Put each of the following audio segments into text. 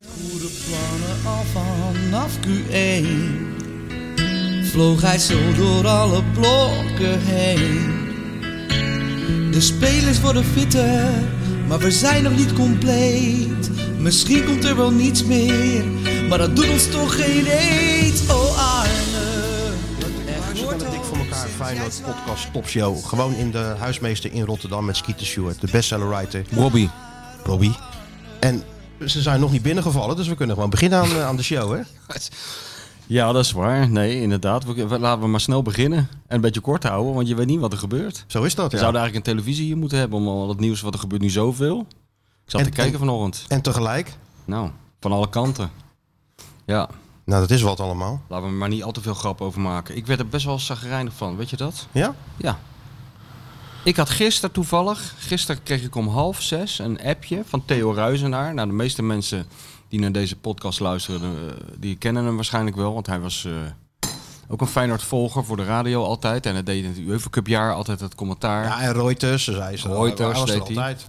de plannen al vanaf Q1 Vloog hij zo door alle blokken heen De spelers worden fitter, maar we zijn nog niet compleet Misschien komt er wel niets meer, maar dat doet ons toch geen eet Oh Arne, Ze hebben dik voor elkaar Feyenoord podcast topshow. Gewoon in de huismeester in Rotterdam met Skeeter Stewart, de bestsellerwriter Robbie. Robbie. En ze zijn nog niet binnengevallen, dus we kunnen gewoon beginnen aan, eh, aan de show, hè? Ja, dat is waar. Nee, inderdaad. We, we- laten we maar snel beginnen. En een beetje kort houden, want je weet niet wat er gebeurt. Zo is dat, We ja. zouden eigenlijk een televisie hier moeten hebben om al het nieuws wat er gebeurt nu zoveel. Ik zat En- te kijken en- vanochtend. En tegelijk, Nou, van alle kanten. Ja, nou dat is wat allemaal. laten we er maar niet al te veel grap over maken. Ik werd er best wel zagrijnig van, weet je dat? Ja? Ja. Ik had gisteren toevallig, gisteren kreeg ik om half zes een appje van Theo Ruizenaar. Nou, de meeste mensen die naar deze podcast luisteren, eh, die kennen hem waarschijnlijk wel. Want hij was eh, ook een Feyenoord-volger voor de radio altijd. En hij deed in het UEFA Cup jaar altijd het commentaar. Ja, en Reuters, ze zei ze. Reuters hij was er deed hij. altijd.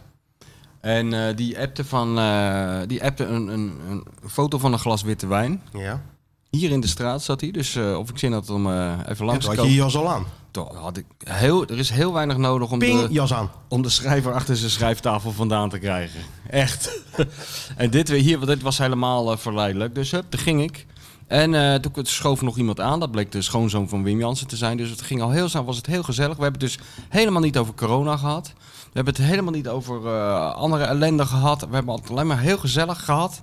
En eh, die appte, van, eh, die appte een, een, een foto van een glas witte wijn. Ja. Hier in de straat zat hij, dus eh, of ik zin had om eh, even En langs toen te had je je komen. jas al aan. Toen Had ik heel, er is heel weinig nodig om Ping, de... jas aan. om de schrijver achter zijn schrijftafel vandaan te krijgen. Echt. en dit weer hier, want dit was helemaal eh, verleidelijk. Dus hup, daar ging ik. En eh, toen schoof nog iemand aan. Dat bleek de schoonzoon van Wim Jansen te zijn. Dus het ging al heel snel, was het heel gezellig. We hebben het dus helemaal niet over corona gehad. We hebben het helemaal niet over eh, andere ellende gehad. We hebben het alleen maar heel gezellig gehad.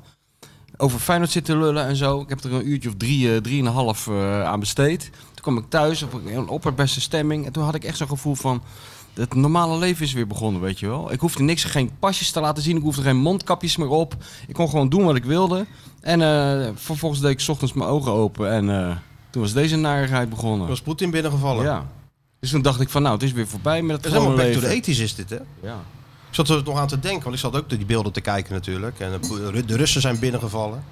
Over Feyenoord zitten lullen en zo. Ik heb er een uurtje of drie, eh, drieënhalf eh, aan besteed. Toen kwam ik thuis op een opperbeste stemming. En toen had ik echt zo'n gevoel van... Het normale leven is weer begonnen, weet je wel. Ik hoefde niks, geen pasjes te laten zien. Ik hoefde geen mondkapjes meer op. Ik kon gewoon doen wat ik wilde. En eh, vervolgens deed ik 's ochtends mijn ogen open. En eh, toen was deze narigheid begonnen. Er was Poetin binnengevallen. Ja. Dus toen dacht ik van, nou, het is weer voorbij met Het het is helemaal gewone back to leven. the 80s is dit, hè? Ja. Ik zat er nog aan te denken, want ik zat ook die beelden te kijken natuurlijk. En eh, Ru- de Russen zijn binnengevallen.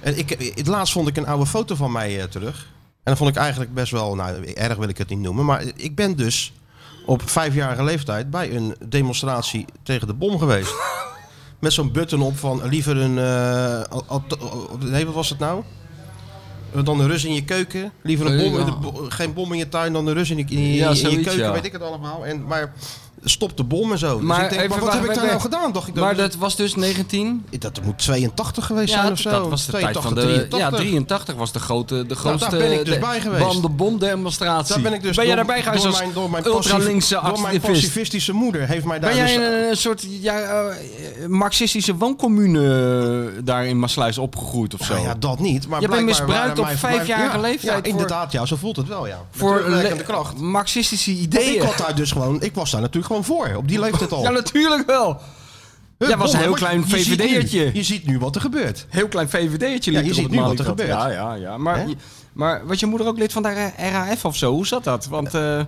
En ik, het laatst vond ik een oude foto van mij eh, terug. En dat vond ik eigenlijk best wel, nou erg wil ik het niet noemen. Maar ik ben dus op vijfjarige leeftijd bij een demonstratie tegen de bom geweest. Met zo'n button op van liever een... eh, al- al- al- nee, wat was het nou? Eh, Dan een Rus in je keuken. Liever een Eh, bom, in de ja. bo- geen bom in je tuin dan een Rus in je, in je- Ja, in je zoiets, keuken. ja. Weet ik het allemaal. En, maar stop de bom en zo. Maar dus ik denk, even maar wat heb ik wacht, daar wacht, nou wacht. gedaan? Dacht ik Maar dat, dat was dus 19... dat moet 82 geweest zijn of zo. dat was de tijd van de... 83. Ja, 83 was de grote... De daar grootste ben ik dus de- bij geweest. Van de bomdemonstratie. Daar ben ik dus Ben jij door- daarbij geweest door als mijn, door mijn ultralinkse passief- Door mijn activist? pacifistische moeder heeft mij daar Ben jij dus... in een, een soort ja, eh, marxistische wooncommune eh, daar in Maasluis opgegroeid of zo? Nou ja, dat niet. Maar Je bent blijkbaar misbruikt waren op mijn- vijfjarige ja, leeftijd Ja, voor- inderdaad. Ja, zo voelt het wel, ja. Met Voor terugwerkende le- kracht. Want marxistische ideeën. Ik, had daar dus gewoon, ik was daar natuurlijk gewoon voor, op die leeftijd al. Ja, natuurlijk wel. Hup, jij was een heel maar klein je ziet nu- VVD'ertje. Je ziet nu wat er gebeurt. Heel klein VVD'tje Ja, liep je er ziet op nu het wat er Malieveld. gebeurt. Ja, ja, ja. Maar, Hè? maar was je moeder ook lid van de RAF of zo? Hoe zat dat? Want eh,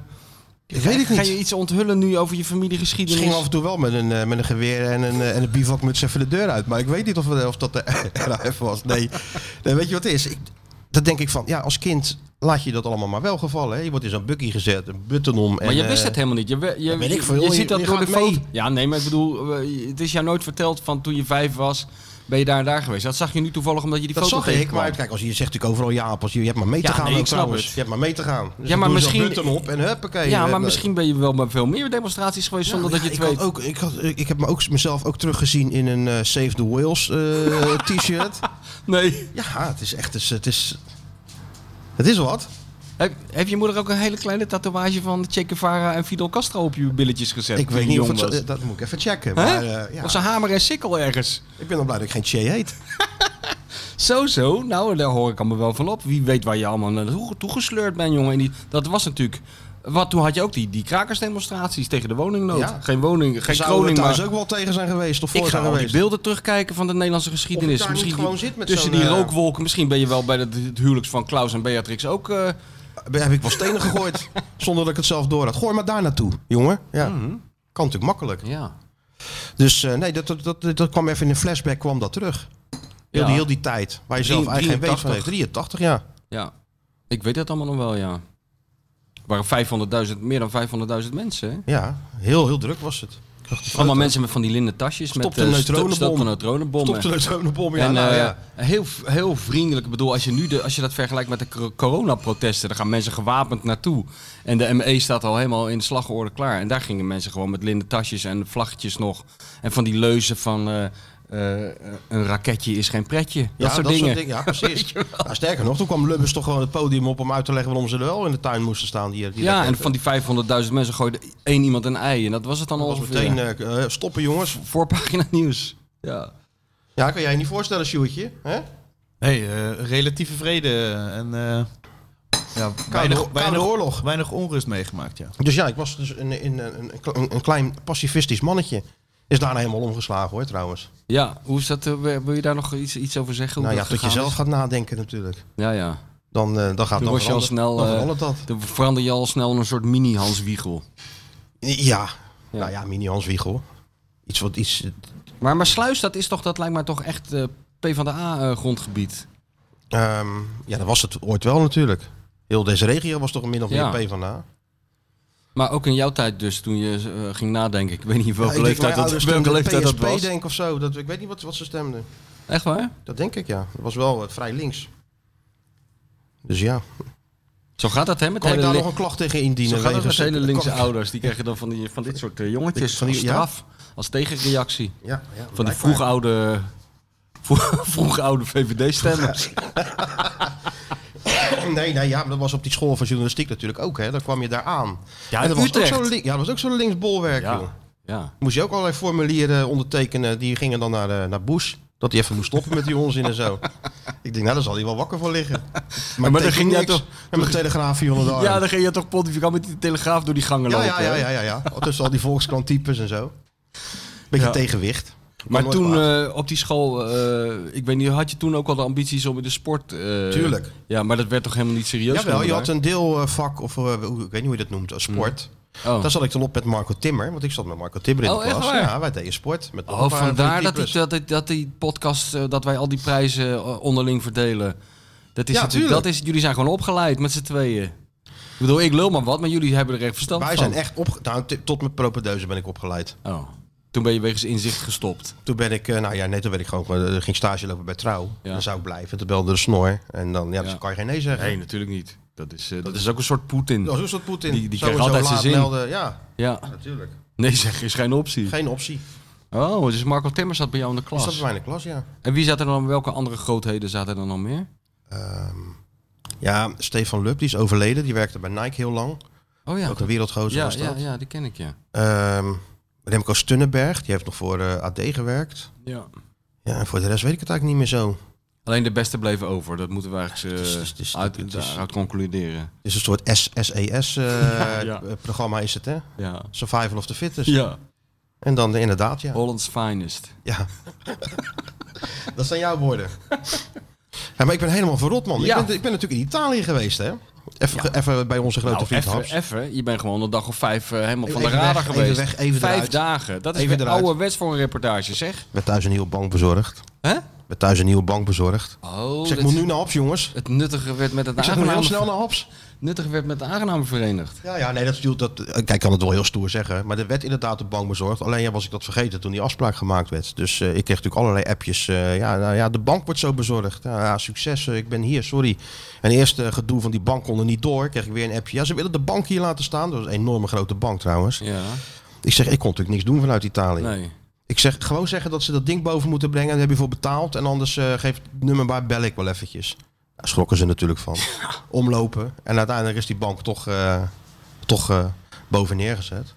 Ik weet het ga niet. je iets onthullen nu over je Ze familiegeschiedenis? gingen af en toe wel met een, eh, met een geweer en een, eh, en een bivakmuts even de deur uit. Maar ik weet niet of, we- of dat de RAF was. Nee. nee, weet je wat het is? Ik, dat denk ik van, ja, als kind laat je dat allemaal maar wel gevallen. Hè? Je wordt in zo'n buggy gezet, een button om. Maar je wist het helemaal niet. Je, we- je, eh, weet ik je- veel. je Je- ziet dat je door de gaat foto. mee. Ja, nee, maar ik bedoel, eh, het is jou nooit verteld van toen je vijf was, ben je daar en daar geweest. Dat zag je nu toevallig omdat je die Dat foto zag ik, tegenkwam. maar kijk, als je zegt natuurlijk overal ja, als je, je hebt maar mee te Ja, gaan. nee, ook ik snap trouwens. het. Je hebt maar mee te gaan. Dus Ja, dan maar doe je zo'n misschien- button op en huppakee. ja, eh, maar nou, misschien ben je wel bij veel meer demonstraties geweest Ja, zonder maar dat je ja, het weet. ik Had ook, ik, had, ik heb me ook, mezelf ook teruggezien in een eh, Save the Whales eh, t-shirt. Nee. Ja, het is echt... Het is, het is, het is wat. Heb, heeft je moeder ook een hele kleine tatoeage van Che Guevara en Fidel Castro op je billetjes gezet? Ik toen weet je niet of jong het... zo- was? eh, Dat moet ik even checken. Hè? Maar, eh, ja, Of zijn hamer en sikkel ergens. ik ben dan blij dat ik geen Che heet. Zo, zo. Nou, daar hoor ik allemaal wel van op. Wie weet waar je allemaal naartoe toegesleurd bent, jongen. En die, dat was natuurlijk... Wat, toen had je ook die, die krakersdemonstraties tegen de woningnood. Ja. Geen woning, geen Zou er kroning, thuis maar... ook wel tegen zijn geweest of Ik voor ga zijn al die geweest. beelden terugkijken van de Nederlandse geschiedenis. daar niet Misschien gewoon die- zit met tussen zo'n, die eh, rookwolken. Misschien ben je wel bij het, het huwelijk van Klaus en Beatrix ook... eh, Daar Heb ik wel stenen gegooid zonder dat ik het zelf door had. Gooi maar daar naartoe, jongen. Ja. Mhm. Kan natuurlijk makkelijk. ja. Dus eh, nee, dat, dat, dat, dat kwam even in een flashback kwam dat terug. Heel, Ja. die, heel die tijd. Waar je zelf Drie- eigenlijk geen weet van heeft. 83. 83, ja. ja. Ik weet dat allemaal nog wel, ja. Er waren 500.000, meer dan 500.000 mensen, hè? Ja, heel, heel druk was het. Ik Allemaal mensen met van die linnen tasjes. Stop met eh, de eh, neutronenbom. sto- stopte neutronenbommen. Stop de neutronenbom, ja. en nou, eh, ja. heel, heel vriendelijk. Ik bedoel, als je, nu de, als je dat vergelijkt met de cor- coronaprotesten, daar gaan mensen gewapend naartoe. En de ME staat al helemaal in de slagorde klaar. En daar gingen mensen gewoon met linnen tasjes en vlaggetjes nog. En van die leuzen van eh, eh, een raketje is geen pretje. Dat Ja, soort dingen. ja, precies. Nou, sterker nog, toen kwam Lubbers toch gewoon het podium op om uit te leggen waarom ze er wel in de tuin moesten staan. Die, die ja, en raketten. van die 500.000 mensen gooide één iemand een ei. En dat was het dan Dat was al meteen eh, eh, stoppen, jongens. voorpagina nieuws. Ja. Ja, kan jij je niet voorstellen, Sjoerdje? hè? Nee, eh, relatieve vrede en eh ja, oor- weinig, koude weinig, oorlog. weinig onrust meegemaakt, ja. Dus ja, ik was dus een, in, een, een, een- een klein pacifistisch mannetje. Is daar helemaal omgeslagen hoor, trouwens. ja, hoe is dat? eh, wil je daar nog iets, iets over zeggen? Hoe nou ja, dat tot je gegaan zelf is? gaat nadenken natuurlijk. Ja, ja. Dan, eh, dan gaat Toen dan was je al veranderen- snel, Dan eh, verandert dat. Dan verander je al snel in een soort mini-Hans Wiegel. Ja. Ja. Nou ja, mini Hans Wiegel. Iets wat iets. Maar, maar Sluis, dat, is toch, dat lijkt mij toch echt eh PvdA-grondgebied. ehm, ja, dat was het ooit wel natuurlijk. Heel deze regio was toch min of meer Ja. PvdA. maar ook in jouw tijd dus, toen je eh, ging nadenken. Ik weet niet welke Ja, ik denk leeftijd, mijn dat, ouders welke stemden leeftijd dat PSP was. denk of zo. Dat, ik weet niet wat, wat ze stemden. Echt waar? Dat denk ik ja. Dat was wel eh, vrij links. Dus ja. Zo gaat dat, hè? Met Kan ik hele daar li- nog een klacht tegen indienen? Zo gaat dat met wegens- hele linkse kan- ouders. Die krijgen dan van, die, van dit soort eh, jongetjes Van van die- die, straf. Als tegenreactie. Ja, ja, Van die blijkbaar. vroeg oude, vroeg, vroeg oude VVD-stemmers. Nee, nee, ja, maar dat was op die school van journalistiek natuurlijk ook. Hè. Dan kwam je daar aan. Ja, en dat was ook Utrecht. zo'n link- ja, dat was ook zo'n linksbolwerk, joh. ja. Moest je ook allerlei formulieren ondertekenen. Die gingen dan naar, eh, naar Bush. Dat hij even moest stoppen met die onzin en zo. Ik denk, nou, daar zal hij wel wakker voor liggen. Maar, maar dan dan ging jij toch- En mijn telegraaf hier onder de arm. Ja, dan ging je toch pontificaal met die telegraaf door die gangen ja, lopen. ja, hè? ja, ja, ja, ja. Tussen al die volkskranttypes en zo. Beetje Ja. tegenwicht. Maar Nooit toen kwaad. eh, op die school, eh, ik weet niet, had je toen ook al de ambities om in de sport... eh, Tuurlijk. Ja, maar dat werd toch helemaal niet serieus Jawel, je genomen had een deelvak, of eh, hoe- ik weet niet hoe je dat noemt, eh, sport. daar? Oh. Daar zat ik dan op met Marco Timmer, want ik zat met Marco Timmer in Oh, de echt klas. waar? Ja, wij deden sport. Met nog Oh, een paar vandaar van dat die, types. dat, die, dat die podcast, eh, dat wij al die prijzen eh, onderling verdelen. Dat is Ja, natuurlijk, dat tuurlijk. is, jullie zijn gewoon opgeleid met z'n tweeën. Ik bedoel, ik lul maar wat, maar jullie hebben er echt verstand Wij van. zijn echt op, nou, t- tot mijn propedeuse ben ik opgeleid. Oh. Toen ben je wegens inzicht gestopt. Toen ben ik, eh, nou ja, nee, toen ben ik gewoon, eh, ging stage lopen bij Trouw. Ja. Dan zou ik blijven. Toen belde de snor. En dan, ja, dus Ja. kan je geen nee zeggen. Nee, natuurlijk niet. Dat is, eh, dat is ook een soort Poetin. Dat is een soort Poetin. Die- die Zo en krijgt zo altijd zijn laat zin. melden. Ja, Ja. natuurlijk. Nee, zeg, is geen optie. Geen optie. Oh, dus Marco Timmer zat bij jou in de Is klas. dat bij mij in de klas, ja. En wie zaten er dan, welke andere grootheden zaten er dan nog meer? Ehm, ja, Stefan Lub, die is overleden. Die werkte bij Nike heel lang. Oh ja, Ook een wereldgozer ja, was dat. ja, ja, die ken ik, ja. Ehm, Remco Stunnenberg, die heeft nog voor eh, AD gewerkt. ja. Ja, en voor de rest weet ik het eigenlijk niet meer zo. Alleen de beste bleven over, dat moeten we eigenlijk eh, Het is- het is- het is- uit, het is- daaruit concluderen. Het is een soort E Ja. SES-programma eh, is het, hè? Ja. Survival of the Fittest. ja. En dan de, inderdaad, ja. Holland's finest. ja. dat zijn jouw woorden. Ja, maar ik ben helemaal verrot, man. Ja. Ik, ben, ik ben natuurlijk in Italië geweest, hè? Even, even bij onze grote vriend Nou, even, Haps. even, je bent gewoon een dag of vijf eh, helemaal van Even de radar weg, even geweest. weg, even vijf eruit. dagen. Dat is Even weer eruit. ouderwets voor een reportage, zeg. Ik werd thuis een nieuwe bank bezorgd. Hè? Ik werd thuis een nieuwe bank bezorgd. Oh, Ik zeg, dit- Nou, ik moet nu naar Haps, jongens. het nuttige werd met het Ik zeg, moet heel aangename, snel naar Haps. nuttige werd met het aangename verenigd. Ja, ja, nee, dat, bedoel- dat, kijk, ik kan het wel heel stoer zeggen. Maar er werd inderdaad de bank bezorgd. Alleen ja, was ik dat vergeten toen die afspraak gemaakt werd. Dus eh, ik kreeg natuurlijk allerlei appjes. eh, ja, nou ja, de bank wordt zo bezorgd. Nou, ja, succes, eh, ik ben hier, sorry. En eerst eh, gedoe van die bank kon er niet door. Kreeg ik weer een appje. Ja, ze willen de bank hier laten staan. Dat was een enorme grote bank trouwens. Ja, Ik zeg, ik kon natuurlijk niks doen vanuit Italië. nee. Ik zeg, gewoon zeggen dat ze dat ding boven moeten brengen. Daar heb je voor betaald. En anders eh, geef het nummer waar bel ik wel eventjes. Daar schrokken ze natuurlijk van. Omlopen. En uiteindelijk is die bank toch, eh, toch eh, boven neergezet.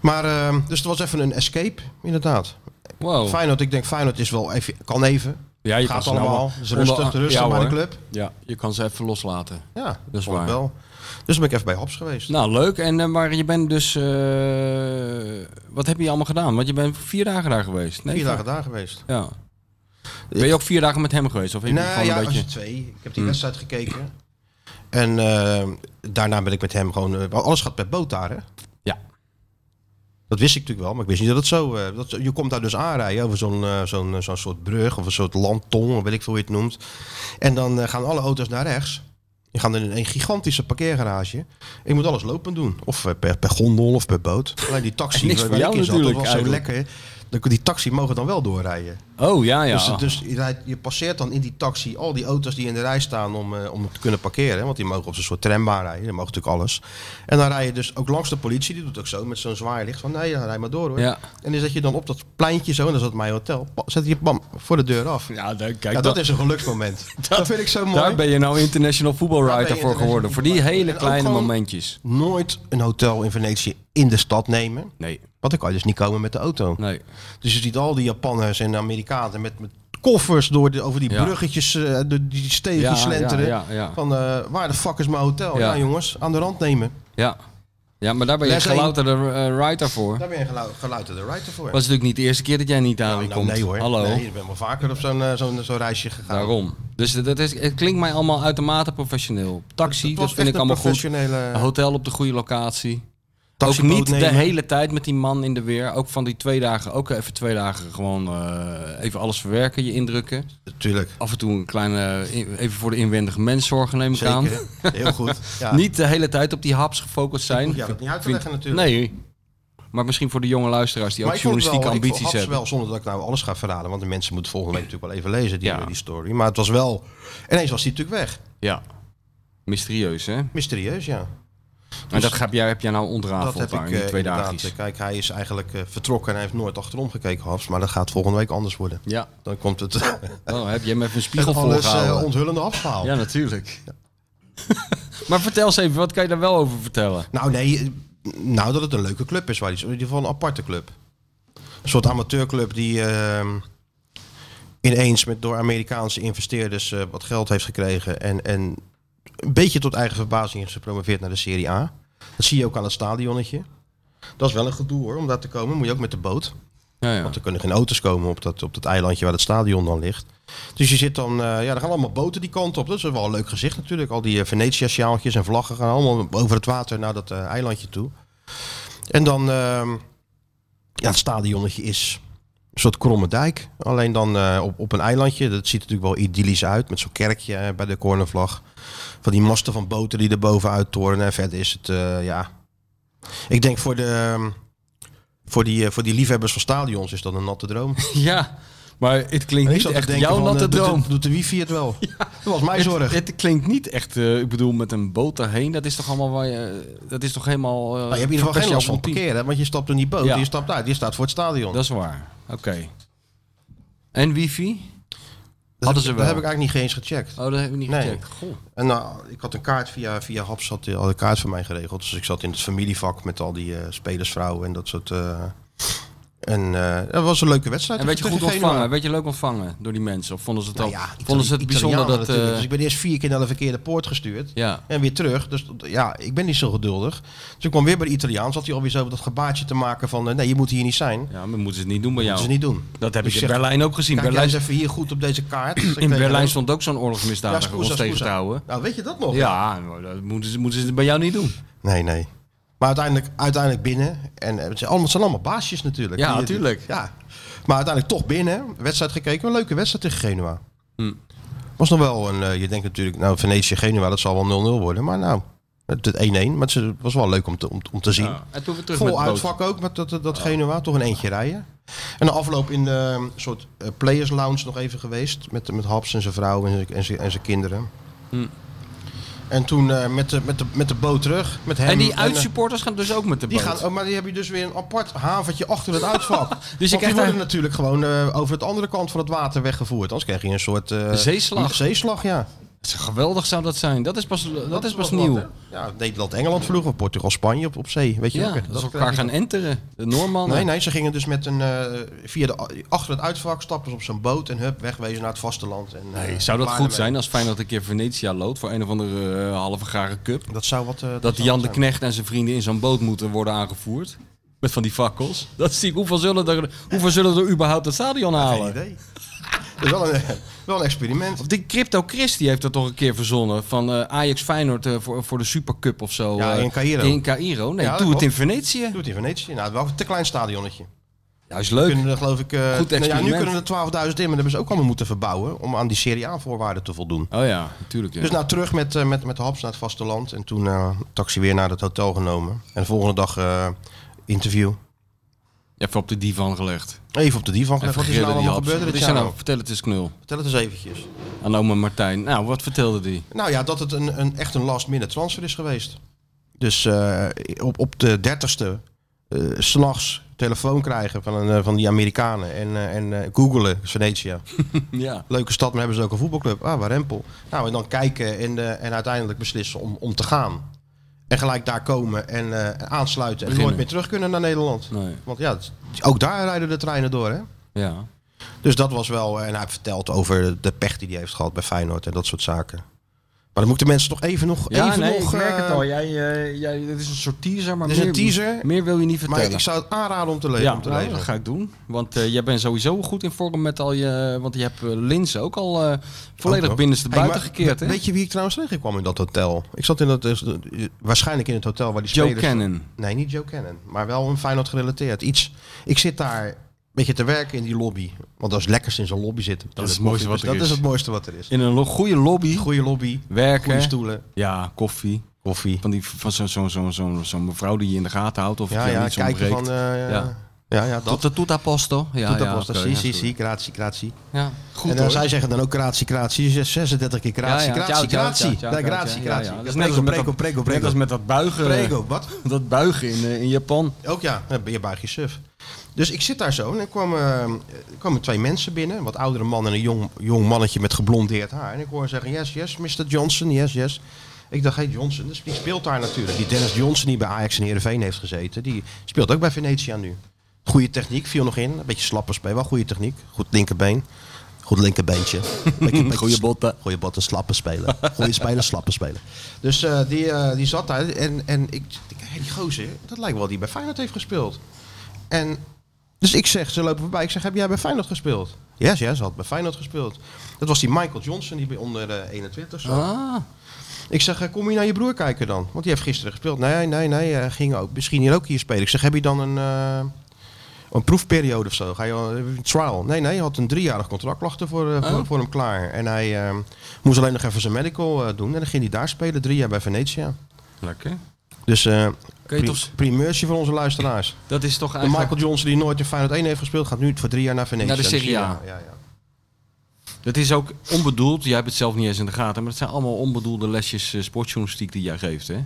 Maar, eh, dus het was even een escape, inderdaad. Wow. Feyenoord, ik denk Feyenoord is wel even, kan even. Oh. Ja, je Gaat kan ze nou allemaal. wel Dus rustig, onder- rustig ja, bij de hoor. club. Ja, je kan ze even loslaten. Ja, Dat is vond ik waar. wel. Dus dan ben ik even bij Haps geweest. Nou, leuk. En, eh, maar je bent dus... eh, wat heb je allemaal gedaan? Want je bent vier dagen daar geweest. Nee, Vier vijf- dagen daar geweest. Ja. Ben je ook vier dagen met hem geweest? Of heb je Nou gewoon ja, een beetje... Hmm. als twee. Ik heb die wedstrijd gekeken. En eh, daarna ben ik met hem gewoon... eh, wel, alles gaat per boot daar, hè? Ja. Dat wist ik natuurlijk wel, maar ik wist niet dat het zo... eh, dat, je komt daar dus aanrijden over zo'n eh, zo'n eh, zo'n soort brug of een soort landtong, of weet ik veel hoe je het noemt. En dan eh, gaan alle auto's naar rechts. Die gaan in een gigantische parkeergarage. Ik moet alles lopend doen. Of eh, per, per gondel of per boot. Alleen die taxi Niks voor ik jou in zat, natuurlijk, dat was zo eigenlijk. lekker. Dat- Die taxi mogen dan wel doorrijden. Oh, ja, ja. Dus, dus je, rijdt- je passeert dan in die taxi al die auto's die in de rij staan om, eh, om te kunnen parkeren. Want die mogen op zo'n soort trambaan rijden. Die mogen natuurlijk alles. En dan rij je dus ook langs de politie. Die doet ook zo met zo'n zwaar licht. Van nee, dan rij maar door hoor. ja. En dan zet je dan op dat pleintje zo. En dat is dat mijn hotel. pa- Zet je bam voor de deur af. Ja, dan- kijk, Ja, dat- dat is een geluksmoment. dat, vind ik zo mooi. daar ben je nou international Daar voetbalwriter ben je voor geworden. Voor die international hele kleine voetbalwriter. momentjes. Nooit een hotel in Venetië in de stad nemen. Nee, Want dan kan je dus niet komen met de auto. nee. Dus je ziet al die Japanners en Amerikanen met, met koffers door de, over die Ja. bruggetjes, eh, de, die steegjes slenteren. Ja, ja, ja. Van eh, waar de fuck is mijn hotel? Ja. Ja. jongens, aan de rand nemen. ja. Ja, maar daar ben je Les één. gelouterde eh, writer voor. Daar ben je geluid, de writer voor. was natuurlijk niet de eerste keer dat jij in Italië Nou, nou, komt. nee hoor. Hallo. Nee, ik ben wel vaker op zo'n eh, zo'n zo'n reisje gegaan. Daarom. Dus dat is, het klinkt mij allemaal uitermate professioneel. Taxi, Het dat, was vind echt ik allemaal een goed. professionele Hotel op de goede locatie. Ook taxiboot niet de nemen. hele tijd met die man in de weer. Ook van die twee dagen, ook even twee dagen gewoon eh, even alles verwerken, je indrukken. Tuurlijk. Af en toe een kleine, eh, even voor de inwendige mens zorgen neem ik aan. Zeker. Heel goed. Ja. Niet de hele tijd op die haps gefocust zijn. Moet je dat niet uit te Vind- leggen natuurlijk. Nee. Maar misschien voor de jonge luisteraars die ook ik vond het journalistieke wel- ik vond ambities Haps hebben. wel, zonder dat ik nou alles ga verraden. Want de mensen moeten volgende week natuurlijk wel even lezen, die, Ja. die story. Maar het was wel... Ineens was die natuurlijk weg. Ja. Mysterieus, hè? Mysterieus, ja. En dat heb jij, heb jij nou ontrafeld Dus dat heb daar ik in die eh, twee inderdaad. dagjes. Kijk, hij is eigenlijk eh, vertrokken en hij heeft nooit achterom gekeken, Haps. Maar dat gaat volgende week anders worden. Ja. Dan komt het Oh, heb je hem even een het spiegel anders voorgehouden? eh, onthullende Haps-verhaal. ja, natuurlijk. maar vertel eens even, wat kan je daar wel over vertellen? Nou, nee. eh, Nou, dat het een leuke club is. Waar die, in ieder geval een aparte club. Een soort amateurclub die ehm, ineens met, door Amerikaanse investeerders eh, wat geld heeft gekregen. En, en een beetje tot eigen verbazing is gepromoveerd naar de Serie A. Dat zie je ook aan het stadionnetje. Dat is wel een gedoe hoor, om daar te komen. Moet je ook met de boot. Ja, ja. Want er kunnen geen auto's komen op dat, op dat eilandje waar het stadion dan ligt. Dus je zit dan, eh, ja, er gaan allemaal boten die kant op. Dat is wel een leuk gezicht natuurlijk. Al die eh, Venetia-sjaaltjes en vlaggen gaan allemaal over het water naar dat eh, eilandje toe. En dan, ehm, ja, het stadionnetje is een soort kromme dijk. Alleen dan eh, op, op een eilandje. Dat ziet er natuurlijk wel idyllisch uit met zo'n kerkje eh, bij de cornervlag. Van die masten van boten die er bovenuit torenen. En verder is het, eh, ja... Ik denk voor de... ehm, voor die, eh, voor die liefhebbers van stadions is dat een natte droom. Ja, maar het klinkt En niet echt jouw van, natte eh, doet de- droom. Doet, de wifi het wel? Dat was mijn zorg. Het, het klinkt niet echt, eh, ik bedoel, met een boot daarheen. Dat is toch allemaal waar je, dat is toch helemaal... eh, Maar Nou, je hebt in ieder geval geen last van verpest jouw parkeren, hè, want je stapt in die boot, Ja. je stapt uit, je staat voor het stadion. Dat is waar, oké. En wifi? heb hadden ik- ze dat wel. heb ik eigenlijk niet eens gecheckt. Oh, dat hebben we niet Nee. gecheckt. Goh. En nou, ik had een kaart via, via Haps, had, had een kaart voor mij geregeld. Dus ik zat in het familievak met al die eh, spelersvrouwen en dat soort... eh, en eh, dat was een leuke wedstrijd. En werd je Tegen goed Genua. ontvangen? Werd je leuk ontvangen door die mensen? Of vonden ze het, Nou al, ja, vonden ze het bijzonder Italianen dat... natuurlijk. eh, Dus ik ben eerst vier keer naar de verkeerde poort gestuurd. ja. En weer terug. Dus t- ja, ik ben niet zo geduldig. Dus ik kwam weer bij de Italiaan. Zat hij alweer zo dat gebaartje te maken van... eh, nee, je moet hier niet zijn. ja, maar moeten ze het niet doen bij Dat jou. is niet doen. Dat heb Dus ik in zeg- Berlijn ook gezien. Kijk jij Berlijn, eens even hier goed op deze kaart. in Berlijn stond ook zo'n oorlogsmisdadiger Ja, ons Scusa, tegen te Scusa. houden. Nou, weet je dat nog? Ja, maar dat moeten ze, moeten ze bij jou niet doen. Nee, nee. Maar uiteindelijk, uiteindelijk binnen. En eh, het zijn allemaal, het zijn allemaal baasjes natuurlijk. Ja, Die- die- tuurlijk. Ja. Maar uiteindelijk toch binnen. Wedstrijd gekeken. Een leuke wedstrijd tegen Genua. Hm. Was nog wel een... eh, je denkt natuurlijk, nou, Venetië-Genua, dat zal wel 0-0 worden. Maar nou, het het 1-1. Maar het is- het was wel leuk om te, om, om te zien. Ja. En toen weer terug met Vol de boot. uitvak ook met dat, dat, dat Genua, toch een eentje rijden. En de afloop in de um, soort eh, players lounge nog even geweest. Met, met Haps en zijn vrouw en zijn- en zijn- en zijn kinderen. Hm. En toen eh, met, de, met, de, met de boot terug. Met hem, En die eh, uitsupporters gaan dus ook met de die boot. gaan, oh, maar die heb je dus weer een apart havertje achter het uitvak. dus je krijgt die worden eigenlijk- natuurlijk gewoon eh, over het andere kant van het water weggevoerd. Anders krijg je een soort... eh, Een zeeslag. zeeslag, ja. Geweldig zou dat zijn. Dat is pas, dat is pas was wat, nieuw. hè? ja, Nederland-Engeland vroeger, Portugal-Spanië op, op zee. Weet je Ja, wel? dat ze krijg elkaar je gaan enteren. De Noormannen. Nee, nee, ze gingen dus met een eh, via de achter het uitvak stapten ze op zijn boot en hup wegwezen naar het vasteland. En, eh, Nee, zou dat klaar goed ermee. zijn als Feyenoord een keer Venetia loodt voor een of andere eh, halve garen cup? Dat zou wat. eh, Dat zou Jan wat zijn. de Knecht en zijn vrienden in zo'n boot moeten worden aangevoerd. Met van die fakkels. Dat zie ik. Hoeveel zullen er, hoeveel zullen er überhaupt het stadion Geen halen? idee. Dat is wel een, wel een experiment. Of die Crypto Christie heeft dat toch een keer verzonnen. Van eh, Ajax Feyenoord eh, voor, voor de Supercup of zo. Ja, eh, in Cairo. In Cairo. Nee, Ja, dat doe het klopt. in Venetië. Doet in Venetië. Nou, wel een te klein stadionnetje. Ja, is leuk. Kunnen er, geloof ik, eh, Goed nou ja, nu experiment. kunnen er 12.000 in, maar dat hebben ze ook allemaal moeten verbouwen om aan die Serie A-voorwaarden te voldoen. Oh ja, natuurlijk. Ja. Dus nou terug met, eh, met, met de haps naar het vasteland en toen eh taxi weer naar het hotel genomen. En de volgende dag eh, interview. Even op de divan gelegd. Even op de divan gelegd. Wat is er gegillen, nou die allemaal gebeurd? haps. Wat dit is er jaar? nou? Vertel het eens, Knul. Vertel het eens eventjes. Aan oma Martijn. Nou, wat vertelde die? Nou ja, dat het een, een, echt een last minute transfer is geweest. Dus eh, op, op de 30ste, eh, s s'nachts telefoon krijgen van, een, eh, van die Amerikanen en, eh, en eh, googelen Venetia. Ja. Leuke stad, maar hebben ze ook een voetbalclub? Ah, Warempel. Nou, en dan kijken en, eh, en uiteindelijk beslissen om, om te gaan. En gelijk daar komen en eh, aansluiten en Beginnen. nooit meer terug kunnen naar Nederland. Nee. Want ja, het- ook daar rijden de treinen door, hè? Ja. Dus dat was wel. En hij heeft verteld over de pech die hij heeft gehad bij Feyenoord en dat soort zaken. Maar dan moeten mensen toch even nog. Ja, even nee, nog, ik merk eh, het al. Jij, eh, jij, dit is een soort teaser, maar Dit is meer, een teaser. meer wil je niet Maar vertellen. ik zou het aanraden om te, le- ja, om te nou, lezen. dat ga ik doen. Want eh, jij bent sowieso goed in vorm met al je... Want je hebt eh, Linzen ook al eh, volledig Ook nog. binnenste Hey, buiten maar gekeerd, hè? Weet je wie ik trouwens tegenkwam in dat hotel? Ik zat in dat, eh, waarschijnlijk in het hotel waar die Joe spelers... Cannon. Nee, niet Joe Cannon. Maar wel een Feyenoord gerelateerd. Iets. Ik zit daar een beetje te werken in die lobby. Want dat is lekker in zo'n lobby zitten. is het mooiste wat er dat is. Dat is het mooiste wat er is. In een lo- goede lobby. Goede lobby, goede werken. stoelen, Ja, koffie. koffie. Van, die- van zo'n zo, zo, zo, zo mevrouw die je in de gaten houdt. Of Ja, je ja, niet zo kijken van... breekt. eh, Ja. ja. ja, ja, dat. Tot de toeta posto. Ja, Doet dat ja, pas. oké, Si, ja, si, goed. si, gratie, gratie. Ja, goed en dan, hoor. zij zeggen dan ook gratie, gratie. 36 keer gratie, Ja, ja. gratie, Ciao, ciao, gratie. ciao, Ja, ciao, gratie, ciao, ja, ja. gratie. Dat is net als met Prego, dat- prego, Net prego. als met eh, dat buigen, Prego, wat? dat buigen in, eh, in Japan. Ook ja, dan eh, ben je buig je suf. Dus ik zit daar zo en er kwam, eh, er kwamen twee mensen binnen. Een wat oudere man en een jong, jong mannetje met geblondeerd haar. En ik hoor zeggen, yes, yes, Mr. Johnson, yes, yes. Ik dacht, hey Johnson, dus die speelt daar natuurlijk. Die Dennis Johnson die bij Ajax en Heerenveen heeft gezeten, die speelt ook bij Venetia nu. Goede techniek, viel nog in. Een beetje slappe speel, wel goede techniek. Goed linkerbeen. Goed linkerbeentje. Beetje- beetje Goeie botten. Goeie botten, slappe spelen. Goeie spelen, slappe spelen. Dus eh, die, eh, die zat daar en, en ik denk, hé, die gozer, dat lijkt wel die bij Feyenoord heeft gespeeld. En dus ik zeg, ze lopen voorbij, ik zeg, heb jij bij Feyenoord gespeeld? Yes, yes, had bij Feyenoord gespeeld. Dat was die Michael Johnson, die bij onder de 21 zat. Ah, Ik zeg, eh, kom je naar je broer kijken dan? Want die heeft gisteren gespeeld. Nee, nee, nee, eh, ging ook, misschien hier ook hier spelen. Ik zeg, heb je dan een, eh, een proefperiode of zo? Ga je al- een trial? Nee, nee, hij had een driejarig contract, lag er voor, eh, Oh. voor, voor hem klaar. En hij eh, moest alleen nog even zijn medical eh, doen. En dan ging hij daar spelen, drie jaar bij Venetia. lekker. Dus eh Kun je pri- toch, primeurtje voor onze luisteraars. dat is toch De eigenlijk... Michael Johnson die nooit in Feyenoord 1 heeft gespeeld, gaat nu voor drie jaar naar Venetia. Naar de Serie A. Ja, ja, ja. Dat is ook onbedoeld. Jij hebt het zelf niet eens in de gaten. Maar het zijn allemaal onbedoelde lesjes eh, sportjournalistiek die jij geeft, hè?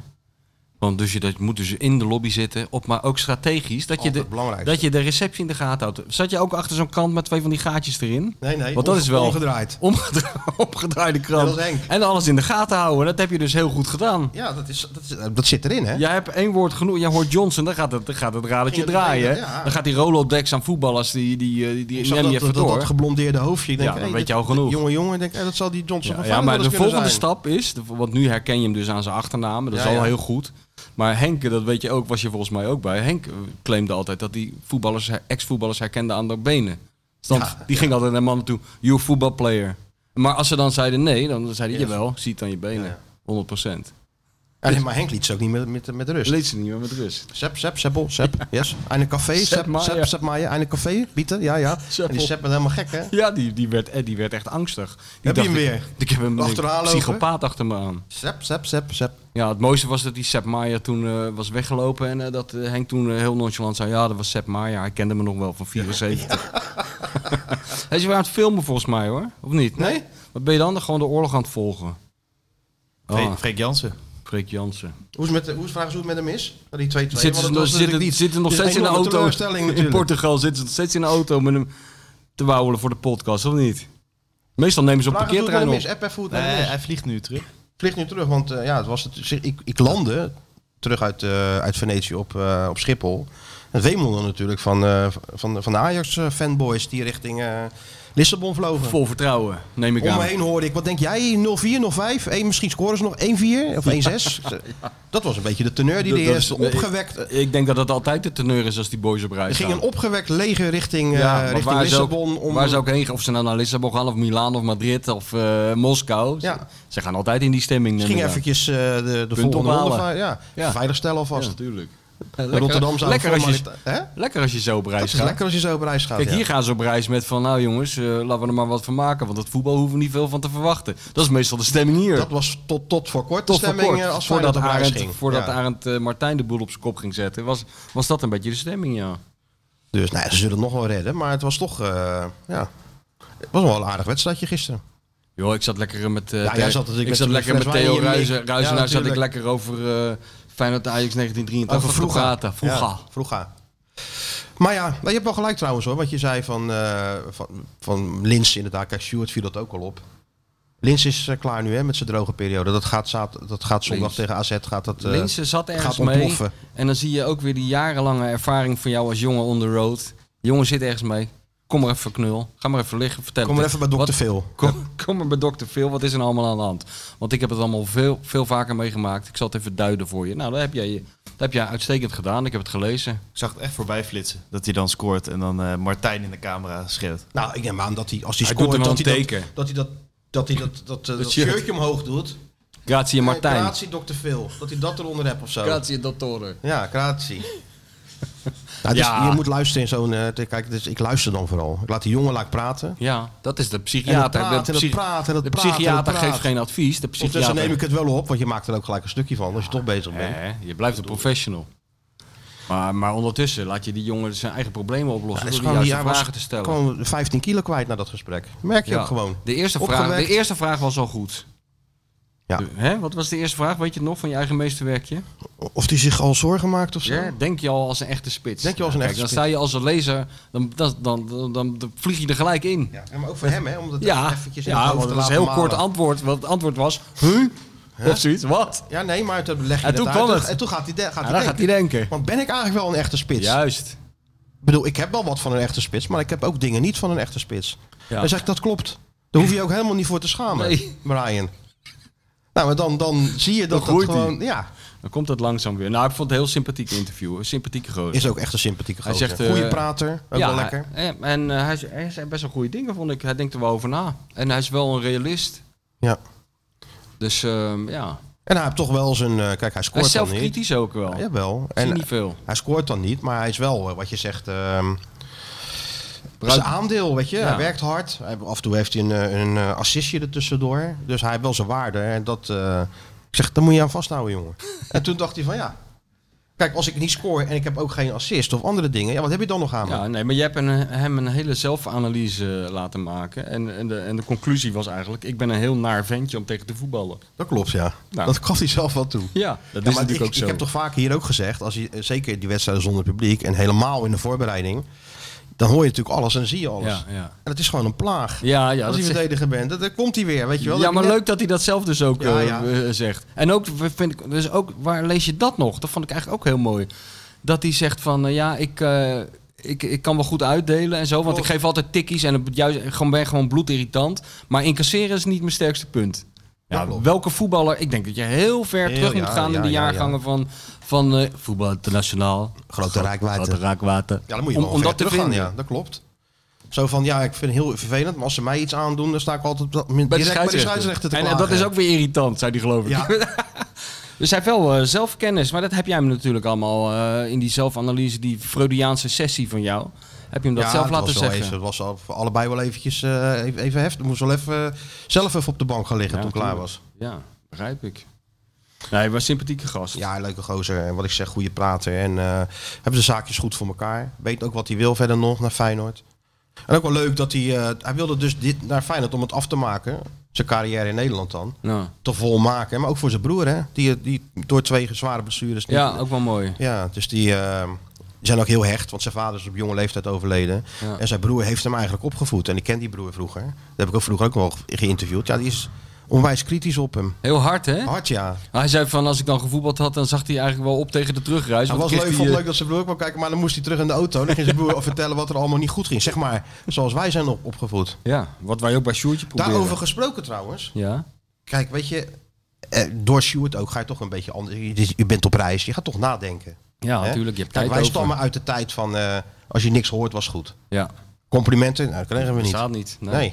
Want dus je dat moet dus in de lobby zitten, op, maar ook strategisch. Dat je, de, Altijd belangrijk. dat je de receptie in de gaten houdt. Zat je ook achter zo'n kant met twee van die gaatjes erin? Nee, nee, Want dat onge- is wel- ongedraaid. Omgedra omgedraaide krant. Ja, dat is eng. en alles in de gaten houden. Dat heb je dus heel goed gedaan. Ja, dat, is, dat, is, dat zit erin, hè? Jij hebt één woord genoeg. Jij hoort Johnson, dan gaat het, dan gaat het radertje Ja, draaien. hè? ja. Dan gaat die Rolodex aan voetballers, die, die, eh, die, die, Ik die zag neem dat, je dat, even dat, door. dat geblondeerde hoofdje. Ik denk, dan hey, weet dit- je al genoeg. dit Jonge jongen, ik denk, hey, dat zal die Johnson Ja, van ja, Feyenoord maar wel de eens kunnen volgende zijn. stap is, de- want nu herken je hem dus aan zijn achternaam, dat is Ja, al ja. heel goed. Maar Henk, dat weet je ook, was je volgens mij ook bij. Henk eh, claimde altijd dat die voetballers, ex-voetballers herkende aan de benen. Dus dan, die ging altijd naar mannen toe, you football player. Maar als ze dan zeiden nee, dan zei hij, Yes. jawel, zie het aan je benen. Ja, ja. 100%. Ja, nee, maar Henk liet ze ook niet met, met, met rust. Leed ze niet meer met rust. Sepp, Sepp, Seppel, Sepp, yes. Einde café, Sepp Sepp, Maier. Sepp, Sepp Maier, einde café, Pieter, ja, ja. En Seppel. die Sepp werd helemaal gek, hè? Ja, die, die, werd, eh, die werd echt angstig. Die Heb je dacht, hem ik- weer? Ik heb hem Achteraan een lopen? psychopaat achter me aan. Sepp, Sepp, Sepp, Sepp. Ja, het mooiste was dat die Sepp Maier toen eh, was weggelopen en eh, dat eh, Henk toen eh, heel nonchalant zei, ja, dat was Sepp Maier, hij kende me nog wel van 74. hij is weer aan het filmen volgens mij hoor, of niet? Nee? Wat ben je dan? Gewoon de oorlog aan het volgen. Fre- Ah, Freek Jansen. Freek Jansen. Hoe is, het met, de- hoe is vraag hoe het met hem is? Nou, die 2-2. want Zitten ze dat was nog, zitten, natuurlijk niet- zitten nog het is steeds in de enorme auto, teleurstelling in natuurlijk. Portugal zitten ze nog steeds in de auto met hem te wauwelen voor de podcast, of niet? Meestal nemen ze op Vraag eens hoe het met parkeerterrein hem op. is, app even hoe het Nee, met hem is. hij vliegt nu terug. vlieg nu terug, want eh, ja, het was het, ik, ik landde terug uit, eh, uit Venetië op, eh, op Schiphol. Het wemelde natuurlijk van, eh, van, van de Ajax-fanboys die richting eh, Lissabon vlogen. Vol vertrouwen, neem ik Om aan. me heen hoorde ik, wat denk jij, 0-4, 0-5, Eén, misschien scoren ze nog 1-4 of 1-6. Dat was een beetje de teneur die Dat- de dat eerste is- eh, opgewekt... Er Ik denk dat dat altijd de teneur is als die boys op reis ging gaan. een opgewekt leger richting, eh, Ja, maar richting waar ze ook- Lissabon. om, Waar ze ook heen gaan, of ze nou naar Lissabon gaan, of Milaan, of Madrid, of eh, Moskou. Ze- Ja. Ze gaan altijd in die stemming. Ze neem gingen ik aan. eventjes eh, de, de volgende ophalen. ronde... Ja, Ja. veiligstellen Ja, alvast. natuurlijk. Eh, lekker- Rotterdam zou lekker als je- formalite- hè? Lekker als je zo op Dat reis is gaat. lekker als je zo op reis gaat. Kijk, ja. hier gaan ze op reis met van, nou jongens, eh, laten we er maar wat van maken. Want het voetbal hoeven we niet veel van te verwachten. Dat is meestal de stemming hier. Dat was tot, tot voor kort de Tot voor stemming kort, eh, als voordat Feyenoord op reis Arend, ging. voordat Ja. Arend eh, Martijn de boel op zijn kop ging zetten, was, was dat een beetje de stemming, ja. Dus nou ja, ze zullen het nog wel redden, maar het was toch... eh, ja. Het was wel een aardig wedstrijdje gisteren. Joh, ik zat lekker met, eh, Ja, Theo- jij zat natuurlijk ik met zat zo'n lekker met fles wijn in Theo je mik. Ruizen. Ja, Ruizen nou zat ik natuurlijk. lekker over eh Feyenoord Ajax 1983 Over vroeger. te praten. Vroeger. Ja, vroeger. Maar ja, nou, je hebt wel gelijk trouwens hoor. Wat je zei van, eh van, van Lins inderdaad. Kijk, Stuart viel dat ook al op. Lins is eh, klaar nu hè, met zijn droge periode. Dat gaat, zaad, dat gaat zondag Lins. tegen AZ. Gaat dat, eh, Linse zat ergens gaat mee. ontploffen. En dan zie je ook weer die jarenlange ervaring van jou als jongen on the road. Jongen zit ergens mee. Kom maar even knul. Ga maar even liggen. Vertel Kom het. maar even bij dokter Wat- Phil. Kom, kom maar bij dokter Phil, wat is er nou allemaal aan de hand? Want ik heb het allemaal veel, veel vaker meegemaakt. Ik zal het even duiden voor je. Nou, dat heb jij, dat heb jij uitstekend gedaan. Ik heb het gelezen. Ik zag het echt voorbij flitsen. Dat hij dan scoort en dan eh, Martijn in de camera schreeuwt. Nou, ik neem aan dat hij als hij, Hij doet scoort... hem wel dat, een hij teken. dat, dat hij dat, dat, hij dat, dat, eh, dat shirt. shirtje omhoog doet. Grazie Martijn. Gratie, dokter Phil. Dat hij dat eronder hebt of zo. Grazie dottore. Ja, gratie. nou, dus Ja. Je moet luisteren in zo'n... eh, te- kijk, dus ik luister dan vooral. Ik laat die jongen laat ik praten. Ja, dat is de En het psychiater. praten, en de het psych- praten, en de het praten, en het psychiater praten. geeft geen advies. De Ondertussen psychiater. neem ik het wel op, want je maakt er ook gelijk een stukje van als je toch bezig bent. Hè, je blijft een professional. Maar, maar ondertussen laat je die jongen zijn eigen problemen Ja, oplossen dus door de gewoon, juiste hij was vragen te stellen. gewoon 15 kilo kwijt na dat gesprek. Merk je Ja, ook gewoon. De eerste, vraag, de Opgewekt. eerste vraag was al goed. Ja. De- hè, wat was de eerste vraag? Weet je het nog van je eigen meesterwerkje? Of die zich al zorgen maakt of zo. Ja, denk je al als een echte spits? Denk je al als een Ja, echte kijk, spits. Dan sta je als een lezer, dan, dan, dan, dan, dan- dan vlieg je er gelijk in. Ja, maar ook voor hem, hè? Om dat Ja, eventjes in het ja hoofd want te dat was een laten heel kort malen. antwoord. Want het antwoord was, huh? Of zoiets, wat? Ja, nee, maar toen leg je En dat toen uit. kwam het. En toen gaat hij de- gaat Ja, hij dan denken. gaat hij denken. Want ben ik eigenlijk wel een echte spits? Juist. Ik bedoel, ik heb wel wat van een echte spits, maar ik heb ook dingen niet van een echte spits. Ja. Dan zeg ik, dat klopt. Daar hoef je je ook helemaal niet voor te schamen, Nee. Brian. Nou, maar dan, dan zie je dat dat groeit hij. gewoon... Ja, Dan komt dat langzaam weer. Nou, ik vond het een heel sympathiek interview. Een sympathieke gozer. is ook echt een sympathieke Hij gozer. zegt, eh, Goeie prater, ook wel lekker. En, en eh, hij, hij zei best wel goede dingen, vond ik. Hij denkt er wel over na. En hij is wel een realist. Ja. Dus ehm, ja, En hij heeft toch wel zijn... eh, kijk, hij hij scoort is dan niet. zelfkritisch ook wel. Ja, jawel. en, En niet veel. hij scoort dan niet, maar hij is wel, eh, wat je zegt... ehm, Bruik- zijn aandeel, weet je. Ja. Hij werkt hard. Hij- af en toe heeft hij een, eh, een eh, assistje ertussendoor. Dus hij heeft wel zijn waarde. En dat... eh, ik zeg, daar moet je aan vasthouden, jongen. en toen dacht hij van, ja... Kijk, als ik niet scoor en ik heb ook geen assist of andere dingen... Ja, wat heb je dan nog aan me? Ja, nee, maar je hebt een, hem een hele zelfanalyse eh, laten maken. En, en, de, en de conclusie was eigenlijk, ik ben een heel naar ventje om tegen te voetballen. Dat klopt, ja. Nou. Dat gaf hij zelf wel toe. Ja, dat is Ja, maar natuurlijk ik, ook zo. ik heb toch vaak hier ook gezegd, als je, eh, zeker in die wedstrijden zonder publiek en helemaal in de voorbereiding, dan hoor je natuurlijk alles en zie je alles. ja, ja. En het is gewoon een plaag. Ja, ja, als dat je is- verdediger bent, dan, dan komt hij weer, weet je wel. ja, Dat maar je net- leuk dat hij dat zelf dus ook Ja, eh, ja. eh, zegt. En ook, v- vind ik, dus ook, waar lees je dat nog? Dat vond ik eigenlijk ook heel mooi. Dat hij zegt van, eh, ja, ik, eh, ik, ik kan wel goed uitdelen en zo. Want ik geef altijd tikkies en het juist, gewoon, ben gewoon bloedirritant. Maar incasseren is niet mijn sterkste punt. Ja, Ja, klopt. welke voetballer? Ik denk dat je heel ver Heel, terug moet ja, gaan ja, in de ja, ja. jaargangen van, van eh, voetbal internationaal. Grote Gro- raakwater. Grote raakwater. Ja, dan moet je om, wel om ver dat te terug gaan, vinden. ja, dat klopt. Zo van, ja, ik vind het heel vervelend, maar als ze mij iets aandoen, dan sta ik altijd op dat moment Bij de direct bij de scheidsrechter scheidsrechter. te en, en klagen. dat is ook weer irritant, zei die geloof ik. Ja, Dus hij heeft wel eh, zelfkennis, maar dat heb jij hem natuurlijk allemaal eh, in die zelfanalyse, die Freudiaanse sessie van jou. Heb je hem dat ja, zelf het laten was wel zeggen? Even, het was al- voor allebei wel eventjes eh, even, even heftig. Moest wel even eh, zelf even op de bank gaan liggen Ja, toen ik klaar tuurlijk. was. Ja, begrijp ik. Nee, hij was een sympathieke gast. Ja, leuke gozer. En wat ik zeg, goede prater. En eh, hebben de zaakjes goed voor elkaar. Weet ook wat hij wil verder nog naar Feyenoord. En ook wel leuk dat hij... eh, hij wilde dus dit naar Feyenoord om het af te maken. Zijn carrière in Nederland dan. Nou, Te volmaken. Maar ook voor zijn broer, hè. Die, die door twee zware blessures... niet- ja, ook wel mooi. ja, dus die... eh, die zijn ook heel hecht, want zijn vader is op jonge leeftijd overleden. Ja. En zijn broer heeft hem eigenlijk opgevoed. En ik ken die broer vroeger. Daar heb ik ook vroeger ook wel ge- geïnterviewd. Ja, die is onwijs kritisch op hem. Heel hard, hè? Hard, ja. Hij zei van, als ik dan gevoetbald had, dan zag hij eigenlijk wel op tegen de Het terugreis. want was dan leuk, kreeg vond hij, leuk dat zijn broer kwam kijken, maar dan moest hij terug in de auto. Dan ging zijn broer vertellen wat er allemaal niet goed ging. Zeg maar, zoals wij zijn op, opgevoed. eh, Ja, wat wij ook bij Sjoertje proberen. Daarover gesproken trouwens. Ja, Kijk, weet je, eh, door Sjoerd ook ga je toch een beetje anders. Je, je bent op reis, je gaat toch nadenken. ja hè? natuurlijk. Ah, Je Kijk, hebt tijd wij over. stammen uit de tijd van eh, als je niks hoort was goed. Ja, Complimenten, nou, dat kregen we niet. bestaat niet. Nee. Nee.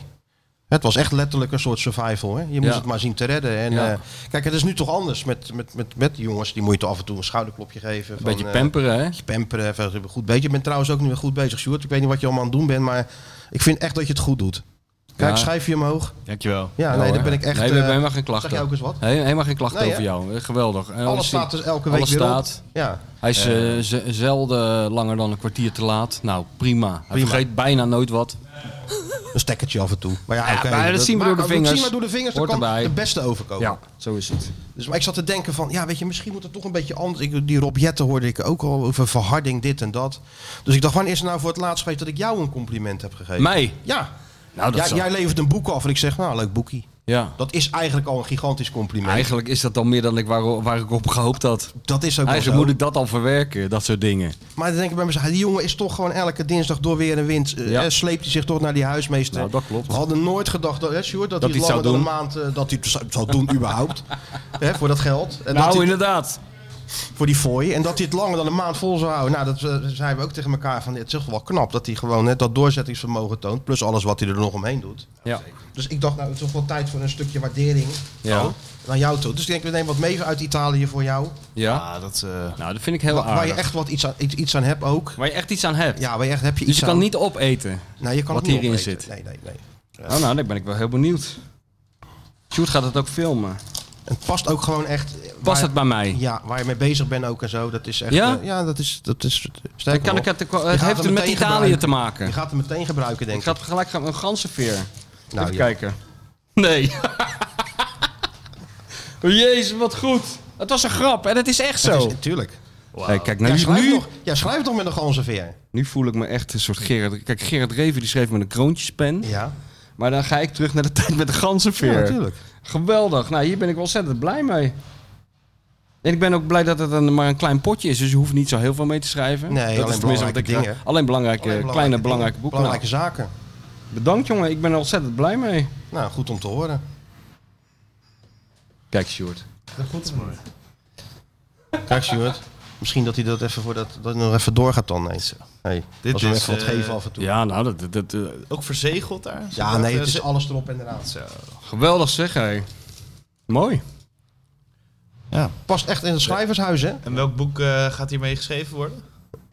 Het was echt letterlijk een soort survival. Hè? Je moest Ja. het maar zien te redden. En, Ja. eh, kijk, het is nu toch anders met, met, met, met die jongens. Die moet je toch af en toe een schouderklopje geven. Een beetje van, eh, pamperen, hè? pamperen. even Goed bezig. Je bent trouwens ook nu weer goed bezig, Sjoerd. Ik weet niet wat je allemaal aan het doen bent, maar ik vind echt dat je het goed doet. Kijk, Ja. schrijf je omhoog. Dankjewel. Ja, nee, daar ben ik echt... Nee, we hebben eh, helemaal geen klachten. zeg jij ook eens wat? Nee, helemaal geen klachten Nee, hè? over jou. Eh, Geweldig. En Alles alles staat dus elke week alles weer op. staat. Ja, Hij is eh, ze- zelden langer dan een kwartier te laat. Nou, prima. Hij Prima. vergeet bijna nooit wat. een stekkertje af en toe. Maar ja, Ja, oké, maar dat zien we door de maakt- vingers. zien we door de vingers. Dat Hoort kan erbij. de beste overkomen. Ja, zo is het. Dus, maar ik zat te denken van, ja, weet je, misschien moet het toch een beetje anders. Ik, die Rob Jetten hoorde ik ook al over verharding, dit en dat. Dus ik dacht, wanneer is het nou voor het laatst geweest dat ik jou een compliment heb gegeven? Mij? Ja. Nou, dat Jij- zal- jij levert een boek af en ik zeg, nou, leuk boekie. Ja. Dat is eigenlijk al een gigantisch compliment. Eigenlijk is dat dan meer dan ik waar, waar ik op gehoopt had. dat is ook wel zo. Eigenlijk moet ik dat al verwerken, dat soort dingen. Maar dan denk ik bij mezelf, die jongen is toch gewoon elke dinsdag door weer een wind. eh, Ja. eh, sleept hij zich toch naar die huismeester. Nou, dat klopt. We hadden nooit gedacht dat, hè, Sjoerd, dat, Dat hij het hij het langer dan zou een maand eh, dat hij het zou- zou doen überhaupt. hè, voor dat geld. En dat nou, hij- inderdaad. voor die fooi. En dat hij het langer dan een maand vol zou houden. Nou, dat eh, zeiden we ook tegen elkaar. Van, het is toch wel knap dat hij gewoon net dat doorzettingsvermogen toont. Plus alles wat hij er nog omheen doet. Ja. Dus ik dacht, nou, het is toch wel tijd voor een stukje waardering Ja. naar jou toe. Dus ik denk, we nemen wat mee uit Italië voor jou. ja. Ah, dat, eh, Nou, dat vind ik heel Waar, aardig. waar je echt wat iets aan, iets, iets aan hebt ook. Waar je echt iets aan hebt. Ja, waar je echt heb je dus iets je kan aan. niet opeten. nou, je kan wat het niet hierin opeten. zit. Nee, nee, nee. Oh, nou, dan ben ik wel heel benieuwd. Sjoerd gaat het ook filmen. Het past ook gewoon echt. eh, Past waar- het bij mij? Ja, waar je mee bezig bent ook en zo. Dat is echt. Ja? eh, ja dat is. Dat is Dan sterker kan ik nog, het, eh, gaat het heeft het het met meteen Italië gebruiken. te maken. Je gaat hem meteen gebruiken, denk Ik ik. ga gelijk gaan een ganzenveer. Nou, Even ja. kijken. Nee. Oh, Jezus, wat goed. Het was een grap en het is echt Dat zo. is- Tuurlijk. Hey, kijk, Jij nou, nu, schrijft nu, nog, jij schrijft nog met een ganse veer. nu voel ik me echt een soort Gerard. Kijk, Gerard Reven die schreef met een kroontjespen. Ja. Maar dan ga ik terug naar de tijd met de ganzenveer. Ja, natuurlijk. Geweldig. Nou, hier ben ik wel ontzettend blij mee. En ik ben ook blij dat het een, maar een klein potje is. Dus je hoeft niet zo heel veel mee te schrijven. Nee, dat alleen is tenminste wat belangrijke ik- dingen. Alleen belangrijke, Alleen belangrijke kleine dingen, belangrijke boeken. Belangrijke zaken. Nou, bedankt jongen, ik ben er ontzettend blij mee. Nou, goed om te horen. Kijk, Sjoerd. Kijk, Stuart. Misschien dat hij dat even voor dat, dat hij nog even doorgaat dan. Nee. Hey, Dit als we hem is, even wat eh, geven af en toe. Ja, Ja, nou, dat, dat, dat- ook verzegeld daar? nee, het is alles erop en eraan. Zo. geweldig zeg, hé. Mooi. Ja. Past echt in het schrijvershuis, hè? En welk boek eh, gaat hiermee geschreven worden?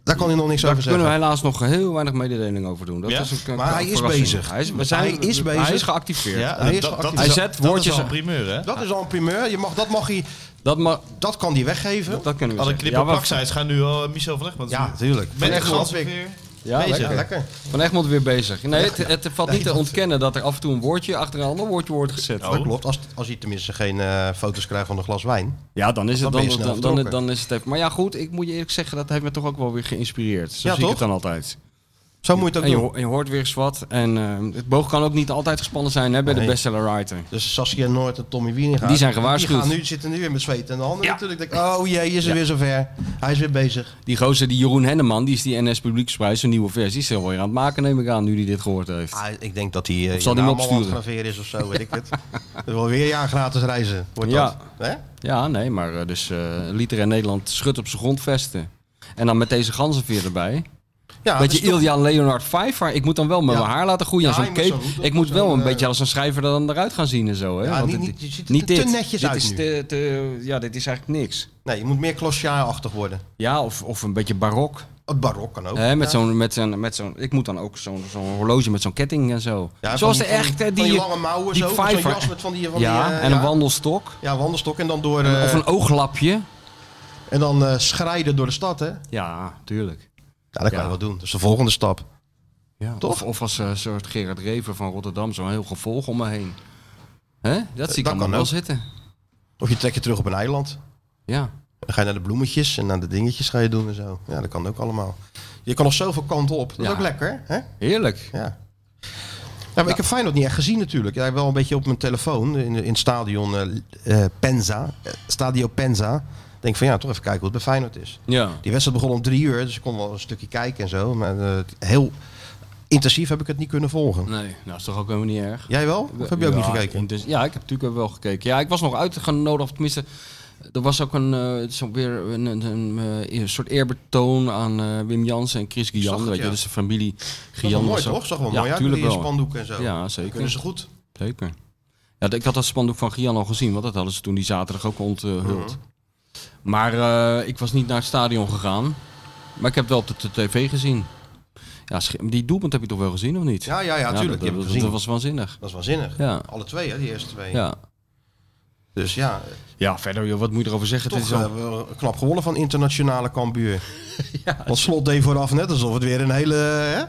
Daar kan hij nog niks Daar over kunnen we zeggen. helaas nog heel weinig mededeling over doen. Dat Ja? is een, Maar hij is verrassing. bezig. Hij is, we zijn, Hij is Hij bezig. is geactiveerd. hij is dat- dat, geactiveerd. is eh, Hij al- zet dat is woordjes- al een primeur, hè? Dat is al een primeur. Je mag, dat, mag hij, Dat, mag, dat kan hij weggeven. dat kunnen we Alle zeggen. knip en maar- plakcijns gaan nu al Michel van Egmond. ja, natuurlijk. Met de Echt wel. ganzenveer. ja, Ja, bezig. lekker. lekker. Van Egmond weer bezig. Nee, het, het valt niet te ontkennen dat er af en toe een woordje achter een ander woordje wordt gezet. Oh. Dat klopt. Als, als hij tenminste geen eh, foto's krijgt van een glas wijn. Ja, dan is het, Dan ben dan, je dan, snel dan, vertrokken. dan is het even. Maar ja, goed, ik moet je eerlijk zeggen, dat heeft me toch ook wel weer geïnspireerd. Zo Ja, zie toch? ik het dan altijd. Zo moet je het ook En je, doen. ho- en je hoort weer eens wat. En eh, het boog kan ook niet altijd gespannen zijn hè, bij Nee. de bestseller writer. Dus Saskia Noord en Tommy Wieringa. Die zijn gewaarschuwd. Die gaan nu, zitten nu weer met zweet en de handen Ja. natuurlijk. Denk, oh jee, is er Ja. weer zover. Hij is weer bezig. Die gozer, die Jeroen Henneman, die is die NS Publieksprijs, een nieuwe versie, is er alweer aan het maken, neem ik aan, nu hij dit gehoord heeft. Ah, ik denk dat hij eh, Of zal je naam die hem al aan het opsturen? graveren is of zo, weet ik het. Dat is wel weer een jaar gratis reizen, wordt Ja. dat. Hè? Ja, nee, maar eh, dus eh Liter en Nederland schudt op zijn grondvesten. En dan met deze ganzenveer erbij. Ja, Weet dus je, Ilja Leonard Pfeiffer, ik moet dan wel met Ja. mijn haar laten groeien Ja, als je een moet cape. zo'n hoed op, ik moet wel zo'n, een eh, beetje als een schrijver er dan eruit gaan zien en zo. Hè? Ja, Want niet- het- niet- je ziet er te netjes dit uit is nu. Te, te- ja, dit is eigenlijk niks. Nee, je moet meer klosjaarachtig worden. Ja, of, of een beetje barok. Het barok kan ook. Hè, met ja. zo'n, met zo'n, met zo'n, ik moet dan ook zo'n, zo'n horloge met zo'n ketting en zo. Ja, Zoals van de die- van die- echte, van die, die, lange mouwen die zo, van zo'n Pfeiffer- jas met van die... Van ja, die, eh, en een ja. wandelstok. Ja, wandelstok en dan door... eh, of een ooglapje. En dan eh, schrijden door de stad, hè. Ja, Ja, tuurlijk. dat kan Ja. je wel doen. Dat is de volgende stap. Ja. Toch? Of, of als eh, een soort Gerard Reven van Rotterdam, zo'n heel gevolg om me heen. Hè? Dat zie ik Eh, dat allemaal kan wel ook. zitten. Of je trekt je terug op een eiland. Ja. Dan ga je naar de bloemetjes en naar de dingetjes ga je doen en zo. Ja, dat kan ook allemaal. Je kan nog zoveel kanten op. Dat is Ja. ook lekker, hè? Ja. Heerlijk. ja maar Ik heb Feyenoord niet echt gezien natuurlijk. Ja, wel een beetje op mijn telefoon in, in het stadion eh, eh, Penza. eh, Stadio Penza. Denk van ja, toch even kijken hoe het bij Feyenoord is. Ja. Die wedstrijd begon om drie uur, dus ik kon wel een stukje kijken en zo. Maar eh, heel intensief heb ik het niet kunnen volgen. Nee, nou is toch ook helemaal niet erg. Jij wel? Of heb je ook Ja, niet gekeken? intens- ja, ik heb natuurlijk wel gekeken. Ja, ik was nog uitgenodigd, of tenminste, er was ook een, eh, zo weer een, een, een, eh, een soort eerbetoon aan eh, Wim Jansen en Chris zag Guyan. het, Weet je, ja. dat is de familie Dat was Guyan. wel mooi was ook- toch? Zag er wel ja, mooi uit met tuurlijk die wel. spandoeken en zo. Ja, zeker. Kunnen ze goed. Zeker. Ja, d- ik had dat spandoek van Gian al gezien, want dat hadden ze toen die zaterdag ook onthuld. Mhm. Maar eh, ik was niet naar het stadion gegaan. Maar ik heb het wel op de, t- tv gezien. Ja, Sch- die doelpunt heb je toch wel gezien, of niet? Ja, ja, ja, tuurlijk. dat- die Dat, heb ik dat- gezien. dat was waanzinnig. Dat is waanzinnig. Ja. Alle twee, hè, die eerste twee. Ja. Dus ja, ja, verder, joh, wat moet je erover zeggen? toch eh, Het is al- hebben we knap gewonnen van internationale Cambuur. Want Slot deed vooraf net alsof het weer een hele... Hè?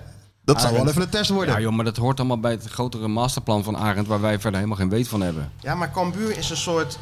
Dat zou wel even een test worden. ja, Ja, joh, maar dat hoort allemaal bij het grotere masterplan van Arend, waar wij verder helemaal geen weet van hebben. maar Cambuur is een soort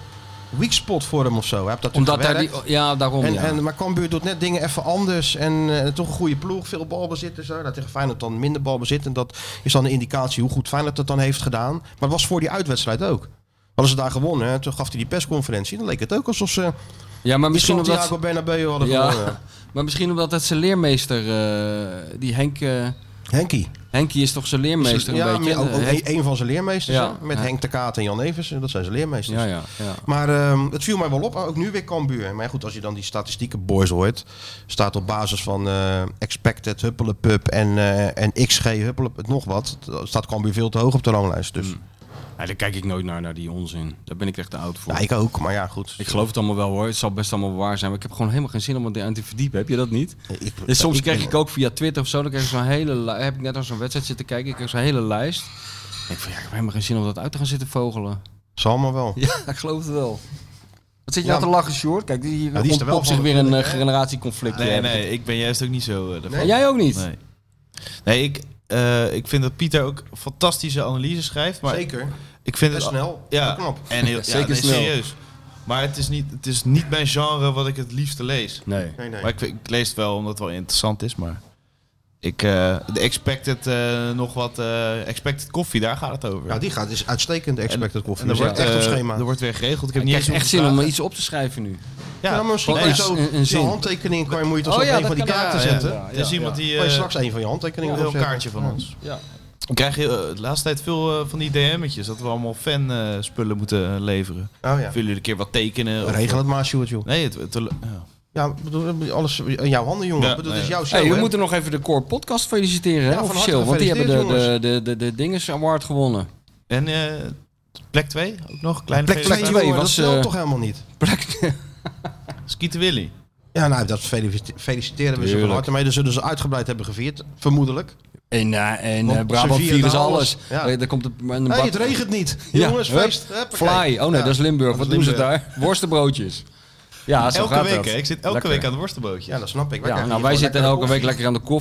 weak spot voor hem of zo. Hij heeft dat Omdat daar die, natuurlijk ja, daarom. gewerkt. ja. en, en, maar Cambuur doet net dingen even anders. En eh, toch een goede ploeg, veel balbezit en zo. Nou, tegen Feyenoord dan minder balbezit. En dat is dan een indicatie hoe goed Feyenoord dat dan heeft gedaan. Maar het was voor die uitwedstrijd ook. Hadden ze daar gewonnen, hè, toen gaf hij die persconferentie. Dan leek het ook alsof ze ja, maar misschien misschien Santiago omdat. Bernabeu hadden gewonnen. Ja, maar misschien omdat dat zijn leermeester, eh, die Henk, eh, Henkie. Henkie is toch zijn leermeester ja, een beetje. maar ook, ook hè? een, een van zijn leermeesters. Ja. hè? Met Ja. Henk de Kaat en Jan Evers. Dat zijn zijn leermeesters. ja, ja, ja. Maar ehm, het viel mij wel op. Ook nu weer Cambuur. Maar goed, als je dan die statistieken boys hoort. Staat op basis van eh, expected, huppelepup en, eh, en XG, huppelepup, nog wat. Staat Cambuur veel te hoog op de ranglijst. Dus Nee, daar kijk ik nooit naar, naar die onzin. Daar ben ik echt te oud voor. ja, ik... ik ook. Maar ja, goed. geloof het allemaal wel hoor. Het zal best allemaal waar zijn. Maar ik heb gewoon helemaal geen zin om het aan te verdiepen. Heb je dat niet? Ik- Dus soms ik- krijg ik ook via Twitter of zo. Dan krijg ik zo'n hele li- Heb ik net aan zo'n wedstrijd zitten kijken. Ik krijg zo'n hele lijst. Ik denk van ja, ik heb helemaal geen zin om dat uit te gaan zitten vogelen. Zal maar wel. Ja, ik geloof het wel. Wat zit je Ja. nou te lachen, Short? Kijk, die, die is er wel op zich van weer een eh, natuurlijk, hè? generatieconflict. Nee, eh. nee, ik ben juist ook niet zo eh, daarvan. En jij ook niet? Nee, nee ik, eh, ik vind dat Pieter ook fantastische analyses schrijft. Maar Zeker. Ik vind En het snel. Ja, En knap. En heel, ja, Zeker nee, snel. serieus. Maar het is, niet, het is niet mijn genre wat ik het liefste lees. Nee. Nee, nee. Maar ik, ik lees het wel omdat het wel interessant is, maar... Ik, eh, de expected eh, nog wat, eh, expected koffie, daar gaat het over. Ja, die gaat is uitstekend expected En koffie. er Dat wordt wordt echt op eh, schema. Er wordt weer geregeld. Ik heb Ik niet krijg eens echt zin om eh, gevraagd. iets op te schrijven nu. Ja, maar misschien Gewoon kan je echt zo een- een je zin. handtekening kan je moeite Oh zo op ja, een dat van die kan- ja, kaarten ja, zetten. ja. Ja, Er is iemand die je eh, straks een van je handtekeningen Oh wil een opzetten. kaartje van ons. Ja. Ik krijg heel, eh, de laatste tijd veel eh, van die DM'tjes dat we allemaal fan eh, spullen moeten leveren. Oh ja. Of jullie een keer wat tekenen. of- Regel het maar, Sjoerd, joh. Nee, het, het, ja. Ja, ik bedoel, alles in jouw handen, jongen. Ja, Ik bedoel, het is nee. jouw show, Hey, we hè? moeten nog even de Core Podcast feliciteren, Ja, hè, van officieel. harte Want die hebben de, de, gefeliciteerd, de, de, de Dinges Award gewonnen. En eh, plek 2 ook nog? Kleine Plek Plek 2 felicitatie. twee jongen, was, dat telt eh, toch helemaal niet? Plek- Skieten Willy. Ja, nou, dat felicite- feliciteren we ze van Tuurlijk. harte mee. Daar zullen ze uitgebreid hebben gevierd, vermoedelijk. en eh, en Want eh, Brabant ze vieren virus nou alles. alles. Ja. Eh, Daar komt een, een Nee, bak- het regent niet. Ja, Jongens, hup, feest. Huppakee. Fly. Oh nee, Ja, dat is Limburg. Wat is doen ze Limburg. daar? Worstenbroodjes. Ja, zo Elke gaat week, dat. hè? Ik zit elke Lekker. week aan het worstenbootje. Ja, dat snap ik. Ja, krijgen nou, hier wij gewoon zitten lekkere elke week koffie. lekker aan de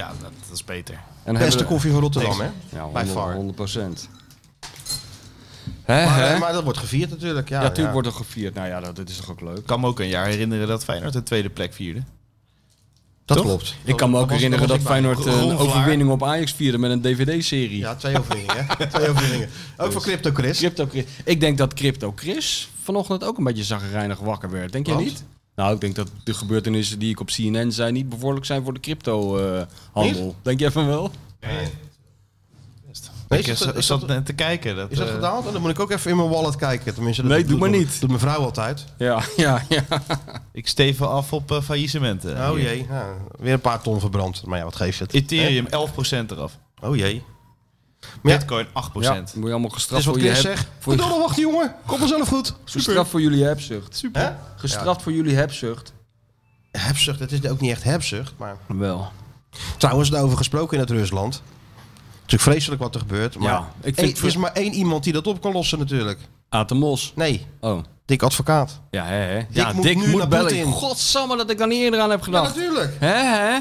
koffie. Ja, dat, dat is beter. En Beste koffie van Rotterdam, hè? Ja, By far. 100 procent. Hè, Maar, hè? eh, maar dat wordt gevierd natuurlijk. Ja, Ja, natuurlijk wordt er gevierd. Nou ja, dat, dit is toch ook leuk. Ik kan me ook een jaar herinneren dat Feyenoord de tweede plek vierde. dat toch? klopt. Ik kan me Dat ook was- herinneren was dat ik bij. Feyenoord eh, Ron een Vlaar. overwinning op Ajax vierde met een DVD-serie. Ja, twee overwinningen. hè? twee overwinningen. Ook voor Crypto Chris. Crypto Chris. Ik denk dat Crypto Chris vanochtend ook een beetje zagrijnig wakker werd. Denk jij Want? niet? Nou, ik denk dat de gebeurtenissen die ik op CNN zei niet bevorderlijk zijn voor de crypto-handel. denk jij van wel? Nee, ik is dat- zat- is zat dat- net te kijken. Dat, Is dat eh, gedaald? En dan moet ik ook even in mijn wallet kijken. Tenminste, dat Nee, doe doet maar mijn- niet. Doet mijn vrouw altijd. Ja, ja, ja. Ik steven af op eh, faillissementen. Oh Hier. jee, ja, weer een paar ton verbrand. Maar ja, wat geeft het? Ethereum 11% eraf. Hè? Oh jee. Maar ja, het Bitcoin 8%. ja moet je allemaal is gestraft wat voor je Chris heb, zegt. voor je, Verdomme, wacht jongen. Kom vanzelf goed. gestraft voor jullie hebzucht. Super. Hè? Gestraft voor jullie hebzucht. Hebzucht, dat is ook niet echt hebzucht. Maar... Wel. Trouwens, daarover gesproken in het Rusland. Natuurlijk vreselijk wat er gebeurt. Maar Ja, ik vind Eén- het er is maar één iemand die dat op kan lossen natuurlijk. Atemos. Nee, Oh. dik advocaat. Ja, hè, hè. ja, moet Dick nu naar moet bellen. Poetin. Godsamme dat ik daar niet eerder aan heb gedacht. natuurlijk. hè, hè?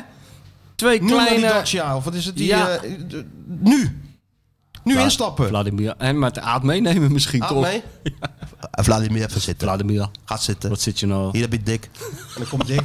Twee Nu naar die kleine... Dacia, of wat is het? Die, Ja. eh, d- nu. Nu Vla- instappen. Vladimir. En met de aard meenemen misschien, Aan toch? mee. Eh, Vladimir, even zitten. Vladimir. Gaat zitten. Wat zit je nou? Hier heb je dik. En dan komt dik.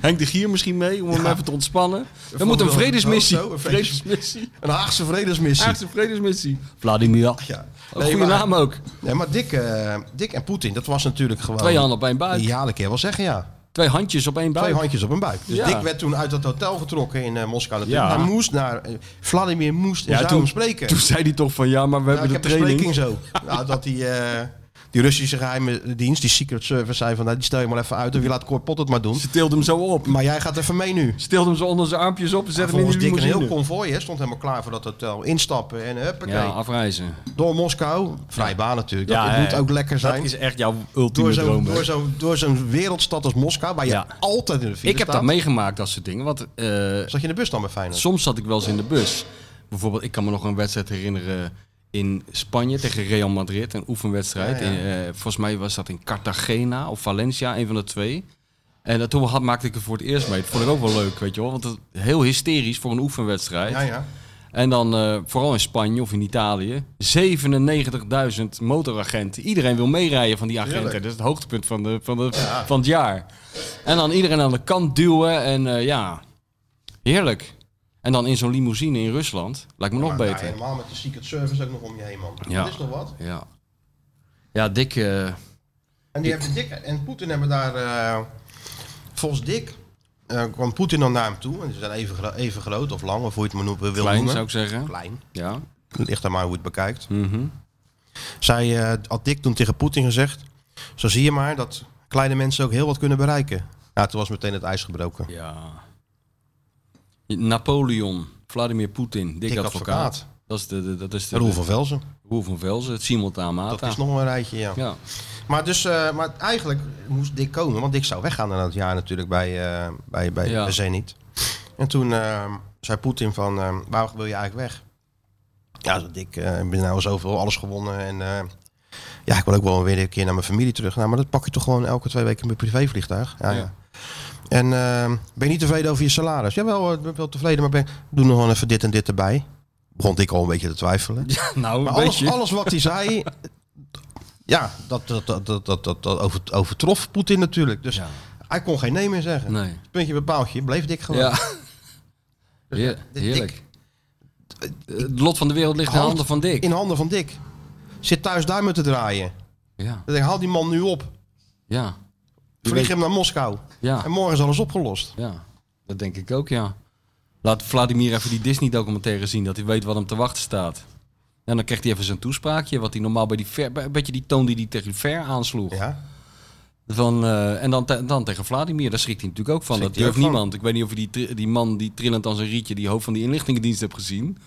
Henk de Gier misschien mee, om hem even te ontspannen. Er moet een wel- vredesmissie. ook zo, een vredesmissie. vredesmissie. Een Haagse vredesmissie. Haagse vredesmissie. Vladimir. Ja. Een Nee, goede maar- naam ook. Nee, maar Dick, eh, Dick en Poetin, dat was natuurlijk gewoon... Twee handen op één buik. Ja, dat kan je wel zeggen, ja. Twee handjes op één buik. Twee handjes op een buik. Dus Ja. Dick werd toen uit dat hotel getrokken in eh, Moskou. natuurlijk. Ja. Hij moest naar... eh, Vladimir moest en Ja, zou toen- hem spreken. Toen zei hij toch van ja, maar we Nou, hebben ik de heb training. een spreking zo. nou, dat hij... eh, Die Russische geheime dienst, die Secret Service, zei van... Nou, die stel je maar even uit of je laat Cor Pot het maar doen. Ze tilde hem zo op. Maar jij gaat even mee nu. Stilde hem zo onder zijn armpjes op en zette hem in volgens de Dick een heel limousine. konvooi, hè, stond helemaal klaar voor dat hotel. Instappen en huppakee. Ja, afreizen. Door Moskou, vrij baan natuurlijk. Dat Ja, moet hè, ook lekker zijn. Dat is echt jouw door ultieme zo'n droom. door hè? zo'n door zo'n wereldstad als Moskou, waar Ja. je altijd in de file Ik heb staat. dat meegemaakt, dat soort dingen. Want eh, Zat je in de bus dan bij Feyenoord? soms zat ik wel eens in de bus. Bijvoorbeeld, ik kan me nog een wedstrijd herinneren in Spanje tegen Real Madrid. Een oefenwedstrijd. Ja, ja. In, eh, volgens mij was dat in Cartagena of Valencia, een van de twee. En dat toen had, maakte ik er voor het eerst mee. Dat vond ik ook wel leuk, weet je wel. Want het, heel hysterisch voor een oefenwedstrijd. Ja, ja. En dan eh, vooral in Spanje of in Italië. 97.000 motoragenten. Iedereen wil meerijden van die agenten. Tuurlijk. Dat is het hoogtepunt van, de, van, de, van het jaar. En dan iedereen aan de kant duwen. En eh, ja, heerlijk. En dan in zo'n limousine in Rusland. Lijkt me nog Maar daar beter. helemaal met de Secret Service ook nog om je heen, man. Ja. Dat is nog wat. Ja, ja Dick. eh, En, die hebben Dick en Poetin hebben daar... eh, volgens Dick eh, kwam Poetin dan naar hem toe. En ze zijn even, gro- even groot of lang, of hoe je het maar noemen, wil klein noemen. zou ik zeggen. Klein. Ja. Ligt aan maar hoe je het bekijkt. Mhm. Zij eh, had Dick toen tegen Poetin gezegd... Zo zie je maar dat kleine mensen ook heel wat kunnen bereiken. Nou, toen was meteen het ijs gebroken. ja. Napoleon, Vladimir Poetin, Dick, Dick advocaat. Advocaat. Dat is de, de- dat is de, Roel van Velzen. Roel van Velzen, het simultaan Mata. Dat is nog een rijtje, ja. Ja. Maar, dus, eh, maar eigenlijk moest Dick komen, want Dick zou weggaan na dat jaar natuurlijk bij, eh, bij, bij, Ja. bij Zenit. En toen eh, zei Poetin van, eh, waarom wil je eigenlijk weg? Ja, zei Dick, eh, ik ben nou zoveel, alles gewonnen en eh, ja, ik wil ook wel weer een keer naar mijn familie terug. Nou, maar dat pak je toch gewoon elke twee weken met privévliegtuig? Ja, ja. Ja. En eh, ben je niet tevreden over je salaris? Jawel, ik ben wel tevreden, maar ben, doe nog wel even dit en dit erbij. Begon Dick al een beetje te twijfelen. Nou, Maar een alles, beetje. alles wat hij zei, ja, dat, dat, dat, dat, dat, dat over, overtrof Poetin natuurlijk. Dus Ja. hij kon geen nee meer zeggen. Nee. Puntje bepaaltje, bleef dik gewoon. Ja. Heer- Dik. heerlijk. eh, Het lot van de wereld ligt in Hand- handen van Dick. In handen van Dick. Zit thuis duimen te draaien. Ja, Dan denk, ik, haal die man nu op. ja, Vlieg hem naar Moskou. ja, En morgen is alles opgelost. ja. Dat denk ik ook, ja. Laat Vladimir even die Disney-documentaire zien, dat hij weet wat hem te wachten staat. En dan krijgt hij even zijn toespraakje, wat hij normaal bij die ver, bij- een beetje die toon die hij tegen Ver aansloeg. Ja. Van, eh, en dan, te- dan tegen Vladimir, daar schrikt hij natuurlijk ook van. Schrikt dat hij ook durft van. niemand. Ik weet niet of je die, tri- die man die trillend als een rietje, die hoofd van die inlichtingendienst hebt gezien.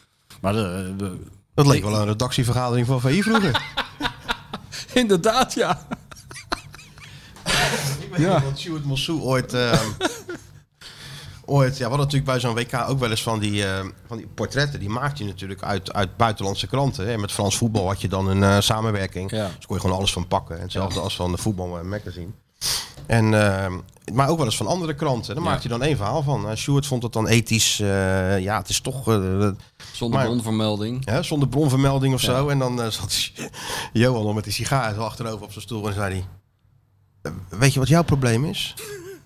Maar eh, eh, Dat leek wel een redactievergadering van VI vroeger. Inderdaad, ja. ik weet niet dat Stuart Mossou ooit... ehm, Ooit, ja, we hadden natuurlijk bij zo'n WK ook wel eens van die, eh, van die portretten. Die maakte je natuurlijk uit, uit buitenlandse kranten. Hè. Met Frans voetbal had je dan een eh, samenwerking. Ja. Dus kon je gewoon alles van pakken. Hetzelfde als van de voetbal eh, magazine. En, eh, maar ook wel eens van andere kranten. Daar Ja. maakte je dan één verhaal van. Eh, Stuart vond het dan ethisch. eh, ja, het is toch eh, Zonder Maar- onvermelding. hè, zonder bronvermelding of Ja. zo. En dan eh, zat Johan nog met die sigaar zo achterover op zijn stoel en zei hij... "Eh, Weet je wat jouw probleem is?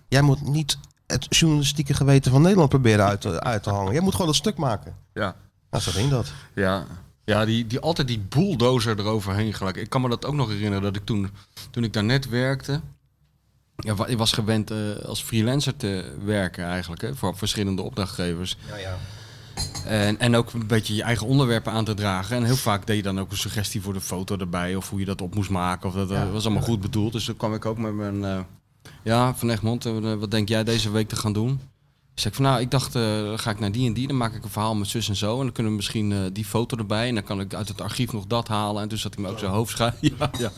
Jij moet niet het journalistieke geweten van Nederland proberen uit, te- uit te hangen. Jij moet gewoon dat stuk maken. Ja. Nou, zo ging dat. Ja, ja die, die, altijd die bulldozer eroverheen gelijk. Ik kan me dat ook nog herinneren dat ik toen, toen ik daar net werkte. Ja, wa- ik was gewend eh, als freelancer te werken eigenlijk, hè, voor verschillende opdrachtgevers. En, en ook een beetje je eigen onderwerpen aan te dragen. En heel vaak deed je dan ook een suggestie voor de foto erbij. Of hoe je dat op moest maken. Of dat dat was allemaal goed bedoeld. Dus dan kwam ik ook met mijn... eh, ja, Van Egmond, eh, wat denk jij deze week te gaan doen? Dus ik van, nou, ik dacht, eh, dan ga ik naar die en die. Dan maak ik een verhaal met zus en zo. En dan kunnen we misschien eh, die foto erbij. En dan kan ik uit het archief nog dat halen. En toen zat hij me ook zijn hoofd schuin. Ja, ja.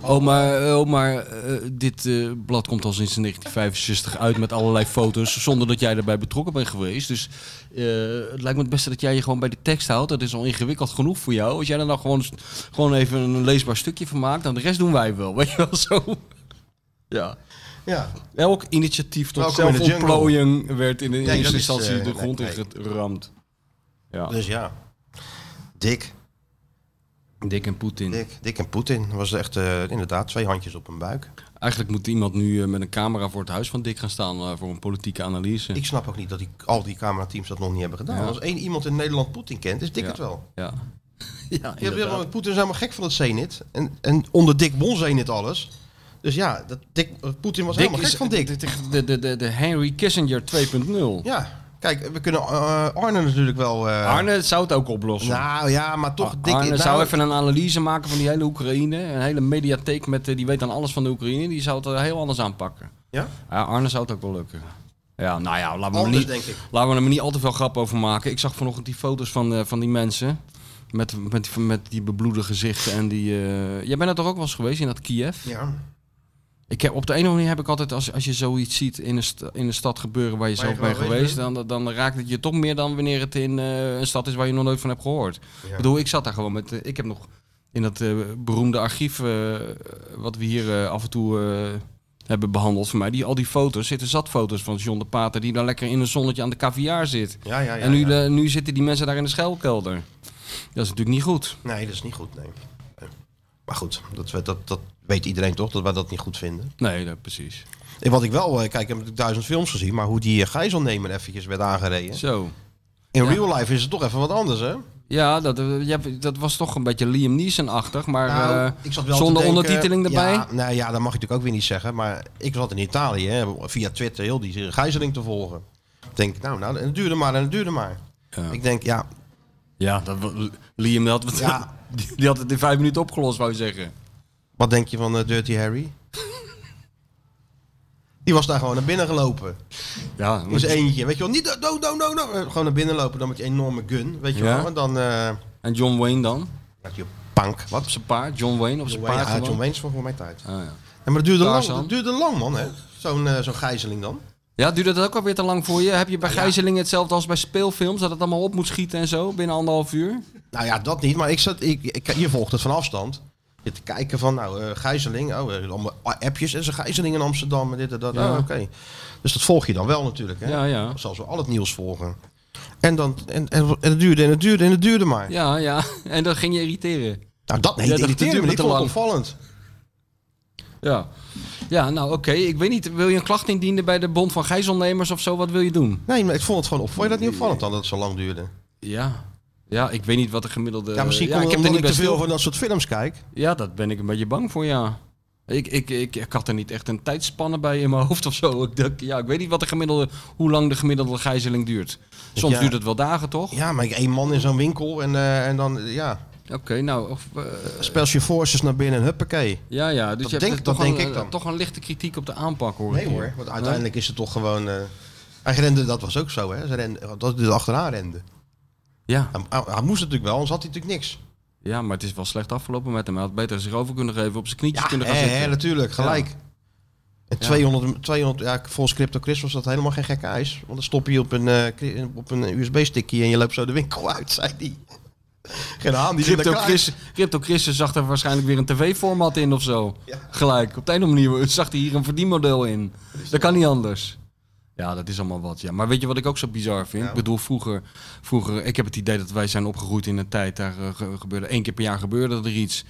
Oh, maar, eh, oh, maar eh, dit eh, blad komt al sinds 1965 uit met allerlei foto's. Zonder dat jij daarbij betrokken bent geweest. Dus eh, het lijkt me het beste dat jij je gewoon bij de tekst houdt. Dat is al ingewikkeld genoeg voor jou. Als jij er nou gewoon, gewoon even een leesbaar stukje van maakt. Dan de rest doen wij wel. Weet je wel zo? Ja. Ja, Elk initiatief tot Welkom in de zelfontplooiing werd in de Nee, dat eerste is, instantie eh, de grond nee, nee. ingeramd. Ja. dus ja. Dik, Dick en Poetin. dik, dik en Poetin. Dat was echt eh, inderdaad twee handjes op een buik. Eigenlijk moet iemand nu eh, met een camera voor het huis van Dick gaan staan eh, voor een politieke analyse. Ik snap ook niet dat die, al die camerateams dat nog niet hebben gedaan. Ja. Als één iemand in Nederland Poetin kent, is Dick Ja. het wel. Ja. ja, Je hebt inderdaad. helemaal, Poetin is helemaal gek van het Zenit. En, en onder Dick won Zenit alles. Dus ja, dat Dick, Poetin was helemaal gek van Dick. De, de, de, de Henry Kissinger 2.0. Ja, Kijk, we kunnen eh, Arne natuurlijk wel... eh, Arne zou het ook oplossen. Ah, Nou ja, maar toch... dik- Arne nou, zou even een analyse maken van die hele Oekraïne. Een hele mediatheek met, eh, die weet dan alles van de Oekraïne. Die zou het eh, heel anders aanpakken. Ja? Ja, Arne zou het ook wel lukken. Ja, nou ja, laten we, hem Anders, niet, denk ik. laten we er niet al te veel grap over maken. Ik zag vanochtend die foto's van, eh, van die mensen. Met, met, met die bebloede gezichten en die... eh, Jij bent er toch ook wel eens geweest in dat Kiev? Ja. Ik heb, op de een of andere manier heb ik altijd, als, als je zoiets ziet in een, sta- in een stad gebeuren waar je Waar je zelf bent gewoon geweest, geweest dan, dan raakt het je toch meer dan wanneer het in eh, een stad is waar je nog nooit van hebt gehoord. Ik bedoel, ik zat daar gewoon met. eh, ik heb nog in dat eh, beroemde archief, eh, wat we hier eh, af en toe eh, hebben behandeld voor mij, die, al die foto's, zitten zat foto's van John de Pater die daar lekker in een zonnetje aan de caviar zit. Ja, ja, ja. en nu, ja. eh, nu zitten die mensen daar in de schuilkelder. Dat is natuurlijk niet goed. Nee, dat is niet goed, nee. Nee. Maar goed, dat, we- dat, dat weet iedereen toch, dat wij dat niet goed vinden. Nee, dat, precies. En wat ik wel, eh, kijk, ik heb natuurlijk duizend films gezien, maar hoe die eh, gijzelnemer eventjes werd aangereden. Zo. In Ja. real life is het toch even wat anders, hè? Ja, dat, eh, je hebt- dat was toch een beetje Liam Neeson-achtig, maar Nou, eh, ik zat wel te zonder denken- ondertiteling erbij. Ja, nou ja, dat mag je natuurlijk ook weer niet zeggen. Maar ik zat in Italië hè, via Twitter heel die gijzeling te volgen. Ik denk, nou, nou, en het duurde maar en het duurde maar. Ja. Ik denk, ja, Ja, dat, wa- Liam had het, Ja. die, die had het in vijf minuten opgelost, wou je zeggen. wat denk je van eh, Dirty Harry? die was daar gewoon naar binnen gelopen. Ja, In zijn eentje. Weet je wel, niet do- do, do, do, do. Eh, Gewoon naar binnen lopen dan met die enorme gun. Weet je Ja. wel. En dan, eh en John Wayne dan? dat je punk. Op zijn paard? John Wayne op zijn John Wayne, paard? ja, gewoon? John Wayne is voor mijn tijd. Ah, ja. Ja, maar dat duurde, lang, Tarzan. dat duurde lang, man. hè. Zo'n eh, zo'n gijzeling dan. ja, duurde dat ook alweer te lang voor je? Heb je bij gijzelingen hetzelfde als bij speelfilms? Dat het allemaal op moet schieten en zo binnen anderhalf uur? Nou ja, dat niet. Maar ik zat, ik, ik, je volgt het van afstand. Je te kijken van, nou, eh, gijzeling. Oh, eh, allemaal appjes. En ze gijzeling in Amsterdam. En dit en dat. Ja. Oh, oké. Dus dat volg je dan wel natuurlijk. Hè? Ja, ja. Zoals we al het nieuws volgen. En, dan, en, en, en het duurde en het duurde en het duurde maar. Ja, ja. En dat ging je irriteren. Nou, dat nee, Ja, dat dat irriteerde duurde me. Ik te vond het lang. opvallend. Ja. Ja, nou oké. Ik weet niet, wil je een klacht indienen bij de Bond van Gijzelnemers of zo? Wat wil je doen? Nee, maar ik vond het gewoon op. Vond je dat niet opvallend dan dat het zo lang duurde? Ja. Ja, ik weet niet wat de gemiddelde... Ja, misschien Eh, ik komt heb het er omdat niet ik te bij veel stil- van dat soort films kijk. Ja, dat ben ik een beetje bang voor, ja. Ik, ik, ik, ik had er niet echt een tijdspanne bij in mijn hoofd of zo. Ik, dacht, ja, ik weet niet wat de gemiddelde, hoe lang de gemiddelde gijzeling duurt. Soms Ja. duurt het wel dagen, toch? Ja, maar één man in zo'n winkel en, eh, en dan, ja, Oké, nou, of, eh, Special Forces naar binnen en huppakee. ja, ja. Dus Dat je denk- hebt dat toch, een, denk ik dan. eh, toch een lichte kritiek op de aanpak, hoor. Nee ik hoor, hier. want uiteindelijk is het toch gewoon... eh, hij rende, dat was ook zo hè, ze rende, dat hij er achteraan rende. Ja, Hij, hij- hij moest natuurlijk wel, anders had hij natuurlijk niks. Dus ja, maar het is wel slecht afgelopen met hem. Hij had beter zich over kunnen geven, op zijn knietjes Ja, kunnen hè, gaan zitten. hè, natuurlijk, gelijk. En Ja. 200, 200 ja, volgens Crypto Chris was dat helemaal geen gekke ijs. Want dan stop je op een, eh, cri- op een USB-stickje en je loopt zo de winkel uit, zei die. Geen aan, die zit Crypto, er klaar. Chris, Crypto Christus zag er waarschijnlijk weer een tv-format in of zo. Ja. Gelijk. Op de ene manier zag hij hier een verdienmodel in. Dat kan niet anders. Ja, dat is allemaal wat. Ja. Maar weet je wat ik ook zo bizar vind? Ja. Ik bedoel, vroeger, vroeger, ik heb het idee dat wij zijn opgegroeid in een tijd, daar eh, ge- gebeurde één keer per jaar gebeurde er iets.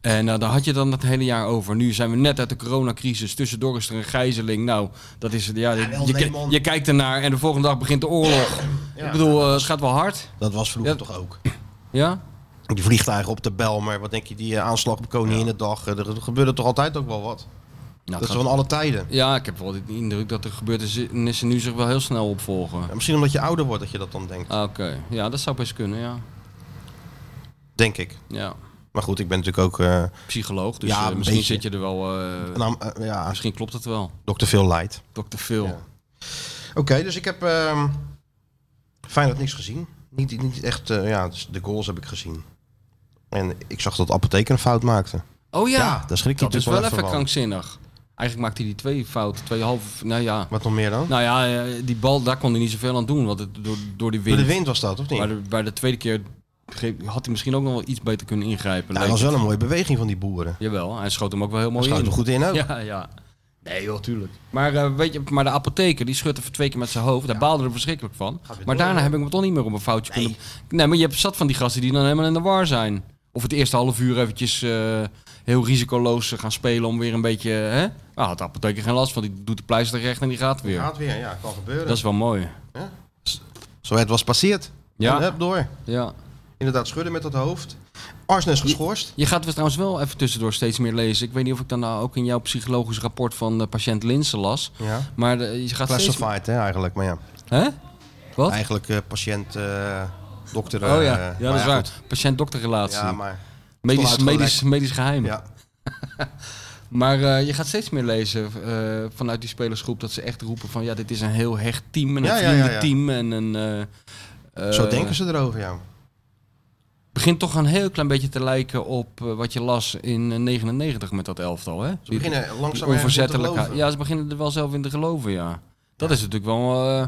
En nou, daar had je dan het hele jaar over. Nu zijn we net uit de coronacrisis. Tussendoor is er een gijzeling. Nou, dat is het. Ja, wel, je, nee, ki- man. je kijkt ernaar en de volgende dag begint de oorlog. Ja. Ik bedoel, eh, het gaat wel hard. Dat was vroeger Ja. toch ook. Ja? Nou, Die vliegtuigen op de bel, maar wat denk je, die eh, aanslag op Koninginnedag, eh, er, er gebeurde toch altijd ook wel wat? dat Nou, het is gaat van alle tijden. Ja, ik heb wel de indruk dat de gebeurtenissen nu zich wel heel snel opvolgen. Ja, misschien omdat je ouder wordt dat je dat dan denkt, Ah, Oké, ja, dat zou best kunnen, ja. denk ik. ja. Maar goed, ik ben natuurlijk ook, eh, Psycholoog, dus Ja, eh, een misschien beetje. zit je er wel... eh, nou, eh, ja, misschien klopt het wel. dokter veel light. Dr. Phil. Ja. Oké, dus ik heb ehm Feyenoord niks gezien. Niet, niet echt, eh, ja, dus de goals heb ik gezien. En ik zag dat Apotheker een fout maakte. Oh ja, Ja, daar schrik je dat natuurlijk is wel wel even even van. krankzinnig. Eigenlijk maakte hij die twee fouten, twee halve... Nou ja, Wat nog meer dan? nou ja eh, die bal, daar kon hij niet zoveel aan doen, want het, door, door die Door wind. de wind was dat, of niet? Maar de- bij de tweede keer greep- had hij misschien ook nog wel iets beter kunnen ingrijpen. Ja, leek Nou, dat was het. wel een mooie beweging van die boeren. Jawel, hij schoot hem ook wel heel Dat mooi schoot in. er goed in ook. Ja, ja. Nee joh, tuurlijk. Maar, eh, weet je, maar de apotheker, die schudt even twee keer met zijn hoofd. Daar baalde er verschrikkelijk van. Gaat weer Maar door, daarna hè? heb ik me toch niet meer op een foutje kunnen... Nee, maar je hebt zat van die gasten die dan helemaal in de war zijn. Of het eerste half uur eventjes eh, heel risicoloos gaan spelen om weer een beetje... Hè? Nou, had de apotheker geen last van. Die doet de pleister recht en die gaat weer. Gaat weer, ja, kan gebeuren. Dat is wel mooi. Zo het was passeerd. Ja. En hup, door. Ja. Inderdaad, schudden met dat hoofd. Arsenal is geschorst. Je gaat dus trouwens wel even tussendoor steeds meer lezen. Ik weet niet of ik dan nou ook in jouw psychologisch rapport van eh, patiënt Linsen las. Ja. Maar de- je gaat steeds... Classified, hè, eigenlijk. Maar ja. Hè? Wat? Eigenlijk eh, patiënt, eh, dokter. Oh eh, ja, maar ja dat is waar. goed. Patiënt-dokterrelatie. Ja, maar medisch, Voluit medisch, medisch geheim. ja. Maar eh, je gaat steeds meer lezen eh, vanuit die spelersgroep dat ze echt roepen van ja, dit is een heel hecht team en een Ja, ja, ja, ja. vriendenteam en een. eh, zo eh, denken ze erover, ja. Begint toch een heel klein beetje te lijken op eh, wat je las in eh, 99 met dat elftal, hè? Ze beginnen Die langzaam ergens in te onverzettelijkheid. geloven. Ja, ze beginnen er wel zelf in te geloven, ja. Dat is natuurlijk wel, eh,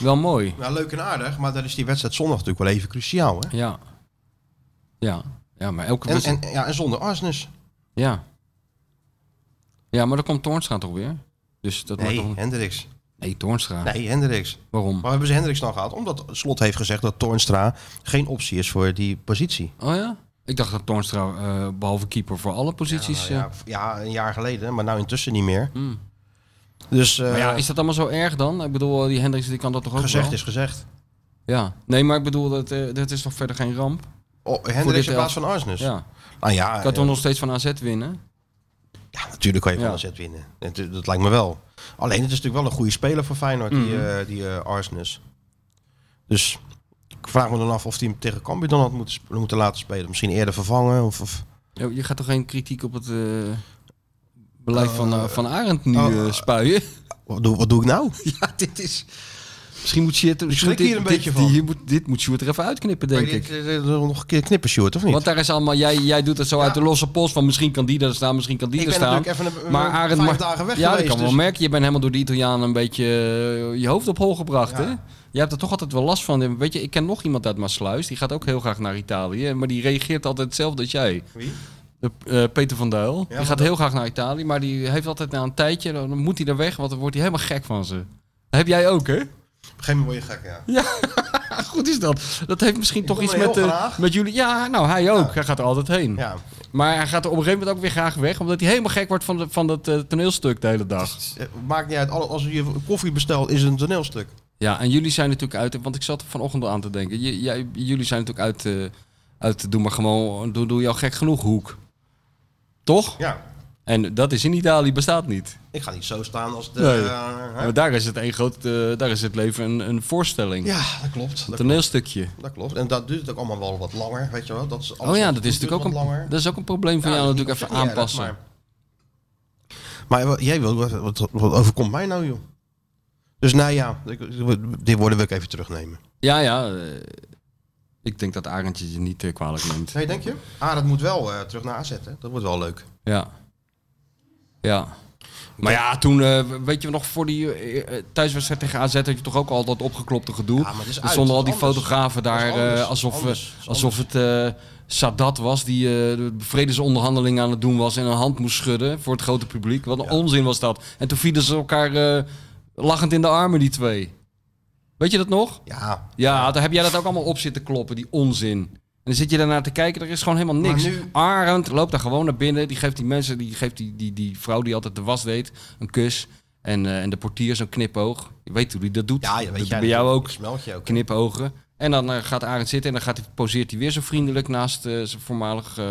wel mooi. Nou, leuk en aardig, maar dan is die wedstrijd zondag natuurlijk wel even cruciaal. Hè? Ja. Ja. Ja, maar elke En, wedstrijd. en, ja, en zonder Arsnes. Ja. Ja, maar dan komt Toornstra toch weer? Dus dat maakt Nee, toch... Hendricks. Nee, Toornstra. Nee, Hendricks. Waarom? Maar hebben ze Hendricks dan gehad? Omdat Slot heeft gezegd dat Toornstra geen optie is voor die positie. Oh ja? Ik dacht dat Toornstra, eh, behalve keeper, voor alle posities... eh, Ja, Ja, Hmm. nou ja, v- ja, een jaar geleden, maar nou intussen niet meer. Dus eh, Maar ja, is dat allemaal zo erg dan? Ik bedoel, eh, die Hendricks die kan dat toch ook gezegd wel? is gezegd. Ja. Nee, maar ik bedoel, dat, eh, dat is toch verder geen ramp? Oh, Voor dit Hendricks in plaats van Arsnes. Ja. Nou ja, Ik kan eh, toch nog steeds van AZ winnen? ja, natuurlijk kan je van Ja. AZ winnen. Dat, dat lijkt me wel. Alleen, het is natuurlijk wel een goede speler voor Feyenoord, die, eh, die eh, Arsnes. Dus ik vraag me dan af of hij hem tegen Cambuur dan had moeten, sp- moeten laten spelen. Misschien eerder vervangen of... of Ja, Je gaat toch geen kritiek op het eh, beleid van, eh, van Arend nu oh, eh, spuien? wat, doe, wat doe ik nou? ja, dit is... Misschien moet Sjoerd... Ik schrik hier een beetje van. Hier moet, dit moet Sjoerd er even uitknippen, denk Kan je ik. dit, eh, nog een keer knippen, Sjoerd, of niet? Want daar is allemaal, jij, jij doet het zo uit de losse pols van misschien kan die daar staan, misschien kan die ik daar ben staan. natuurlijk even een, Maar maar Arend vijf Mar- dagen weg Ja, dat geweest. kan wel dus- merken. Je bent helemaal door de Italianen een beetje eh, je hoofd op hol gebracht. Ja. Hè? Jij hebt er toch altijd wel last van. Weet je, ik ken nog iemand uit Maasluis. Die gaat ook heel graag naar Italië. Maar die reageert altijd hetzelfde als jij. Wie? De, eh, Peter van Duil. die maar gaat heel graag naar Italië. Maar die heeft altijd na een tijdje. Dan moet hij er weg. Want dan wordt hij helemaal gek van ze. Dat heb jij ook, hè? Op een gegeven moment word je gek, ja. Ah, goed is dat. Dat heeft misschien toch kom iets er met, heel eh, graag. met jullie. Ja, nou, hij ook. Hij gaat er altijd heen. ja. Maar hij gaat er op een gegeven moment ook weer graag weg. Omdat hij helemaal gek wordt van, de, van dat eh, toneelstuk de hele dag. Eh, Maakt niet uit. Alle- Als je koffie bestelt, is het een toneelstuk. Ja, en jullie zijn natuurlijk uit. Want ik zat vanochtend al aan te denken. J- jij- jullie zijn natuurlijk uit, eh, uit te doen. Maar gewoon, doe, doe jou gek genoeg, Hoek. Toch? Ja. En dat is in Italië, bestaat niet. Ik ga niet zo staan als de... Nee. eh, hè? Maar daar is het een groot, eh, daar is het leven een, een voorstelling. ja, dat klopt. Een Dat, toneelstukje. dat klopt. En dat duurt ook allemaal wel wat langer, weet je wel. Dat is alles Oh ja, wat dat goed is duurt natuurlijk ook wat langer. een, dat is ook een probleem van Ja, jou dat natuurlijk is even niet erg, aanpassen. Maar, maar jij wil, wat, wat, wat overkomt mij nou, joh? Dus nou ja, ik- dit woorden wil ik even terugnemen. Ja, ja. eh, ik denk dat Arendtje je niet eh, kwalijk neemt. Nee, denk je? Ah, dat moet wel eh, terug naar AZ, hè? Dat wordt wel leuk. Ja. Ja. Maar ja, toen, eh, weet je nog, voor die eh, eh, thuiswedstrijd tegen AZ had je toch ook al dat opgeklopte gedoe. Ja, maar het is er uit, stonden al het die is anders. fotografen daar Het is anders, eh, alsof, eh, anders, het is alsof het eh, Sadat was die eh, de vredesonderhandelingen aan het doen was en een hand moest schudden voor het grote publiek. Wat een onzin was dat. En toen vielen ze elkaar eh, lachend in de armen, die twee. Weet je dat nog? Ja, Ja, daar heb jij dat ook allemaal op zitten kloppen, die onzin. En dan zit je daarnaar te kijken, er is gewoon helemaal niks. Maar nu- Arend loopt daar gewoon naar binnen. Die geeft die mensen, die geeft die, die, die vrouw die altijd de was deed, een kus. En, eh, en de portier zo'n knipoog. Je weet hoe die dat doet. ja weet dat jij, bij jou dat ook. Smelt je ook. Knipogen. En dan eh, gaat Arend zitten en dan gaat hij, poseert hij weer zo vriendelijk naast eh, zijn voormalig eh,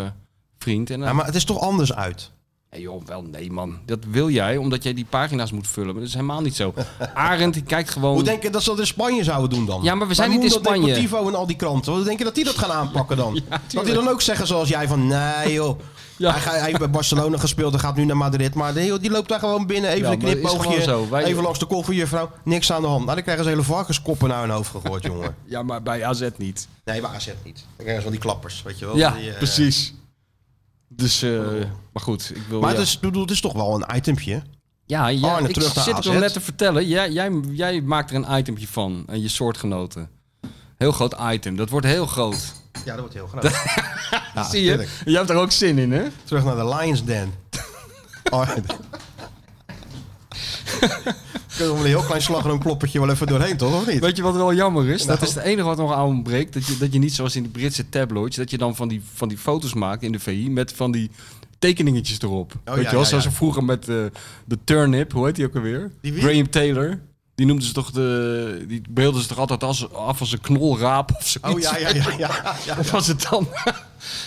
vriend. En dan, Ja, maar het is toch anders uit. Nee, joh, wel nee man. Dat wil jij, omdat jij die pagina's moet vullen. Maar dat is helemaal niet zo. Arend die kijkt gewoon... Hoe denk je dat ze dat in Spanje zouden doen dan? Ja, maar we zijn niet in Mundo Spanje. Deportivo en al die kranten. Hoe denk je dat die dat gaan aanpakken dan? dat die tuurlijk. dan ook zeggen zoals jij van... Nee joh, Ja. hij, ga- hij heeft bij Barcelona gespeeld en gaat nu naar Madrid. Maar nee, joh, die loopt daar gewoon binnen, even Ja, een maar het is knipoogje. gewoon zo. Wij- Even langs de koffiejuffrouw. Niks aan de hand. Nou, dan krijgen ze hele varkenskoppen naar hun hoofd gegooid, jongen. Ja, maar bij AZ niet. Nee, maar AZ niet. Dan krijgen ze wel die klappers, weet je wel. Ja, Die, eh, Oh. precies. Dus, eh, maar dus- goed, ik wil... Maar ja. het, is, ik bedoel, het is toch wel een itempje. ja, ja, Arne, ik terug naar zit het AZ. al net te vertellen. Jij, jij, jij maakt er een itempje van, en je soortgenoten. Heel groot item, dat wordt heel groot. Ja, dat wordt heel groot. Ja, Zie je? tuurlijk. Jij hebt daar ook zin in, hè? Terug naar de Lions Den. Oh, Kunnen we met een heel klein slagroom kloppertje wel even doorheen, toch? Of niet? Weet je wat wel jammer is? Dat Nou. is het enige wat nog aan ontbreekt. Dat je, dat je niet zoals in de Britse tabloids, dat je dan van die, van die foto's maakt in de VI met van die tekeningetjes erop. Oh, Weet ja, je wel, ja, zoals ja. ze vroeger met eh, de turnip, hoe heet die ook alweer? Die wie? Graham Taylor. Die noemden ze toch de, die beelden ze toch altijd als, af als een knolraap of zoiets. Oh ja, ja, ja. ja, ja. Of was het dan?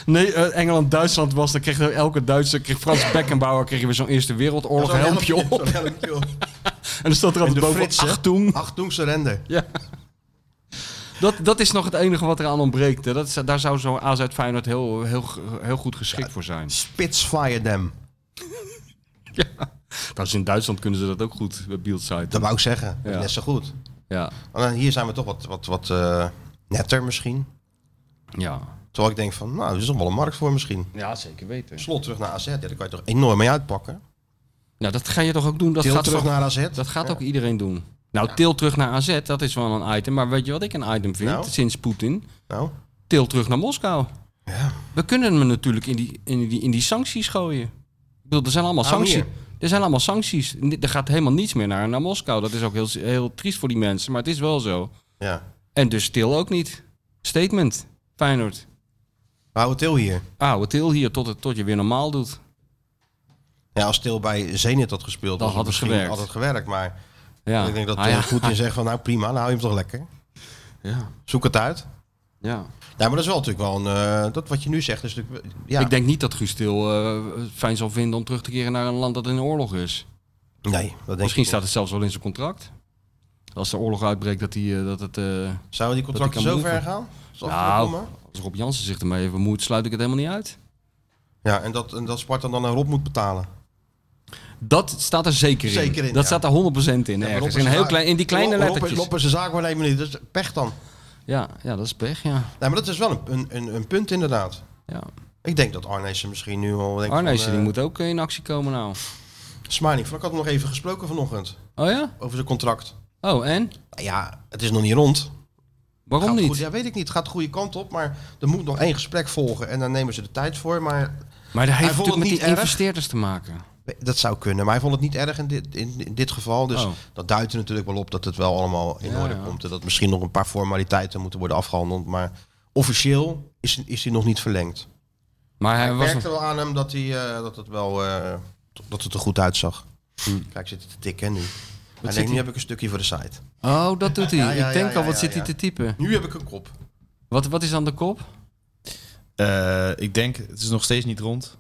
nee, eh, Engeland-Duitsland was, dan kreeg er elke Duitser, kreeg Frans Beckenbauer, kreeg je weer zo'n Eerste Wereldoorlog Zo'n helmpje op. zo'n helmpje op. En dan stond er En altijd de boven, Fritsen. Achtung. Achtung, surrender. Ja. dat, dat is nog het enige wat eraan ontbreekt. hè. Dat, is- daar zou zo'n AZ Feyenoord heel, heel, heel goed geschikt voor zijn. Spitsfire Dam. Dat is in Duitsland kunnen ze dat ook goed, eh, bij Bieldzeit. Dat wou ik zeggen. Dat is Ja. net zo goed. Ja, Maar dan hier zijn we toch wat, wat, wat eh, netter misschien. ja. Terwijl ik denk van, nou, er is nog wel een markt voor misschien. ja zeker weten. Slot terug naar AZ, ja, daar kan je toch enorm mee uitpakken. Nou, dat ga je toch ook doen? Dat Til gaat, terug toch- naar AZ. dat gaat Ja. ook iedereen doen. Nou, til terug naar AZ, dat is wel een item. Maar weet je wat ik een item vind Nou? sinds Poetin? Nou, Til terug naar Moskou. We kunnen hem natuurlijk in die, in die, in die sancties gooien. Ik bedoel, er zijn allemaal Hou hem sancties. Er zijn allemaal sancties. Ni- Er gaat helemaal niets meer naar, naar Moskou. Dat is ook heel, heel triest voor die mensen, maar het is wel zo. ja. En dus til ook niet. Statement, Feyenoord. We houden Til hier. Oude til hier tot, het, tot je weer normaal doet. Ja, als Til bij Zenit had gespeeld, Dan was had het misschien gewerkt. Had het gewerkt, maar Ja. ik denk dat Ah, Til ja. Poetin zegt van, nou prima, dan hou je hem toch lekker. Ja. Zoek het uit. ja. Ja, maar dat is wel natuurlijk wel een... eh, dat wat je nu zegt is natuurlijk... Ja, Ik denk niet dat Guus Til eh, het fijn zal vinden om terug te keren naar een land dat in oorlog is. nee, dat denk Misschien ik staat niet. het zelfs wel in zijn contract. Als de oorlog uitbreekt, dat, hij, eh, dat het. eh, Zouden die contracten dat zo hij kan ver gaan? Zal het Nou. wel komen? als Rob Jansen zich ermee even bemoeit, sluit ik het helemaal niet uit. Ja, en dat, en dat Sparta dan een Rob moet betalen. Dat staat er zeker in. Zeker in, dat ja. staat er 100% in. Ja, maar Rob ergens. is In, een heel zaak- klein, in die kleine Rob- Rob- lettertjes. Rob is een zaak waarnemen niet, dus pech dan. Ja, ja, dat is pech. Ja. Nee, maar dat is wel een, een, een, een punt inderdaad. Ja. Ik denk dat Arnezen misschien nu al... denkt Arnezen, van, die eh, moet ook eh, in actie komen nou. Smiling, Vlak had hem nog even gesproken vanochtend Oh ja? over zijn contract. Oh, en? Nou ja, het is nog niet rond. Waarom Gaat niet? Goed, ja, weet ik niet. Het gaat de goede kant op, maar er moet nog één gesprek volgen en daar nemen ze de tijd voor. Maar Maar dat heeft vond natuurlijk het met die niet erg. investeerders te maken. dat zou kunnen. Maar hij vond het niet erg in dit, in, in dit geval. Dus Oh. dat duidt er natuurlijk wel op dat het wel allemaal in Ja, orde ja. komt. En dat misschien nog een paar formaliteiten moeten worden afgehandeld. Maar officieel is, is hij nog niet verlengd. Maar hij Ik was. merkte wel aan hem dat, hij, eh, dat het wel eh, dat het er goed uitzag. Kijk, zit hij te tikken hè, nu. Hmm. Hij denkt, nu heb ik een stukje voor de site. Oh, dat doet hij. Ja, ja, ik denk ja, al, wat ja, zit ja, hij ja. te typen? Nu heb ik een kop. Wat, wat is dan de kop? Eh, ik denk, het is nog steeds niet rond.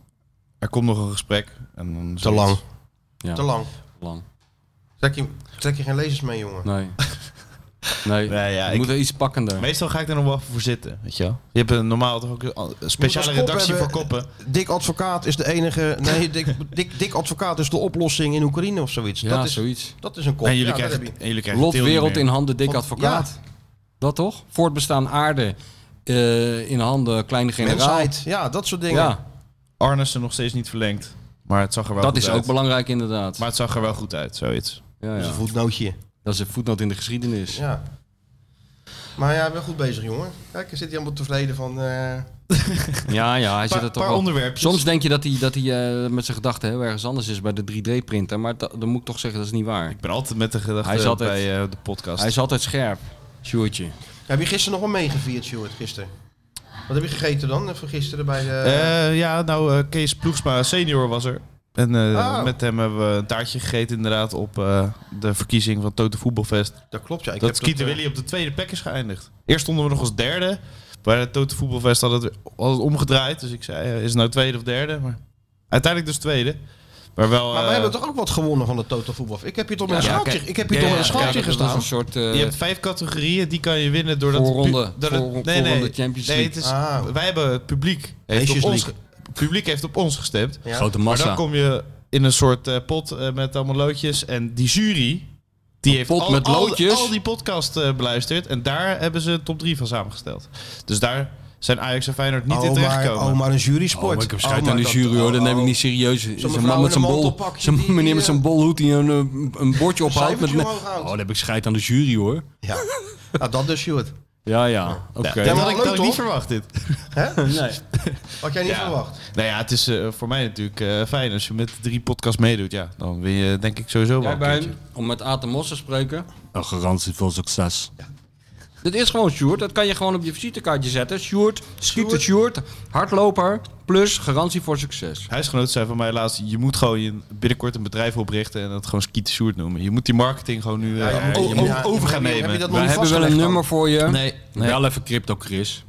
Er komt nog een gesprek. En dan Te lang. Ja, Te lang. lang. Trek je, trek je geen lezers mee, jongen. Nee. Nee, Nee, ja, je ik- moet er iets pakkender. Meestal ga ik er nog wel even voor zitten, weet je wel. Je hebt een normaal toch ook een eh, speciale Moet als kop redactie voor hebben. koppen. Dick Advocaat is de enige... Nee, Dick, Dick, Dick Advocaat is de oplossing in Oekraïne of zoiets. ja, dat, is, zoiets. dat is een kop. En jullie Ja, dat krijgen, heb je. en jullie krijgen Lot Til niet wereld meer. in handen, dik Want- advocaat. Dat toch? Voortbestaan aarde eh, in handen, kleine generaal. Mensheid. Ja, dat soort dingen. Ja, Arnesen nog steeds niet verlengd. Maar het zag er wel dat goed is uit. ook belangrijk inderdaad. Maar het zag er wel goed uit, zoiets. ja, Dat is ja. een voetnootje. Dat is een voetnoot in de geschiedenis. Ja. Maar ja, we zijn goed bezig, jongen. Kijk, er zit hij helemaal tevreden van... eh, Ja, ja, hij Een zit er paar, toch paar wel- onderwerpen. Soms denk je dat hij, dat hij eh, met zijn gedachten heel ergens anders is bij de 3D-printer. Maar da- dan moet ik toch zeggen, dat is niet waar. Ik ben altijd met de gedachte Hij is altijd- bij eh, de podcast. Hij is altijd scherp, Sjoerdje. Heb je gisteren nog wel meegevierd, Stuart? Gisteren? Wat heb je gegeten dan? Van gisteren bij de... Eh, ja, nou, eh, Kees Ploegsma senior was er. En eh, Oh. met hem hebben we een taartje gegeten inderdaad op eh, de verkiezing van Tote Voetbalfest. dat klopt, ja. Ik dat heb Skeeter eh, Willy op de tweede plek is geëindigd. Eerst stonden we nog als derde. Bij de Tote Voetbalfest had het, had het omgedraaid. Dus ik zei, eh, is het nou tweede of derde? Maar uiteindelijk dus tweede. Maar wel... Maar eh, wij hebben toch ook wat gewonnen van de Total Voetbal. Ik heb hier toch met een Ja, schaaltje, kijk. ik heb hier Ja, toch met ja, een ja, schaaltje dat Dat was gestaan. een soort... eh, je hebt vijf categorieën, die kan je winnen doordat... het Voorronde. pub- doordat- Voor- voorronde Champions nee, het is, Ah. wij hebben het publiek heeft, Nations op ons, League. ge- het publiek heeft op ons gestemd. Ja. Grote Maar massa. dan kom je in een soort eh, pot eh, met allemaal loodjes. En die jury, die heeft pot al, met al- loodjes? Al, die podcast eh, beluisterd. En daar hebben ze een top 3 van samengesteld. Dus daar zijn Ajax en Feyenoord niet in oh, maar, terechtgekomen. oh, maar een jury sport. Oh, maar ik heb schijt aan die jury hoor, dat oh, neem ik niet serieus. Zo'n mevrouw man in met een zijn bol, mantelpakje zo'n die- meneer die, met eh, zijn bol hoed die een, eh, een bordje ophoudt. Met, cijfertje met, omhoog oh, houdt. dan heb ik schijt aan de jury hoor. Ja, nou, dat dus, Stuart. Ja, ja, oké. maar Dat had leuk, ik, dat had ik niet toch? verwacht dit. Nee. Had jij niet Ja. verwacht. Nou ja, het is eh, voor mij natuurlijk eh, fijn als je met drie podcasts meedoet. Ja, dan win je denk ik sowieso wel een keertje. om met Aten Mos te spreken. Een garantie voor succes. Dit is gewoon Sjoerd, dat kan je gewoon op je visitekaartje zetten. Sjoerd, schieten Sjoerd, hardloper, plus garantie voor succes. Huisgenoot zei van mij laatst, je moet gewoon je- binnenkort een bedrijf oprichten en dat gewoon Skeet Sjoerd noemen. Je moet die marketing gewoon nu eh, Ja, Oh, ja, o- ja, o- ja. over gaan Heb je- heb je nemen. dat nog We niet hebben wel vastgelegd een dan? nummer voor je. Nee, nee. Wel even crypto, Chris.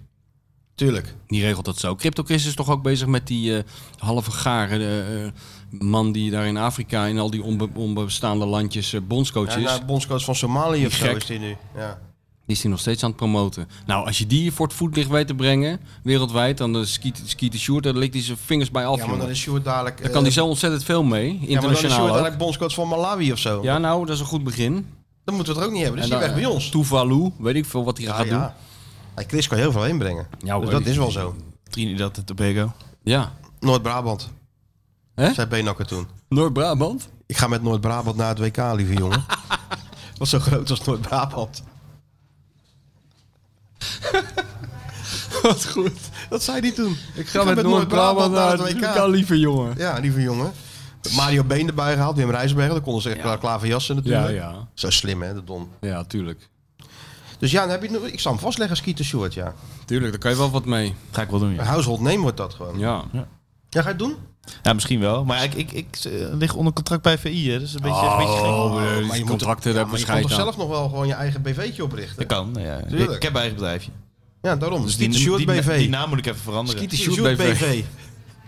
Tuurlijk. Die regelt dat zo. CryptoChris is toch ook bezig met die eh, halve garen eh, eh, man die daar in Afrika in al die onbe- onbestaande landjes eh, bondscoach Ja, is. nou, bondscoach van Somalië of zo gek. is hij nu. Ja. Die is hij nog steeds aan het promoten. Nou, als je die voor het voetlicht weet te brengen, wereldwijd, dan eh, skiet, skiet de Sjoerd, daar likt hij zijn vingers bij af. Ja, maar jongen. dan is Sjoerd dadelijk... eh, Daar kan hij zo ontzettend veel mee, Ja, maar dan is internationaal Sjoerd ook. dadelijk bondscoach van Malawi of zo. Ja, nou, dat is een goed begin. Dan moeten we het er ook niet hebben. En Dus die dan, weg bij eh, ons. Tuvalu, weet ik veel wat hij gaat doen. Hey, Chris kan heel veel inbrengen. Ja, dus hoor. dat is wel zo. Trinidad en Tobago. Ja. Noord-Brabant. Hè? Zei Benakker toen. Noord-Brabant? Ik ga met Noord-Brabant naar het WK, lieve jongen. Wat zo groot als Noord-Brabant. Wat goed. Dat zei hij toen. Ik ga met, Noord-Brabant naar het WK, lieve jongen. Ja, lieve jongen. Mario Been erbij gehaald, Wim Rijsbergen. Dan konden ze echt klaar klaver jassen natuurlijk. Ja, ja. Zo slim hè, de Don. Ja, tuurlijk. Dus ja, dan heb je, nog- ik zal hem vastleggen, Skeeter Short, ja. Tuurlijk, daar kan je wel wat mee. Ga ik wel doen, Een ja. household name wordt dat gewoon. Ja, Ja. ga je het doen? Ja, misschien wel. Maar ik, ik, ik eh, lig onder contract bij VI, hè. Dus een beetje, een beetje gek. die Oh, maar je moet contracten, toch, ja, daar maar je bescheid kan toch aan. zelf nog wel gewoon je eigen BV'tje oprichten? Dat kan, ja. Ik Tuurlijk. ik heb mijn eigen bedrijfje. Ja, daarom. Dus Dus die, Skeeter die, Short die, BV. die naam moet ik even veranderen. Skeeter Skeeter Sjoerd Sjoerd BV.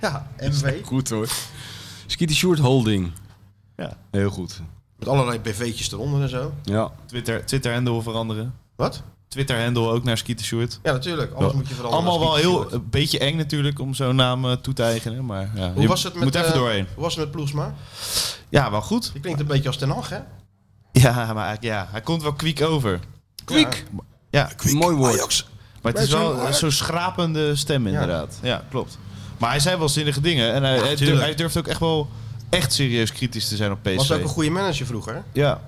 Ja, MV. Goed hoor. Skeeter Short Holding. Ja. Heel goed. Met allerlei BV'tjes eronder en zo. Ja. Twitter, Twitter handle veranderen. Wat? Twitter handle ook naar Skeeter Short. Ja, natuurlijk. Alles moet je veranderen. Allemaal naar wel Skeeter heel eh, Short. een beetje eng natuurlijk om zo'n naam eh, toe te eigenen, maar ja, Hoe je was het met... moet even eh, doorheen. Hoe was het met Ploesma? Ja, wel goed. Die klinkt een beetje als Ten Hag, hè? Ja, maar eigenlijk- ja, hij komt wel kwiek over. Quick. Ja, Mooi woord. maar het is Maar wel zo'n- eh, zo'n schrapende stem inderdaad. Ja, klopt. Maar hij zei wel zinnige dingen en hij, hij, durft, tuurlijk. hij durft ook echt wel echt serieus kritisch te zijn op PSV. Was ook een goede manager vroeger. Ja,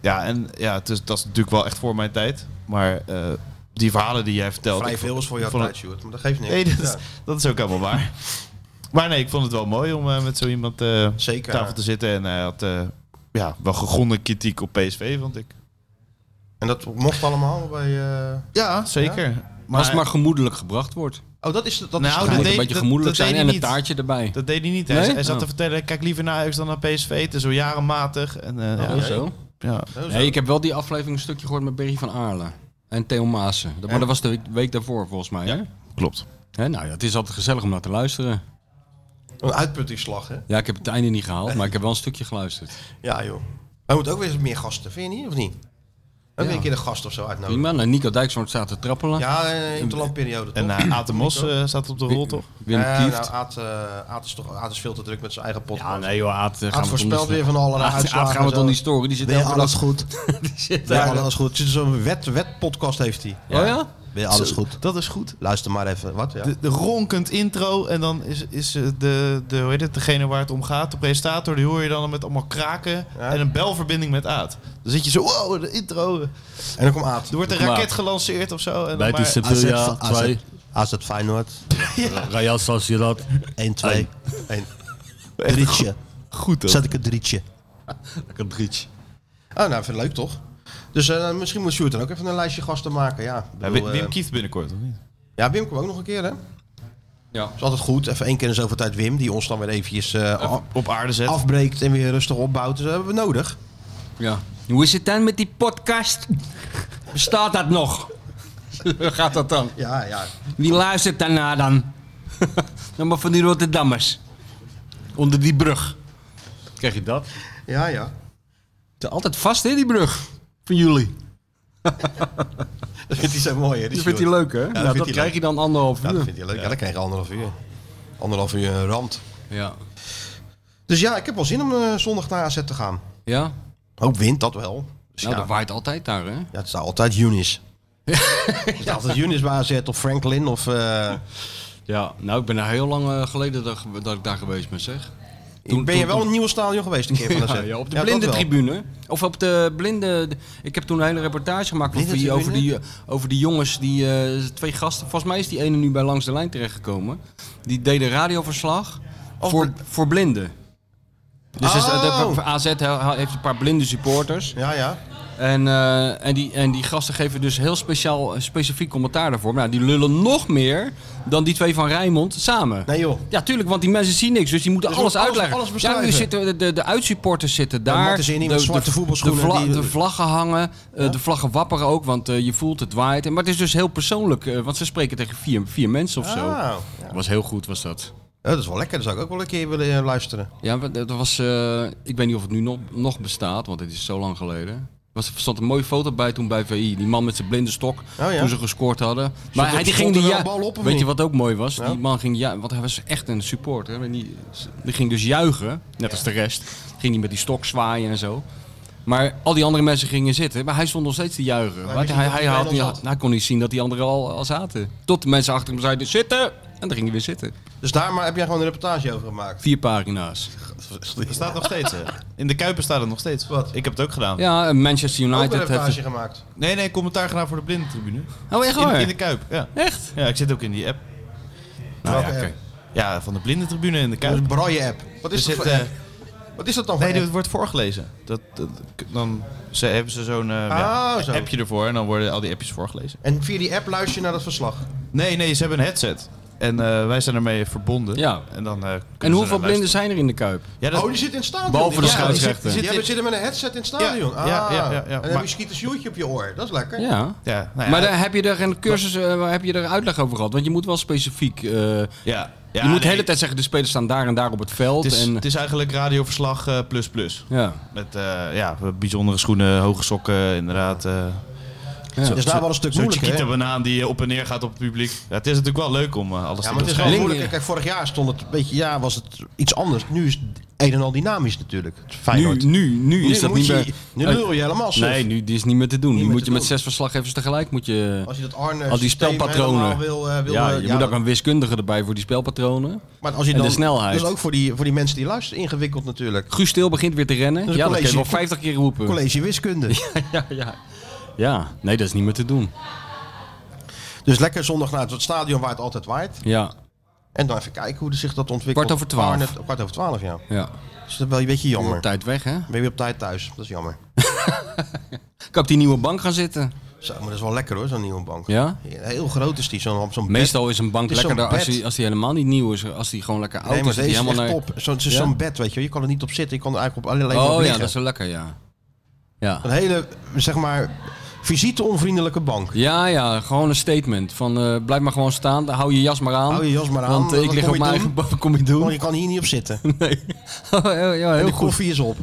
ja en ja, het is, dat is natuurlijk wel echt voor mijn tijd, maar eh, die verhalen die jij vertelt... Vrij ik vond- veel is voor jouw ik vond het- tijd, Sjoerd. Maar dat geeft niks. Nee, dat is, Ja, dat is ook allemaal waar. Maar nee, ik vond het wel mooi om eh, met zo iemand eh, aan Zeker. tafel te zitten. En hij had eh, ja, wel gegronde kritiek op PSV, vond ik. En dat mocht allemaal bij... eh, Ja, zeker. Als het maar gemoedelijk gebracht wordt. Oh, dat is... Dat is Nou, Het dat moet deed- een beetje dat- gemoedelijk dat zijn deed en hij een niet. taartje erbij. Dat deed hij niet. Hij, Nee? hij zat Oh. te vertellen, kijk liever naar Ajax dan naar PSV. Het is zo jarenmatig. En, eh, ja, Oh, zo. ja. Zo, zo. Nee, ik heb wel die aflevering een stukje gehoord met Berry van Aarle. En Theo Maassen. Dat- Maar dat was de week- week daarvoor volgens mij. Hè? Klopt. Hè, nou ja, het is altijd gezellig om naar te luisteren. Een uitputtingsslag, hè? Ja, ik heb het einde niet gehaald, maar ik heb wel een stukje geluisterd. Ja, joh. Hij moet ook weer eens meer gasten, vind je niet? Of niet? Ook weer Ja. een keer een gast of zo uitnodigen. Prima. Nou, Nico Dijkshoorn staat te trappelen. Ja, eh, interlandperiode, toch? En eh Aad de Mos eh, staat op de rol, toch? Wim Eh, Kieft. nou, Aad, eh, Aad is toch, Aad is veel te druk met zijn eigen podcast. Ja, nee joh, Aad, Aad eh, gaan we toch niet voorspelt storen. weer van alle Aad, uitslagen Aad gaan we en toch zo. niet storen. Die zit elke dag- goed? Die zit Ja, daar. alles goed. Het is zo'n wet, wet podcast heeft hij. Oh ja? Weer alles goed. Dat is goed. Luister maar even. Wat? Ja. De, de ronkend intro en dan is, is eh, de, de, hoe heet het, degene waar het om gaat, de presentator, die hoor je dan met allemaal kraken Ja. en een belverbinding met Aad. Dan zit je zo, wow, de intro. Er En dan komt Aad. wordt een Maar- raket gelanceerd of zo. En dan maar, Sevilla, AZ Feyenoord. Real Sociedad. 1, 2, 1. Echt Drietje. goed hoor. Zet ik een drietje. Lekker drietje. Oh, nou, vind ik leuk toch? Dus eh, misschien moet Sjoerd dan ook even een lijstje gasten maken. Ja, Ik Ja, bedoel, Wim, eh, Wim Kieft binnenkort, of niet? ja, Wim komt ook nog een keer, hè? Ja. Is altijd goed. Even één keer in zoveel tijd Wim, die ons dan weer eventjes eh, af- Op aarde zet. afbreekt en weer rustig opbouwt. Dus dat hebben we nodig. Ja. Hoe is het dan met die podcast? Bestaat dat nog? Hoe gaat dat dan? Ja, ja. Wie luistert daarna dan? Dan maar van die Rotterdammers. Onder die brug. Krijg je dat? Het Ja, ja. zit altijd vast in die brug. Van jullie. Dat vindt hij zo mooi, hè? die Dat vindt hij Sjoerd. leuk, hè? dat nou, vindt dat hij krijg leuk. je dan anderhalf Ja, uur. dat vindt hij leuk. Ja, dan krijg je anderhalf uur. Anderhalf uur een rand. Ja. Dus ja, ik heb wel zin om eh, zondag naar AZ te gaan. Ja? Ook wint dat wel. Dus Nou, ja, dat waait altijd daar, hè? ja, het is altijd Unis. Het is altijd Unis bij AZ of Franklin of... eh, Ja. Nou, ik ben daar heel lang eh, geleden dat, dat ik daar geweest ben, zeg. Toen- ben je toen- wel in het nieuwe stadion geweest een keer van AZ? Ja, ja, op de dat blinde wel. tribune. Of op de blinde... de- Ik heb toen een hele reportage gemaakt over die, over, die, Blindentribune? eh, over die jongens, die eh, twee gasten. Volgens mij is die ene nu bij Langs de Lijn terechtgekomen. Die deden radioverslag voor, voor blinden. Dus is- Oh. de- AZ he- heeft een paar blinde supporters. Ja, ja. En, eh, en, die, en die gasten geven dus heel speciaal, specifiek commentaar daarvoor. Maar nou, die lullen nog meer dan die twee van Rijnmond samen. Nee joh. Ja, tuurlijk, want die mensen zien niks, dus die moeten Dus alles alles- uitleggen. alles ja, beschrijven. nu zitten de, de, de uitsupporters zitten Ja, daar. Martens Inning met zwarte voetbalschoenen, De, vla- die- de vlaggen hangen, eh, de vlaggen wapperen ook, want eh, je voelt het waait. En- Maar het is dus heel persoonlijk, eh, want ze spreken tegen vier, vier mensen of zo. Ah, Dat was heel goed, was dat. Ja, dat is wel lekker. Dat zou ik ook wel een keer willen eh, luisteren. Ja, maar dat was. eh, ik weet niet of het nu nog, nog bestaat, want het is zo lang geleden. Het Was, er stond een mooie foto bij toen bij VI. Die man met zijn blinde stok. Oh, ja. Toen ze gescoord hadden. maar hij die stond ging er die wel ja, een bal op, of Weet je niet? wat ook mooi was? Ja. Die man ging ja, want hij was echt een supporter. En die, die ging dus juichen, net als de rest. Ging hij met die stok zwaaien en zo. Maar al die andere mensen gingen zitten. Maar hij stond nog steeds te juichen. Want wist hij, niet hij, dat had iedereen niet, al zat. hij kon niet zien dat die anderen al, al zaten. Tot de mensen achter hem zeiden, zitten! En dan ging hij weer zitten. Dus daar maar heb jij gewoon een reportage over gemaakt. Vier pagina's. Er staat nog steeds. hè. In de Kuiper staat het nog steeds. Wat? Ik heb het ook gedaan. Ja, en Manchester Ook een United reportage heeft... gemaakt. Nee, nee, commentaar gedaan voor de blindentribune. Oh, echt In, waar? in de Kuip, ja. Echt? Ja, ik zit ook in die app. Nou ja, Welke oké. app? Ja, van de blindentribune in de Dat is Kuip. een braille app. Wat is, dat, Er zit, voor eh, app? Wat is dat dan voor nee, app? dit wordt voorgelezen. Dat, dat, dan ze, hebben ze zo'n eh, ja, zo. appje ervoor en dan worden al die appjes voorgelezen. En via die app luister je naar dat verslag. Nee, nee, ze hebben een headset. En eh, wij zijn ermee verbonden. Ja. En, dan, eh, kunnen ze En naar hoeveel blinden luisteren. zijn er in de Kuip? Ja, dat, Oh, die zit in het stadion. Behalve Ja, de die zit- scheidsrechter. Die hebben- zitten met een headset in het stadion. Ja, Ah, ja, ja, ja. En dan heb Maar- je schiet een sjoertje op je oor. Dat is lekker. Ja. ja, nou ja, maar daar heb je er een cursus, eh, waar heb je er uitleg over gehad? Want je moet wel specifiek. eh, ja. Ja, je moet de nee, hele tijd zeggen: de spelers staan daar en daar op het veld. Het is, en, het is eigenlijk radioverslag eh, plus plus. ja. Met eh, ja, bijzondere schoenen, hoge sokken, inderdaad. eh Dat is daar Ah, wel een stuk Zo'n moeilijker. Chiquita hè? banaan die eh, op en neer gaat op het publiek. Ja, het is natuurlijk wel leuk om eh, alles Ja, te maar het is wel beschrijven. Link- moeilijker. Kijk, vorig jaar stond het een beetje, ja, was het iets anders. Nu is het een en al dynamisch natuurlijk. Het nu, Feyenoord. nu, nu Nu is dat moet niet je- meer. Nu lul je helemaal suf. nee, nu die is niet meer te doen. Niet nu meer moet te je met doen. zes verslaggevers tegelijk. Moet je, Als je dat Arne al die systeem spelpatronen. helemaal Wil, eh, wil, ja, eh, je ja, moet ook dat- een wiskundige erbij voor die spelpatronen. maar als je en dan, de snelheid. Dus ook voor die, voor die mensen die luisteren ingewikkeld natuurlijk. Guus Stil begint weer te rennen. Dus ja, dat college- kun je wel 50 keer roepen. College wiskunde. Ja, ja. ja, nee, dat is niet meer te doen. Dus lekker zondag naar het stadion waar het altijd waait. Ja, En dan even kijken hoe zich dat ontwikkelt. Kwart over twaalf. Arne- kwart over twaalf, ja. ja. Dus dat is wel een beetje jammer. Op tijd weg, hè? Ben je weer op tijd thuis? Dat is jammer. Ik op die nieuwe bank gaan zitten. Zo, maar dat is wel lekker hoor, zo'n nieuwe bank. Ja? Heel groot is die, zo'n zo'n bed. Meestal is een bank Het is zo'n lekkerder als bed. die, als die helemaal niet nieuw is. Als die gewoon lekker oud Nee, maar is. dat deze die is echt helemaal naar- top. Zo, het is Ja. zo'n bed, weet je. Je kan er niet op zitten. Je kan er eigenlijk op, alleen maar op Oh ja, liggen. dat is wel lekker, ja. Ja, Een hele, zeg maar, visite-onvriendelijke bank. ja, ja gewoon een statement. Van eh, blijf maar gewoon staan. Hou je jas maar aan. Hou je jas maar aan, Want eh, wat ik lig kom op je mijn doen? eigen bank. Kom je Want doen? je kan hier niet op zitten. Nee. ja, ja, En heel de goed. koffie is op.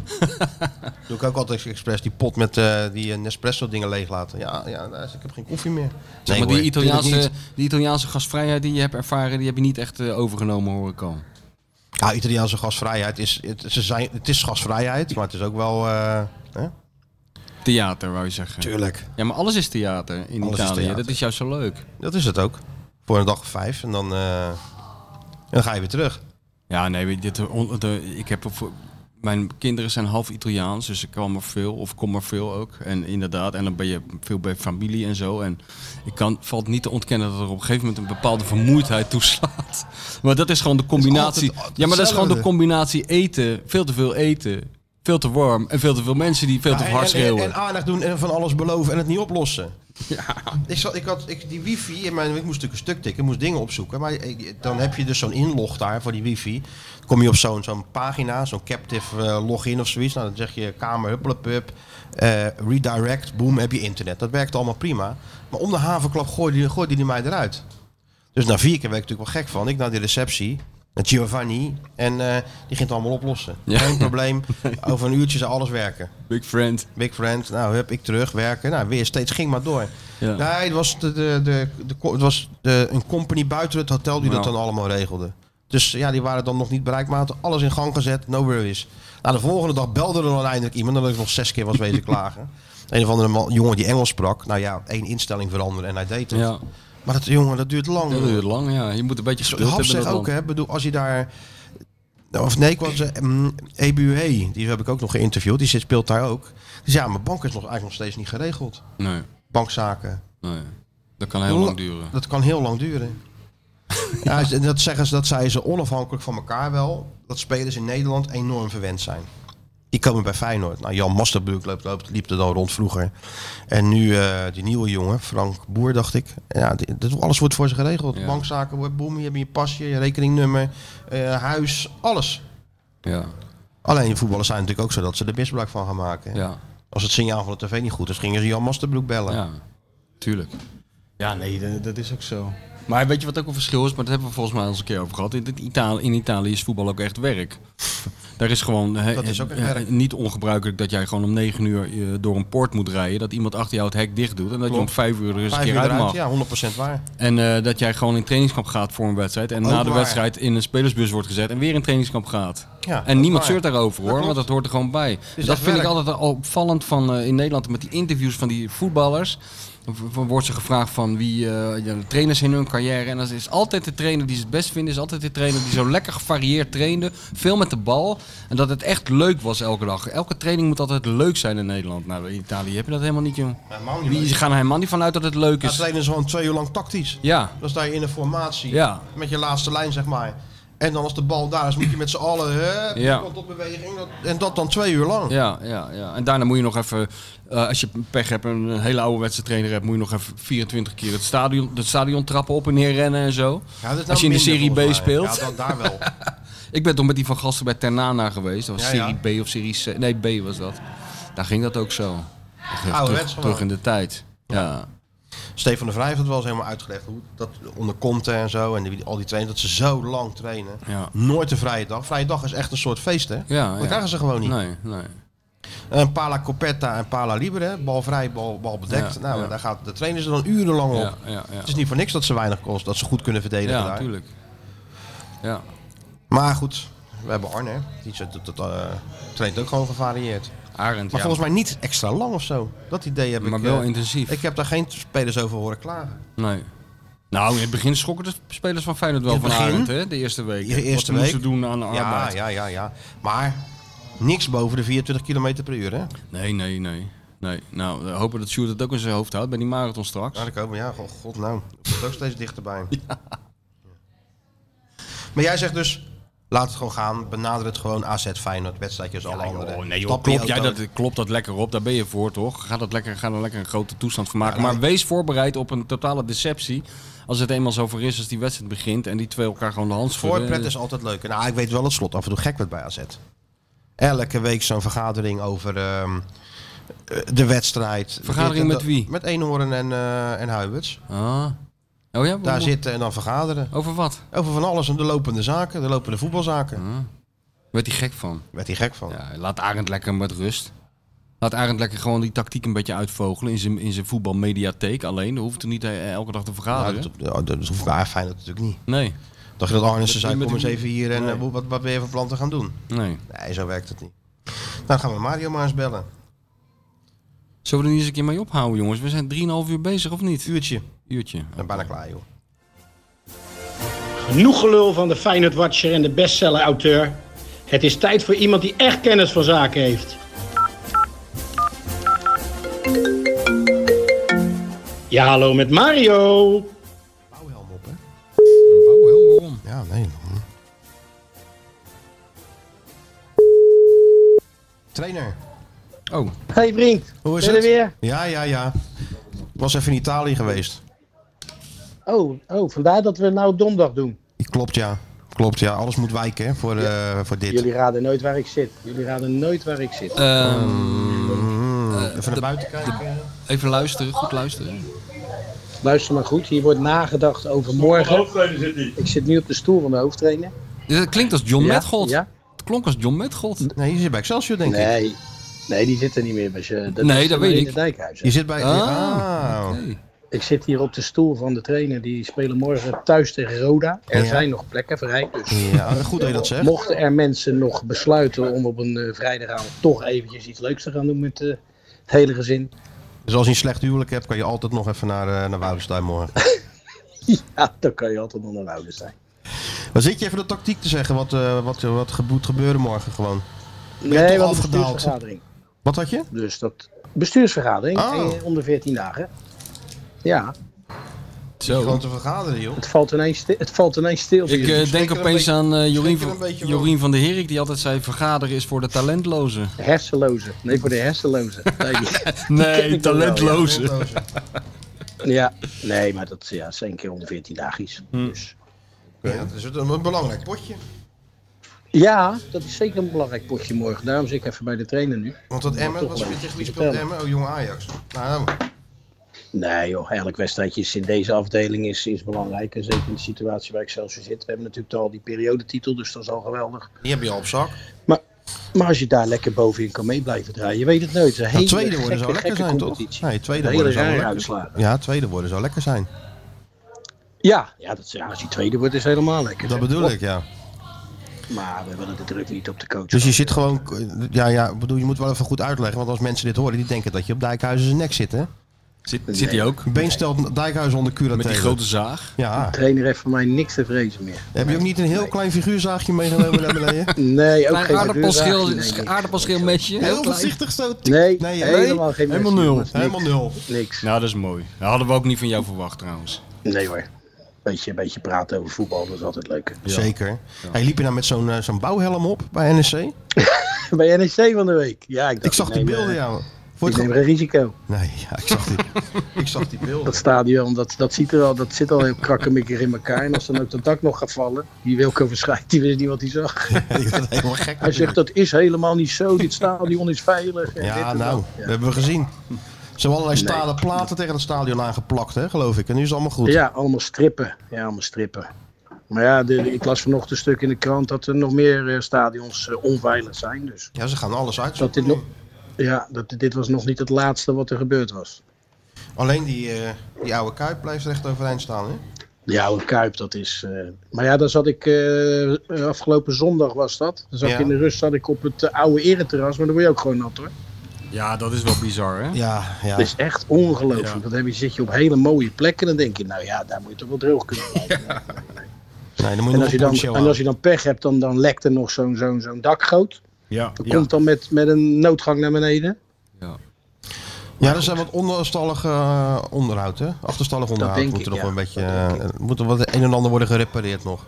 Doe ik ook altijd expres die pot met eh, die eh, Nespresso dingen leeg laten. Ja, ja nou, ik heb geen koffie meer. Zeg maar, hoor, die, tuurlijk Italiaanse, niet. die Italiaanse gastvrijheid die je hebt ervaren, die heb je niet echt eh, overgenomen, hoor ik al. Ja, Italiaanse gasvrijheid is... Het, ze zijn, het is gasvrijheid, maar het is ook wel... eh, hè? Theater, wou je zeggen. Tuurlijk. Ja, maar alles is theater in Alles is Italië. theater. Dat is juist zo leuk. Dat is het ook. Voor een dag of vijf. En dan, eh, en dan ga je weer terug. Ja, nee, weet je, dit, eh, on- de- ik heb voor, mijn kinderen zijn half Italiaans, dus ik kwam er veel of kom er veel ook. En inderdaad, en dan ben je veel bij familie en zo. En ik kan, valt niet te ontkennen dat er op een gegeven moment een bepaalde vermoeidheid toeslaat. Maar dat is gewoon de combinatie. altijd ja, maar dat is gewoon de hetzelfde. combinatie eten, veel te veel eten, veel te warm en veel te veel mensen die veel te Ja, hard en, en, schreeuwen. en aandacht doen en van alles beloven en het niet oplossen. Ik, zat, ik had ik, die wifi, in mijn, ik moest natuurlijk een stuk tikken, ik moest dingen opzoeken. Maar ik- dan heb je dus zo'n inlog daar voor die wifi. Dan kom je op zo'n zo'n pagina, zo'n captive eh, login of zoiets. Nou, dan zeg je kamer, huppelepup, eh redirect, boom, heb je internet. Dat werkt allemaal prima. Maar om de havenklap gooide die, gooide die mij eruit. Dus na vier keer werd ik natuurlijk wel gek van. Ik naar die receptie. Met Giovanni. En eh, die ging het allemaal oplossen. Ja. Geen probleem. Over een uurtje zou alles werken. Big friend. Big friend, nou heb ik terug, werken. Nou, weer steeds ging maar door. Ja. Nee, het was, de, de, de, de, co- het was de, een company buiten het hotel die dat Nou. dan allemaal regelde. Dus ja, die waren dan nog niet bereikbaar. Hadden alles in gang gezet, no worries. Nou, de volgende dag belde er dan eindelijk iemand. nadat ik nog zes keer was wezen klagen. Een of andere man, jongen die Engels sprak. Nou ja, één instelling veranderen en hij deed het. Ja, Maar dat, jongen, dat duurt lang. dat duurt lang, ja. Je moet een beetje geduld Hap hebben. zegt dat ook, dan. hè, bedoel, als je daar... Of nee, ik was eh, mm, EBUE, die heb ik ook nog geïnterviewd. Die zit, speelt daar ook. Dus ja, mijn bank is nog, eigenlijk nog steeds niet geregeld. Nee, Bankzaken. nee. Dat kan heel lang duren. Dat kan heel lang duren. ja, en dat zeggen ze, dat zeiden ze onafhankelijk van elkaar wel. Dat spelers in Nederland enorm verwend zijn. Die komen bij Feyenoord. Nou, Jan Masterbrug loopt, loopt, liep er dan rond vroeger. En nu eh, die nieuwe jongen, Frank Boer, dacht ik. Ja, die- dat, alles wordt voor ze geregeld. Ja. Bankzaken, wordt boem, je hebt je pasje, je rekeningnummer, eh, huis, alles. Ja, Alleen voetballers zijn natuurlijk ook zo dat ze er misbruik van gaan maken. ja. Als het signaal van de tv niet goed is, gingen ze Jan Masterbroek bellen. Ja, tuurlijk. Ja, nee, dat, dat is ook zo. Maar weet je wat ook een verschil is? Maar dat hebben we volgens mij al eens een keer over gehad. In, Italië, in Italië is voetbal ook echt werk. Daar is gewoon eh, Dat is ook eh, echt eh, werk. niet ongebruikelijk dat jij gewoon om 9 uur eh, door een poort moet rijden. Dat iemand achter jou het hek dicht doet en dat je om Klopt. 5 uur er eens een Vijf keer uur uit mag. eruit, ja, 100% waar. En eh, dat jij gewoon in trainingskamp gaat voor een wedstrijd. En Ook na de waar. wedstrijd in een spelersbus wordt gezet en weer in trainingskamp gaat. Ja, dat En is niemand waar. zeurt daarover hoor, klopt. want dat hoort er gewoon bij. is dat echt vind ik werk. altijd al opvallend van eh, in Nederland met die interviews van die voetballers. Dan v- v- wordt ze gevraagd van wie eh, ja, de trainers in hun carrière. En dan is altijd de trainer die ze het best vinden, is altijd de trainer die zo lekker gevarieerd trainde. Veel met de bal. En dat het echt leuk was elke dag. Elke training moet altijd leuk zijn in Nederland. Nou, in Italië heb je dat helemaal niet, joh. Helemaal niet Wie- Ze leuk. gaan er helemaal niet vanuit dat het leuk Ja, is. trainen is gewoon twee uur lang tactisch. Ja, Dan sta je in een formatie Ja. met je laatste lijn, zeg maar. En dan als de bal daar is, moet je met z'n allen hè, Ja. kant op beweging. Dat- En dat dan twee uur lang. Ja, ja, ja. En daarna moet je nog even, eh, als je pech hebt en een hele ouderwetse trainer hebt, moet je nog even 24 keer het stadion, het stadion trappen op en neer rennen en zo. Ja, dat is nou Als je in de minder, Serie B volgens mij. speelt. Ja, dan daar wel. Ik ben toch met die van gasten bij Ternana geweest. Dat Ja, was Serie B of Serie C. Nee, B was dat. Daar ging dat ook zo. Terug, Ouderwets gewoon. terug in de tijd. Ja. Stefan de Vrij heeft het wel eens helemaal uitgelegd. Hoe dat onder Conte en zo. En die, al die trainers, dat ze zo lang trainen. Ja. Nooit een vrije dag. Vrije dag is echt een soort feest, hè? Ja, dat ja. krijgen ze gewoon niet. Nee, nee. Een pala coperta en pala libre. hè. Bal vrij, bal, bal bedekt. Ja, nou, ja. daar gaat de trainers er dan urenlang op. Ja, ja, ja. Het is niet voor niks dat ze weinig kosten. Dat ze goed kunnen verdedigen Ja, daar. natuurlijk. Ja. Maar goed, we hebben Arne. hè. Die zet- dat, dat, eh, traint ook gewoon gevarieerd. Arend, Maar ja. volgens mij niet extra lang of zo. Dat idee heb maar ik. wel eh, intensief. ik heb daar geen spelers over horen klagen. Nee. Nou, in het begin schrokken de spelers van Feyenoord wel In het van begin? Arend, hè? De eerste week. De eerste Wat week? moesten doen aan de arbeid. Ja, ja, ja, ja. Maar niks boven de 24 km per uur, hè? Nee, nee, nee. nee. Nou, we hopen dat Sjoerd het ook in zijn hoofd houdt bij die marathon straks. Ja, ik ook. Maar ja, god, god nou. Het komt ook steeds dichterbij. Maar jij zegt dus, laat het gewoon gaan. Benader het gewoon AZ Feyenoord, wedstrijdjes, alle Ja, joh, andere. Oh, nee, joh, Stap je klopt, jij auto- dat, klopt dat lekker op? Daar ben je voor, toch? Ga, dat lekker, ga er lekker een grote toestand van maken. Ja, maar nee. wees voorbereid op een totale deceptie. Als het eenmaal zover is als die wedstrijd begint en die twee elkaar gewoon de hand schudden. Voorpret is altijd leuk. Nou, ik weet wel dat slot af en toe gek werd bij AZ. Elke week zo'n vergadering over ehm, eh, de wedstrijd. Vergadering Dit en met dat. wie? Met Eenhoorn en, eh en Huiberts. Ah. Oh ja? Daar hoe- zitten en dan vergaderen. Over wat? Over van alles en de lopende zaken, de lopende voetbalzaken. Werd hij gek van? Werd hij gek van. Mhm. Ja, laat Arend lekker met rust. Laat Arend lekker gewoon die tactiek een beetje uitvogelen in zijn, in zijn voetbalmediatheek alleen. Dan hoeft hij niet eh, elke dag te Nou, vergaderen. dat, ja, dat hoeft bij Feyenoord natuurlijk niet. Nee, Dacht je dat Arnissen Dat zei, niet kom met eens hem- even hier en Nee. eh, wat, wat ben je van plan te gaan doen? nee. Nee, zo werkt het niet. Nou, dan gaan we Mario maar eens bellen. Zullen we er niet eens een keer mee ophouden, jongens? We zijn 3,5 uur bezig, of niet? Uurtje. Uurtje. Ik ben bijna klaar, joh. Genoeg gelul van de Feyenoord Watcher en de bestseller auteur. Het is tijd voor iemand die echt kennis van zaken heeft. Ja, hallo met Mario. Bouwhelm op, hè? Oh, heel waarom? Ja, nee. Trainer. Oh, Hey vriend, Hoe is ben je er het? weer? Ja, ja, ja. Was even in Italië geweest. Oh, oh, vandaar dat we nou donderdag doen. Klopt, ja. Klopt, ja. Alles moet wijken hè, voor, eh, voor dit. Jullie raden nooit waar ik zit. Jullie raden nooit waar ik zit. Eh. Mm, even naar buiten kijken. even luisteren, goed luisteren. Luister maar goed, hier wordt nagedacht over morgen. Ik zit nu op de stoel van de hoofdtrainer. Dit het klinkt als John Ja, Metgold. ja. Het klonk als John Metgold. Nee, je zit bij Excelsior, denk ik. Nee, nee, die zit er niet meer. Maar ze, dat Nee, is dat de weet ik. Marine Dijkhuizen. Je zit bij... Ah. Ah. Ik zit hier op de stoel van de trainer. Die spelen morgen thuis tegen Roda. Er Ja. zijn nog plekken vrij. Dus Ja, goed dat je dat zegt. mochten er mensen nog besluiten om op een eh, vrijdagavond toch eventjes iets leuks te gaan doen met eh, het hele gezin. Dus als je een slecht huwelijk hebt, kan je altijd nog even naar, eh, naar Woudenstein morgen. Ja, dan kan je altijd nog een ouder zijn. Dan zit je even de tactiek te zeggen wat, eh wat, wat ge- moet gebeuren morgen gewoon. toch Nee, want de afgedaald? bestuursvergadering. Wat had je? Dus dat bestuursvergadering Oh. eh, om de 14 dagen. Ja, Gewoon Zo. te vergaderen, joh. het valt ineens, sti- het valt ineens stil. Ik eh, denk er een opeens beetje- aan eh, Jorien, schrik er een van- beetje van. Jorien van der Herik, die altijd zei: vergaderen is voor de talentlozen. Hersenlozen. Nee, voor de hersenlozen. Nee, ken Nee, ik wel, ja. talentlozen. ja, nee, maar dat ja, is één keer om de 14 dagen is. Hm. Dus. Ja, dat is een, een belangrijk potje. Ja, dat is zeker een belangrijk potje morgen. Daarom zit ik even bij de trainer nu. Want dat Emmen, toch wat wel speelt tegen wie iets speelt vertellen. Emmen? Oh, jonge Ajax. Oh, Nou, Nee joh, elk wedstrijdje is in deze afdeling is, is belangrijk. En zeker in de situatie waar ik zelfs voor zit. We hebben natuurlijk al die periodetitel, dus dat is al geweldig. Die heb je al op zak. Maar als je daar lekker bovenin kan mee blijven draaien, je weet het nooit. Een hele Nou, tweede worden gekke, zou lekker gekke zijn, toch? competitie. Nee, tweede Een hele worden zou rare lekker uitslagen. Ja, tweede worden zou lekker zijn. Ja, ja, dat, ja, als die tweede wordt is helemaal lekker. Dat bedoel ik, ja. Maar we willen de druk niet op de coach. Dus je zit gewoon... Ja, ja, ik bedoel, je moet wel even goed uitleggen. Want als mensen dit horen, die denken dat je op Dijkhuizen zijn nek zit, hè? Zit, zit hij ook? Been stelt Dijkhuizen onder curatele. Met die grote zaag? Ja. De trainer heeft voor mij niks te vrezen meer. Heb je ook niet een heel klein figuurzaagje meegenomen naar beneden? Nee, ook geen aardappelschil, natuurzaagje, nee, niks. aardappelschilmesje. Heel voorzichtig zo. tik. Nee, Nee, helemaal geen helemaal mes, nul. jongens. Niks, Helemaal nul. Niks. Nou, dat is mooi. Dat hadden we ook niet van jou verwacht trouwens. Nee hoor. Beetje, beetje praten over voetbal, dat is altijd leuk. Zeker. Hij liep je nou met zo'n eh, zo'n bouwhelm op bij NEC? Bij NEC van de week. Ja, ik, dacht, Ik zag die neem, beelden, eh, ja. Voor Ik het neem ge- geen risico. Nee, ja, ik zag die, ik zag die beelden. Dat stadion, dat, dat, ziet er al, dat zit al heel krakkemikkig in elkaar. En als dan ook dat dak nog gaat vallen, die Wilco verschijnt, die wist niet wat hij zag. Ik werd helemaal gek. Hij zegt, dat is helemaal niet zo, dit stadion is veilig. en dit Ja, en nou, dat. dat hebben we gezien. Ze hebben allerlei stalen platen tegen het stadion aangeplakt, hè, geloof ik. En nu is het allemaal goed. Ja, allemaal strippen. Ja, allemaal strippen. Maar ja, de, ik las vanochtend een stuk in de krant dat er nog meer eh, stadions eh, onveilig zijn. Dus Ja, ze gaan alles uit. dat dit, nog, ja, dat, dit was nog niet het laatste wat er gebeurd was. Alleen die, eh, die oude Kuip blijft recht overeind staan, hè? De oude Kuip, dat is... eh, Maar ja, daar zat ik... eh, eh, afgelopen zondag was dat. Dan zat Ja. ik in de rust zat ik op het eh, oude ereterras. Maar dan word je ook gewoon nat hoor. Ja, dat is wel bizar, hè? Ja, ja. Dat is echt ongelooflijk. Ja. Want dan heb je- zit je op hele mooie plekken. En dan denk je, nou ja, daar moet je toch wel droog kunnen blijven. Nee, dan moet je En, nog als je een dan, poncho en aan. als je dan pech hebt, dan, dan lekt er nog zo'n zo'n zo'n dakgoot. Ja. Dat komt dan met, met een noodgang naar beneden. Ja, er zijn wat onderstallig eh, onderhoud, hè? Achterstallig onderhoud denk moet ik, er nog ja. een beetje... Dat denk eh, moet er wat een en ander worden gerepareerd nog.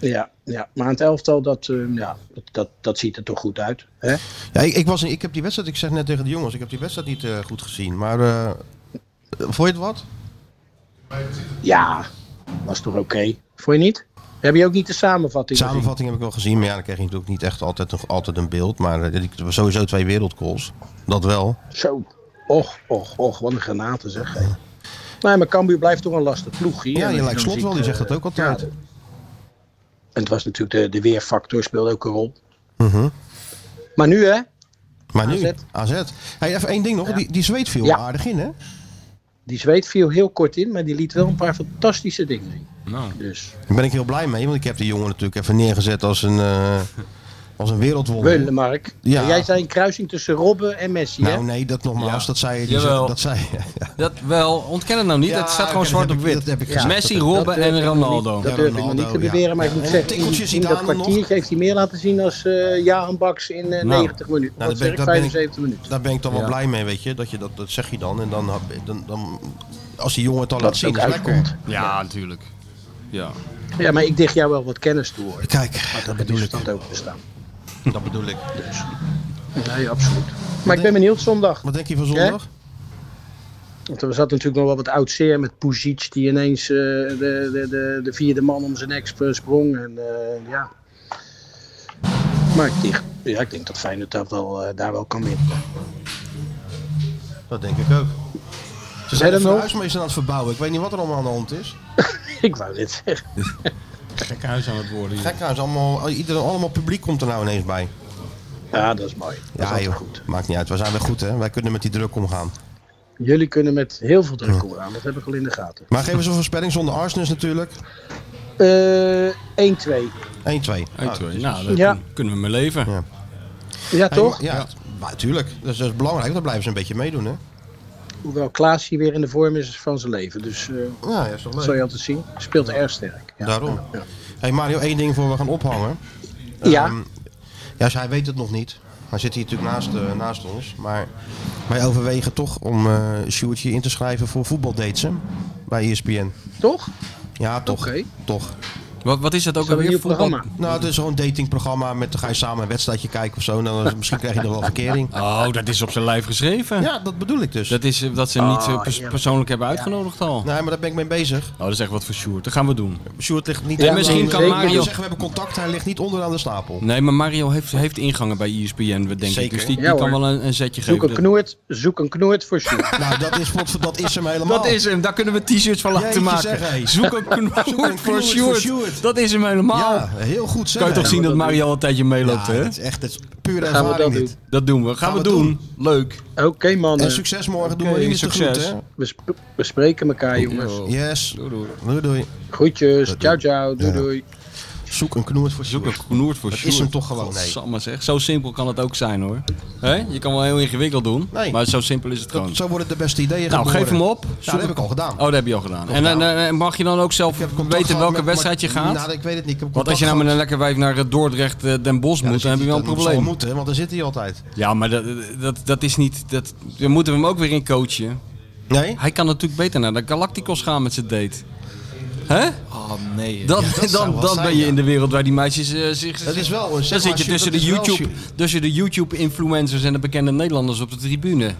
Ja, ja. maar aan het elftal, dat, eh, ja, dat, dat, dat ziet er toch goed uit. Hè? Ja, ik, ik, was, niet- ik heb die wedstrijd, ik zeg net tegen de jongens, ik heb die wedstrijd niet eh, goed gezien. Maar eh, vond je het wat? Ja, was toch oké? Vond je niet? Heb je ook niet de samenvatting gezien? Samenvatting heb ik wel gezien, maar ja, dan kreeg je natuurlijk niet echt altijd, nog altijd een beeld. Maar eh, ik- er waren sowieso twee wereldcalls. Dat wel. Zo. Och, och, och, wat een granaten zeg. hé. Nee, maar Cambuur blijft toch een lastig ploegje. Ja, En je als lijkt dan slot ziet, wel, die eh, zegt dat ook altijd. ja, En het was natuurlijk de, de weerfactor speelde ook een rol. Mhm. Maar nu hè, Maar nu, AZ. AZ. Hey, even één ding nog, die, die zweet viel Ja. aardig in, hè? die zweet viel heel kort in, maar die liet wel een paar fantastische dingen zien. Nou. Dus Daar ben ik heel blij mee, want ik heb die jongen natuurlijk even neergezet als een, eh, als een wereldwonder. Weulemark, Oh. Ja. jij zei een kruising tussen Robben en Messi hè? Nou nee, dat nogmaals, Ja. dat zei je. Jawel. Dat zei je. Dat wel, ontken het nou niet. Ja, dat staat gewoon oké, zwart dat op heb ik- wit. dat heb ik gezegd. Messi, Dat- Robben durf en ik nog Ronaldo. niet- Dat Ja, durf ik nog Ronaldo, niet te nou, ja. beweren, maar ik Ja, moet en zeggen, in, tikkeltje die- in dat Zidane nog. kwartiertje heeft hij meer laten zien als eh Jaren Baks in eh, Nou, 90 minuten. nou, Wat dat ben zeg ik- ik, dat ben ik- 75 minuten. Daar ben ik dan wel Ja. blij mee, weet je. Dat, je dat, dat zeg je dan. En dan, hap- dan, dan als die jongen het al Dat laat het zien, ook is lekker. uitkomt. Ja, natuurlijk. Ja. Ja, maar ik dicht jou wel wat kennis toe hoor. Kijk, dat Dat bedoel is ik. dat ook bestaan. Dat bedoel ik. Dus. Nee, absoluut. Maar ik ben benieuwd zondag. Wat denk je van zondag? Want er zat natuurlijk nog wel wat oud zeer met Puzic die ineens eh, de, de, de, de vierde man om zijn nek sp- sprong. En, eh, ja. Maar ik denk, ja, ik denk dat Feyenoord dat wel, eh, daar wel kan winnen. Dat denk ik ook. Ze Verder zijn de nog? huismeester aan het verbouwen. Ik weet niet wat er allemaal aan de hand is. ik wou dit zeggen. Gekke huis aan het worden. hier. Gek nou, is allemaal, iedereen, allemaal publiek komt er nou ineens bij. Ja, dat is mooi. Dat is altijd goed. Maakt niet uit. We zijn weer goed, hè. Wij kunnen met die druk omgaan. Jullie kunnen met heel veel druk omgaan, dat heb ik al in de gaten. Maar geef eens een voorspelling zonder Arsenal natuurlijk. 1-2. Eh 1-2. Uit, hoor. nou, dat Ja. kun- kunnen we mee leven. Ja. Ja, toch? Ja, ja. Maar tuurlijk. Dat is, dat is belangrijk. Dan blijven ze een beetje meedoen, hè. Hoewel Klaas hier weer in de vorm is van zijn leven. Dus eh, Ja, ja, is toch dat leuk. zal je altijd zien. Speelt erg sterk. Ja. Daarom. hey Mario, één ding voor we gaan ophangen. Ja. Ehm, ja, hij weet het nog niet. Hij zit hier natuurlijk naast, eh, naast ons. Maar wij overwegen toch om eh Sjoerdje E in te schrijven voor voetbaldates hè, bij ESPN. Toch? Ja, toch. Oké. Toch. Wat, wat is dat ook Is dat een alweer? nieuw Voetbal- programma? Nou, het is gewoon een datingprogramma. Met, dan ga je samen een wedstrijdje kijken of zo. En dan, misschien krijg je nog wel verkering. Oh, dat is op zijn lijf geschreven. Ja, dat bedoel ik dus. Dat is eh, dat ze hem niet eh, pers- heerlijk. persoonlijk hebben uitgenodigd al. Nee, maar daar ben ik mee bezig. Oh, dat is echt wat voor Sjoerd. Dat gaan we doen. Sjoerd ligt niet... Ja, En misschien kan Mario... Mario- zeggen, we hebben contact. Hij ligt niet onderaan de stapel. Nee, maar Mario heeft, heeft ingangen bij E ESPN, denk ik. Zeker. Dus die, die Ja, kan hoor. wel een, een zetje Zoek een geven. knoert, zoek een knoert voor Sjoerd. Nou, dat is, voor- dat is hem helemaal. Dat is hem, daar kunnen we t-shirts van laten Jeetje, maken. zeg, hé. Zoek een knoer knoert voor voor Sjoerd. Sjoerd. Dat is hem helemaal. Ja, heel goed zeg. kan je toch zien dat Mario al een tijdje meeloopt, Ja, hè? dat is echt dat is pure gaan we ervaring dat dit. Dat doen we. Gaan, we, we doen. doen. Leuk. Oké man, En succes morgen. Doe Oké, maar jullie succes. Oh. succes. Goed, hè? we, sp- we spreken Oh, elkaar jongens. Yes. Doei doei. doei, Groetjes, ciao ciao, doei Ja. doei. Zoek een knoert voor Zoek Sjoerd. een knoert voor Dat is Sjoerd. hem toch gewoon, nee. Godsamme, zeg. Zo simpel kan het ook zijn, hoor. Hè? Je kan wel heel ingewikkeld doen, Nee. maar zo simpel is het gewoon. Dat- Zo worden de beste ideeën Nou, geef geboren. hem op. Nou, dat heb ik al gedaan. Oh, dat heb je al gedaan. En, en, gedaan. eh, mag je dan ook zelf Ik heb contact weten gehad welke met- wedstrijd je met- gaat? Nou, ik weet het niet. Ik heb Want als je nou met een lekker wijf naar eh, Dordrecht eh, Den Bosch moet, dan heb je wel een probleem. moeten, want dan zit hij altijd. Ja, maar dat, dat, dat is niet... Dat, daar moeten we hem ook weer in coachen. Nee? Hij kan natuurlijk beter naar de Galacticos gaan met zijn date. Hè? Oh nee. Dan, zou dan, wat dan zijn, ben je ja. in de wereld waar die meisjes eh, zich... Dat is wel een- zeg Dan maar, zit je Sjoerd, tussen de, dat is wel YouTube, tussen de YouTube-influencers en de bekende Nederlanders op de tribune.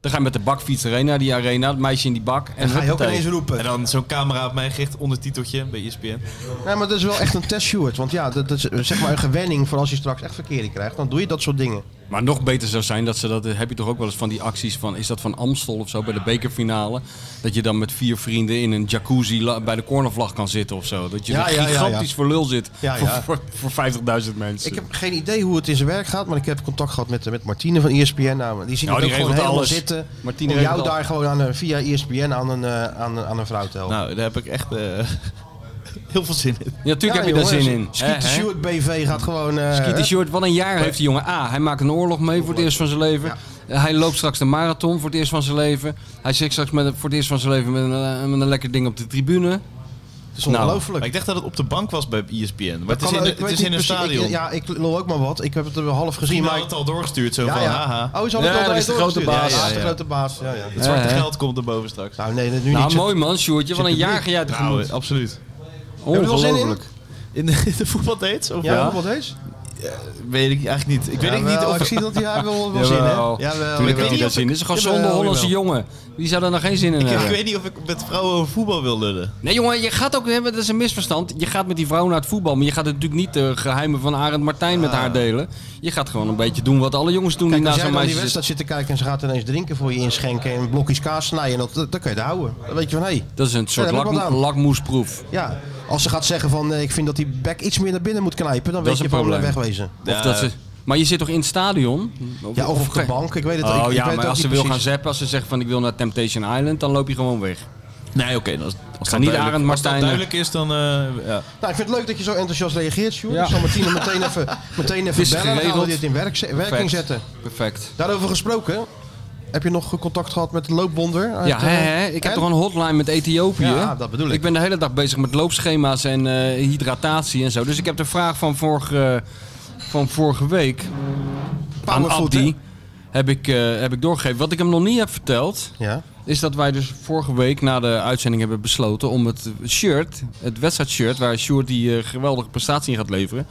Dan ga je met de bakfiets erheen naar die arena, het meisje in die bak. En Ga je ook huppatee. ineens En roepen. dan zo'n camera op mij gericht, ondertiteltje bij E ESPN. Nee, maar dat is wel echt een test, Sjoerd. Want ja, dat dat is eh, zeg maar een gewenning voor als je straks echt verkering krijgt. Dan doe je dat soort dingen. Maar nog beter zou zijn dat ze dat. Heb je toch ook wel eens van die acties van. Is dat van Amstel of zo bij de bekerfinale? Dat je dan met vier vrienden in een jacuzzi la- bij de cornervlag kan zitten of zo. Dat je Ja, er ja, ja, ja. gigantisch voor lul zit. Ja, ja. Voor, voor, voor 50.000 mensen. Ik heb geen idee hoe het in zijn werk gaat, maar ik heb contact gehad met, met Martine van ESPN. Nou, die ziet Ja, het die ook gewoon regelt helemaal alles. zitten. Martine om jou regelt alles. daar gewoon aan een, via E ESPN aan een, eh, aan, een- aan een vrouw te helpen. Nou, daar heb ik echt eh, heel veel zin in. Ja, natuurlijk Ja, heb je daar jongens, zin in. Hè, Skeeter hè? Stewart BV gaat gewoon... eh, Skeeter hè? Short, wat een jaar heeft die jongen. A, hij maakt een oorlog mee voor het eerst van zijn leven. Hij loopt straks de marathon voor het eerst van zijn leven. Hij zit straks met, een- voor het eerst van zijn leven met een, eh, met een lekker ding op de tribune. Het is ongelooflijk. Maar ik dacht dat het op de bank was bij E ESPN. Maar nou, het is Kan- in, ik het weet is niet in een precies- ik- stadion. ja, ik lul ook maar wat. Ik heb het er half gezien, Misschien maar... had het al doorgestuurd, zo Ja, van, ja. haha. Oh, is al Ja, het dat al is de grote doorgestuurd? baas. Ja, ja, Ja, de ja. grote baas. Ja, ja. Het zwarte Eh, hè? geld komt erboven straks. Nou, nee, dat nu Nou, niet. mooi man, Sjoerdje. Wat een publiek. jaar ga jij tegemoet. Nou, eh, absoluut. Heb je er wel zin in? Ongelooflijk. In de, in de voetbaldates? Of Ja, ja. wat heet? Weet ik eigenlijk niet. Ik weet Jawel, niet of... Ik zie dat hij hij wil wel Jawel. zin, hè? Tuurlijk Tuurlijk heeft hij daar zin in. Het is gewoon zonde Hollandse jongen. Wie zou daar nou geen zin in Ik hebben? weet niet of ik met vrouwen over voetbal wil lullen. Nee jongen, je gaat ook, hebben, dat is een misverstand. Je gaat met die vrouw naar het voetbal, maar je gaat natuurlijk niet de geheimen van Arend Martijn met haar delen. Je gaat gewoon een beetje doen wat alle jongens doen Kijk, die als naast jij naar een die meisje zitten. wedstrijd zit te kijken en ze gaat ineens drinken voor je inschenken en blokjes kaas snijden, dat, dat, dat kun je daar houden. Dan weet je van, hé. Dat is een soort daar heb ik lak- wat aan. lakmoesproef. Ja, als ze gaat zeggen van, eh, ik vind dat die bek iets meer naar binnen moet knijpen, dan Dat weet is je een van eh, probleem. wegwezen. Of dat ze, maar je zit toch in het stadion? Ja, of op de bank, ik weet het ik- Oh ik ja, weet het maar ook als ze niet wil gaan precies. zappen, als ze zegt van ik wil naar Temptation Island, dan loop je gewoon weg. Nee, oké. als, dat niet duidelijk- Arend Als dat Martijn- duidelijk is, dan... eh, ja. Nou, ik vind het leuk dat je zo enthousiast reageert, Sjoerd. Ja. Ik zal Martine meteen even, meteen even is bellen en dan gaan we geregeld. dit in werk, werking Perfect. zetten. Perfect. Daarover gesproken, heb je nog contact gehad met de loopbonder? uit, Ja, hè, eh, hè? ik heb en? toch een hotline met Ethiopië. Ja, dat bedoel ik. Ik ben de hele dag bezig met loopschema's en eh, hydratatie en zo. Dus ik heb de vraag van vorige, van vorige week aan Powerfoot, Abdi heb ik, eh, heb ik doorgegeven. Wat ik hem nog niet heb verteld, Ja. is dat wij dus vorige week na de uitzending hebben besloten om het shirt, het wedstrijdshirt, waar Sjoerd die eh, geweldige prestatie in gaat leveren,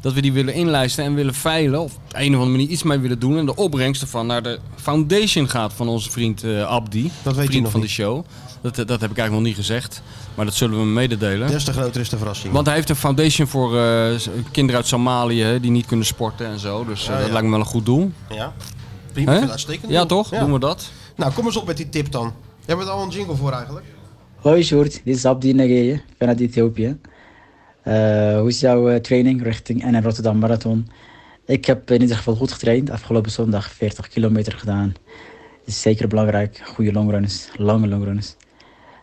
dat we die willen inlijsten en willen veilen, of op de een of andere manier iets mee willen doen. En de opbrengst ervan naar de foundation gaat van onze vriend eh, Abdi, Dat weet hij vriend nog van niet. de show. Dat, eh, dat heb ik eigenlijk nog niet gezegd, maar dat zullen we hem mededelen. Des te groter is de verrassing. Want hij heeft een foundation voor eh, s- kinderen uit Somalië hè, die niet kunnen sporten en zo. Dus eh, Ja, dat ja. lijkt me wel een goed doel. ja. Prima, Hè? ik vind het uitstekend. Ja, doel. toch? Doen we dat? Nou, kom eens op met die tip dan. Jij hebt er al een jingle voor eigenlijk. Hoi Sjoerd, dit is Abdi Nageye vanuit Ethiopië. Eh, hoe is jouw eh, training richting NN Rotterdam Marathon? Ik heb in ieder geval goed getraind. Afgelopen zondag 40 kilometer gedaan. Is zeker belangrijk. Goede longrunners, lange longrunners.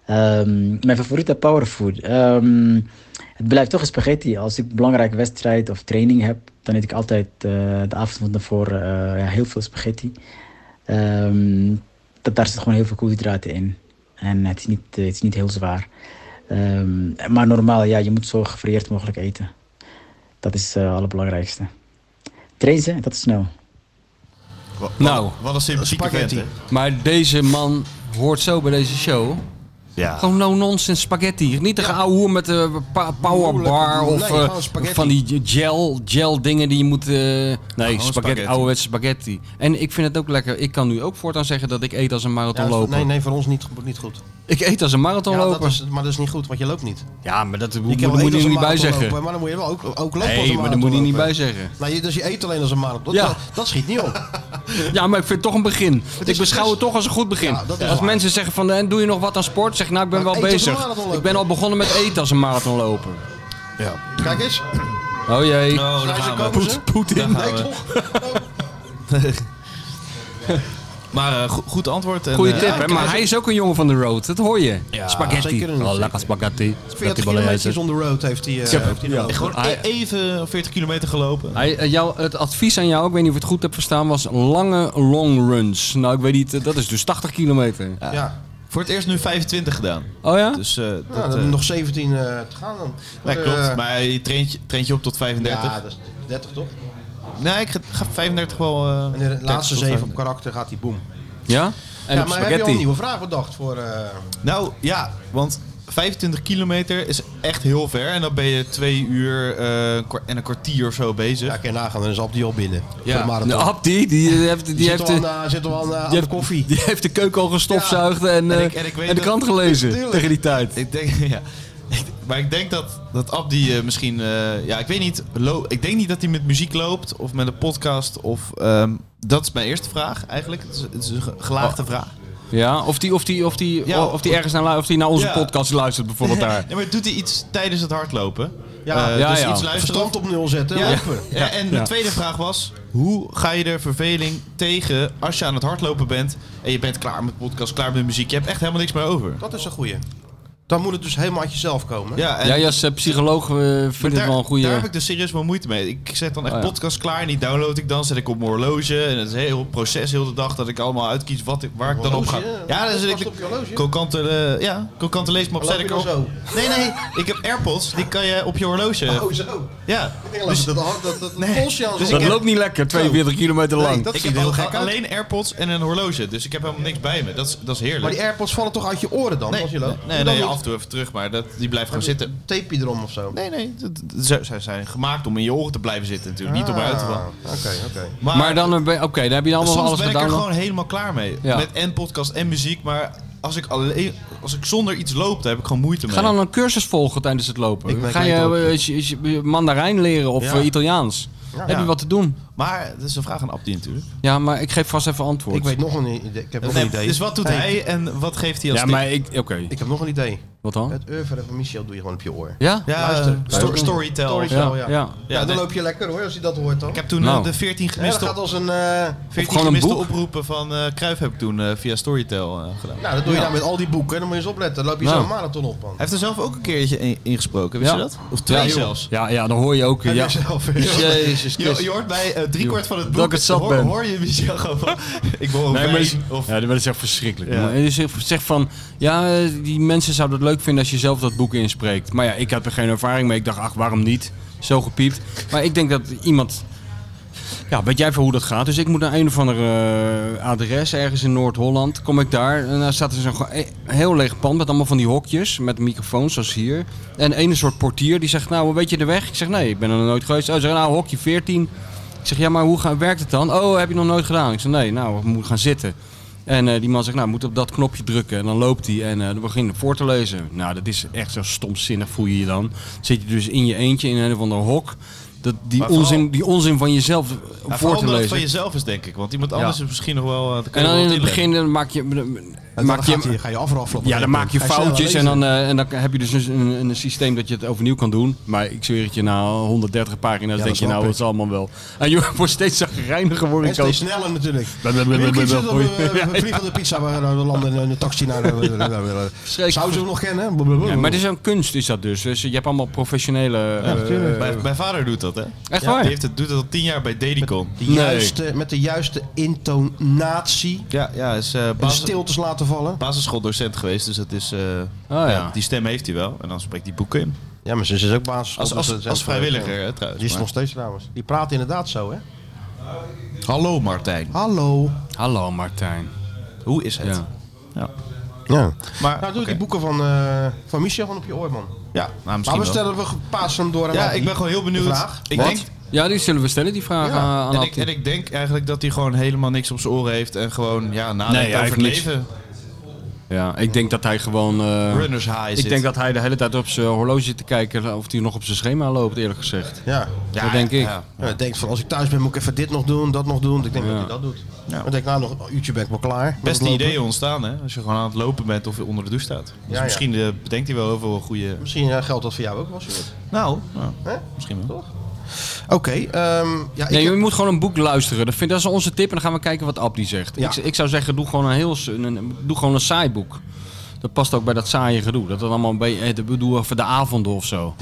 Ehm, mijn favoriete powerfood. Ehm, het blijft toch een spaghetti. Als ik een belangrijke wedstrijd of training heb, dan eet ik altijd eh, de avond van tevoren eh, ja, heel veel spaghetti. Ehm, dat, daar zit gewoon heel veel koolhydraten in. En het is niet, eh, het is niet heel zwaar. Ehm, maar normaal, ja, je moet zo gevarieerd mogelijk eten. Dat is eh het allerbelangrijkste. Train ze, dat is snel. Nou, Wat een sympathieke vent, Nou, Spaghetti. hè? maar deze man hoort zo bij deze show. Ja. Ah. Gewoon no-nonsense spaghetti. Niet de oude hoer met de powerbar Moeilijk. of Nee, eh, gewoon spaghetti. van die gel, gel dingen die je moet... eh, nee, spaghetti, spaghetti. ouderwetse spaghetti. En ik vind het ook lekker. Ik kan nu ook voortaan zeggen dat ik eet als een Ja, marathonloper. nee, nee, voor ons niet, go- niet goed. Ik eet als een Ja, marathonloper. dat is, maar dat is niet goed, want je loopt niet. Ja, maar dat Je moet, kan moet, wel je eten er als niet een bij zeggen. marathonloper, Maar dan moet je wel ook, ook lopen als Nee, een maar daar moet je niet marathonloper. bij zeggen. Nou, je- dus je eet alleen als een marathon. Ja. Dat, dat schiet niet op. Ja, maar ik vind het toch een begin. ik is- beschouw het het is- toch als een goed begin. Ja, dat is als waar. mensen zeggen van, en doe je nog wat aan sport? Zeg, nou, ik ben Maar wel eet als een bezig. marathonloper. Ik ben al begonnen met eten als een marathonloper. Kijk eens. Oh jee. Oh, daar Zijn ze gaan we. komen ze? Daar Poetin. gaan Nee, we. toch? Maar eh, go- goed antwoord. En, Goeie eh, tip, ja, hè? Maar hij is ook een jongen van de road. Dat hoor je. spaghetti. zeker en oh, zeker. lekker spaghetti. 40 Spaghetti kilometers bolognese. on the road heeft hij. eh, heeft hij gelopen. Gewoon e- even 40 kilometer gelopen. Hij, eh, jou, het advies aan jou, ik weet niet of je het goed hebt verstaan, was lange long runs. Nou, ik weet niet, eh, dat is dus 80 kilometer. Ja. Voor het eerst nu 25 gedaan. Oh ja? Dus eh, dat, Nou, dan eh, hebben we nog 17 eh, te gaan dan. ja, Eh, klopt. Maar je traint, je- traint je op tot 35. Ja, dat is 30 toch? Nee, ik ga, ga 35 wel... eh, En de 30 laatste tot zeven 35. op karakter gaat hij boom. Ja? En ja, op maar heb je al een spaghetti. nieuwe vraag bedacht voor... eh, Nou ja, want 25 kilometer is echt heel ver. En dan ben je twee uur eh, een kwa- en een kwartier of zo bezig. ja, ik kan je nagaan, dan is Abdi al binnen. Voor de marathon. Nou, De Abdi, die eh, heeft, die Die heeft, zit al de- aan, eh, zit al aan, eh, aan die de heeft- koffie. Die heeft de keuken al gestofzuigd en, En eh, ik- en ik weet en de dat- krant gelezen tegen die tijd. Ik denk, ja. Ik- Maar ik denk dat, dat Abdi eh, misschien... eh, ja, ik weet niet. lo- ik denk niet dat hij met muziek loopt of met een podcast. Of, ehm, dat is mijn eerste vraag eigenlijk. Het is, het is een ge- gelaagde Oh. vraag. Ja, of die, of die, of die, Ja, of die ergens naar, lu- of die naar onze Ja. podcast luistert bijvoorbeeld daar. Nee, maar doet hij iets tijdens het hardlopen? Ja, Eh, ja, dus ja. iets luisteren. Verstand op nul zetten. Ja. lopen. Ja, en de Ja. tweede vraag was: hoe ga je er verveling tegen als je aan het hardlopen bent en je bent klaar met podcast, klaar met muziek? Je hebt echt helemaal niks meer over. Dat is een goeie. Dan moet het dus helemaal uit jezelf komen. Ja, en Jij als eh, psycholoog eh, maar vindt het daar, wel een goede... daar heb ik dus serieus wel moeite mee. Ik zet dan echt Oh ja. podcast klaar en die download ik dan, zet ik op mijn horloge. En het is een heel proces, heel de dag, dat ik allemaal uitkies wat, ik- waar ik dan op ga. Horloge, ja. Ja, dan zit Podcast ik op je horloge. kokante, eh, ja, kokante leesmap Dan zet loop ik je op. dan Nee, nee, ik heb AirPods, die kan je op je horloge. Oh, zo. Ja, Ik denk dat dat, dat, dat polsje aan dus zo'n- dat ik heb- loopt niet lekker, 42 kilometer lang. dat ik ziet heb er heel al- gek uit. alleen AirPods en een horloge, dus ik heb helemaal niks bij me. Dat is, dat is heerlijk. Maar die AirPods vallen toch uit je oren dan? als je nee, loopt? nee, Dan nee, moet- af en toe even terug, maar dat, die blijft gewoon zitten. Tape je erom of zo? Nee, nee, dat- dat- ze ze zijn gemaakt om in je oren te blijven zitten natuurlijk, niet om eruit te vallen. Ah, Oké, oké. Maar, maar dan, eh, ben- oké, daar heb je allemaal soms alles ben ik er gedaan. gewoon helemaal klaar mee. Ja. Met en podcast en muziek, maar als ik, alleen, als ik zonder iets loop, daar heb ik gewoon moeite mee. Ga dan een cursus volgen tijdens het Ik lopen. ben Ga je, kwijt ook. eh, is- is- is- Mandarijn leren of Ja. eh, Italiaans? Heb je Ja. wat te doen? Maar dat is een vraag aan Abdi natuurlijk. Ja, maar ik geef vast even antwoord. Ik weet nog een idee. Ik heb nog Nee, een idee. Dus wat doet Hey, hij en wat geeft hij als ja, tip? maar ik... Oké, Ik heb nog een idee. wat dan? Het oeuvre van Michel doe je gewoon op je oor. Ja? Ja, Luister. eh, sto- storytell. Storytell. Ja, wel, ja. ja. ja. Ja, Ja, nee. dan loop je lekker hoor, als je dat hoort dan. Ik heb toen Nou. eh, de 14 Ja, dat gemiste, gaat als een... eh, 14 gewoon een gemiste boek. oproepen van eh Kruif heb ik toen eh, via Storytel eh, gedaan. nou, dat doe je nou met al die boeken. Dan moet je eens opletten. Dan loop je Nou. zo'n marathon op, man. Hij heeft er zelf ook een keertje in- ingesproken, wist Ja. je dat? Of twee Ja, joh. zelfs. Ja, ja, dan hoor je ook... eh, Ja. Jezus Je, je hoort bij eh, driekwart van het boek, Dat ik het zat hoor, ben. hoor je Michel gewoon van, ik wil een Nee, maar dat is, wijn of... ja, dat is echt verschrikkelijk. Ja. man. En Je zegt zegt van, ja, eh, die mensen zouden het leuk vinden als je zelf dat boek inspreekt. Maar ja, ik heb er geen ervaring mee. Ik dacht, ach, waarom niet? Zo gepiept. Maar ik denk dat iemand... Ja, weet jij van hoe dat gaat? Dus ik moet naar een of ander eh, adres ergens in Noord-Holland. Kom ik daar en daar staat er zo'n ge- eh, heel leeg pand met allemaal van die hokjes met microfoons zoals hier. En ene soort portier die zegt, nou, weet je de weg? Ik zeg, nee, ik ben er nog nooit geweest. Oh, ze zeggen, nou, hokje 14. Ik zeg, ja, maar hoe ga- werkt het dan? Oh, heb je nog nooit gedaan? Ik zeg, nee, nou, we moeten gaan zitten. En eh, die man zegt, nou, moet op dat knopje drukken. En dan loopt hij en eh dan begint hij voor te lezen. Nou, dat is echt zo stomzinnig voel je je dan. Zit je dus in je eentje in een of ander hok. Dat, die, Maar vooral- onzin, die onzin van jezelf eh, Ja, voor vooral te omdat het lezen. van jezelf is, denk ik. Want iemand anders is misschien nog wel... eh, daar kan En dan je wel in wat het inleggen. begin dan maak je, En maak dan gaat je hij- ga je afraffelen. op ja, dan een maak je gegeven moment. foutjes Ga en sneller dan, eh, en dan heb je dus een, een, een systeem dat je het overnieuw kan doen. Maar ik zweer het je, na 130 pagina's denk dat je, nou, snap dat is allemaal wel. En je wordt steeds zagrijniger, word lezen. ik En ook. steeds sneller natuurlijk. blablabla, We kiezen dat hoi. we we vliegen de eh, pizza, we we landen in een taxi naar... de- Zouden ze hem nog kennen? Ja, maar het is een kunst, is dat dus. dus je hebt allemaal professionele... eh, Mijn, mijn vader doet dat, hè? echt Die waar? heeft het, doet het al tien jaar bij Dedicon. De Nee. juiste, Met de juiste intonatie. Ja, ja, is eh En basis, stiltes laten vallen. basisschooldocent geweest, dus dat is... eh, Oh, ja. die stem heeft hij wel. En dan spreekt hij boeken in. Ja, maar ze is ook basis. eh, Als, als, als vrijwilliger, hè, trouwens. Die is maar. nog steeds trouwens. Die praat inderdaad zo, hè? Hallo Martijn. Hallo. Hallo Martijn. Hoe is het? Ja. Ja. Ja, Ja. Maar, Nou, doe oké. die boeken van, eh, van Michel gewoon op je oor, man. Ja, nou, Maar misschien we wel. stellen we paas hem door aan Ja, Abdi. ik ben gewoon heel benieuwd. De vraag. Ik Wat? denk, Ja, die zullen we stellen, die vraag Ja. aan- aan en, ik, Abdi. en ik denk eigenlijk dat hij gewoon helemaal niks op zijn oren heeft en gewoon ja, nadenkt Nee, hij over het heeft niks. leven. Ja, ik denk dat hij gewoon... eh, Runners high ik zit. denk dat hij de hele tijd op zijn horloge zit te kijken of hij nog op zijn schema loopt, eerlijk gezegd. Ja. dat denk ik. ja. Ja, ik denk van als ik thuis ben moet ik even dit nog doen, dat nog doen. Ik denk dat hij dat doet. Dan denk ik nou nog een uurtje ben ik wel klaar. Beste Lopen. ideeën ontstaan hè, als je gewoon aan het lopen bent of onder de douche staat. Dus Ja, ja. misschien eh, bedenkt hij wel heel veel goede... Misschien eh, geldt dat voor jou ook wel, Sjoerd. Nou, nou, Hè? misschien wel. Oké, ehm, ja, ik Nee, heb- je moet gewoon een boek luisteren. Dat, vind, dat is onze tip en dan gaan we kijken wat Abdi zegt. Ja. Ik, ik zou zeggen, doe gewoon een heel s- een, een- doe gewoon een saai boek. Dat past ook bij dat saaie gedoe. Dat dat allemaal bij eh, de bedoel voor de avonden of zo.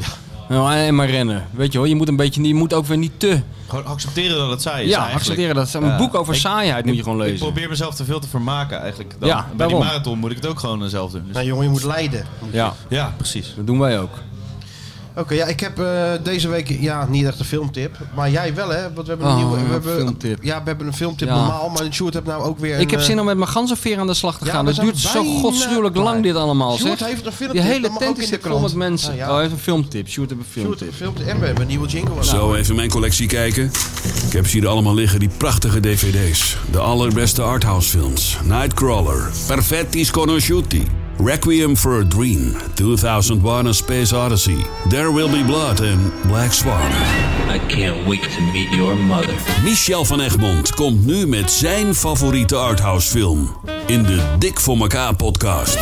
Nou, en maar rennen. Weet je wel, je moet een beetje, je moet ook weer niet te. Gewoon accepteren dat het saai is Ja, eigenlijk. accepteren dat. Een Ja. boek over Ik- saaiheid moet je gewoon Ik lezen. probeer mezelf te veel te vermaken eigenlijk. Dan. Ja, En Bij die daarom. marathon moet ik het ook gewoon eh, zelf doen. Dus- Nee, jongen, je moet leiden. Ja, Ja, precies. dat doen wij ook. Oké, ja, ik heb eh, deze week ja, niet echt een filmtip. Maar jij wel, hè? Want we hebben een Oh, nieuwe... We een hebben, filmtip. Ja, we hebben een filmtip Ja. normaal. Maar Sjoerd heeft nou ook weer een, Ik heb eh, zin om met mijn ganzenveer aan de slag te Ja, gaan. we Dat zijn duurt zo bijna godschuwelijk klaar. lang dit allemaal, Sjoerd zeg. heeft een filmpje, Die hele dat mag ook tent in is de zit vol met krant. mensen. Ah, ja. Oh, hij heeft een filmtip. Sjoerd heeft een Sjoerd heeft filmtip. een filmtip en we hebben een nieuwe jingle. Zo even mijn collectie kijken. Ik heb ze hier allemaal liggen, die prachtige dvd's. De allerbeste arthouse films. Nightcrawler, Perfetti Sconosciuti, Requiem for a Dream, 2001 A Space Odyssey, There Will Be Blood en Black Swan. I can't wait to meet your mother. Michel van Egmond komt nu met zijn favoriete arthouse film. In de Dik voor elkaar podcast.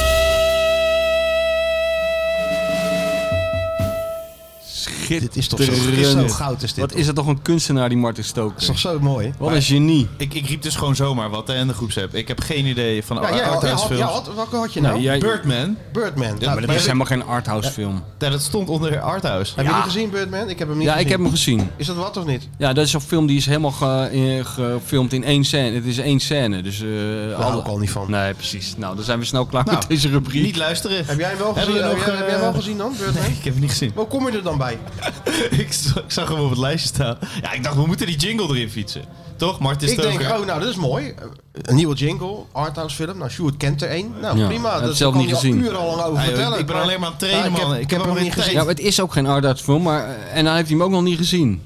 Dit is toch zo, dit is zo goud, is dit. Wat is het toch een kunstenaar, die Martin Stoker. is toch zo mooi? Wat een genie. Ik, ik riep dus gewoon zomaar wat hè, in de groepsapp. Ik heb geen idee van Ja, jij had, jij arthouse had, films. jij had, welke had je nou? Nee, jij- Birdman, Birdman. Nou, maar Maar heb dat is helemaal geen arthouse film. ja, dat stond onder arthouse. je hem gezien, Birdman? Ik heb hem niet Ja, gezien. ik heb hem gezien. Is dat wat of niet? Ja, dat is een film die is helemaal ge- eh, gefilmd in één scène. Het is één scène, dus... eh Daar hou ik al niet van. Nee, precies. Nou, dan zijn we snel klaar met deze rubriek. Niet luisteren. Heb jij hem wel gezien? Hebben we Heb, nog, jij, eh, heb jij hem wel gezien dan, Birdman? Nee, ik heb het niet gezien. Hoe kom je er dan bij? ik, z- ik zag hem op het lijstje staan. Ja, ik dacht, we moeten die jingle erin fietsen. Toch, Martin Ik Stoker? denk, oh, nou, dat is mooi. Een nieuwe jingle, arthouse film. Nou, Sjoerd kent er één. Nou, Ja, prima. ik heb Dat zelf kan niet je al gezien. urenlang over Ja, joh, vertellen. ik ben maar- alleen maar aan het trainen, Ja, ik man. heb- Ik heb hem alweer niet tijd. gezien. Ja, maar het is ook geen arthouse film, maar... eh, En dan heeft hij hem ook nog niet gezien.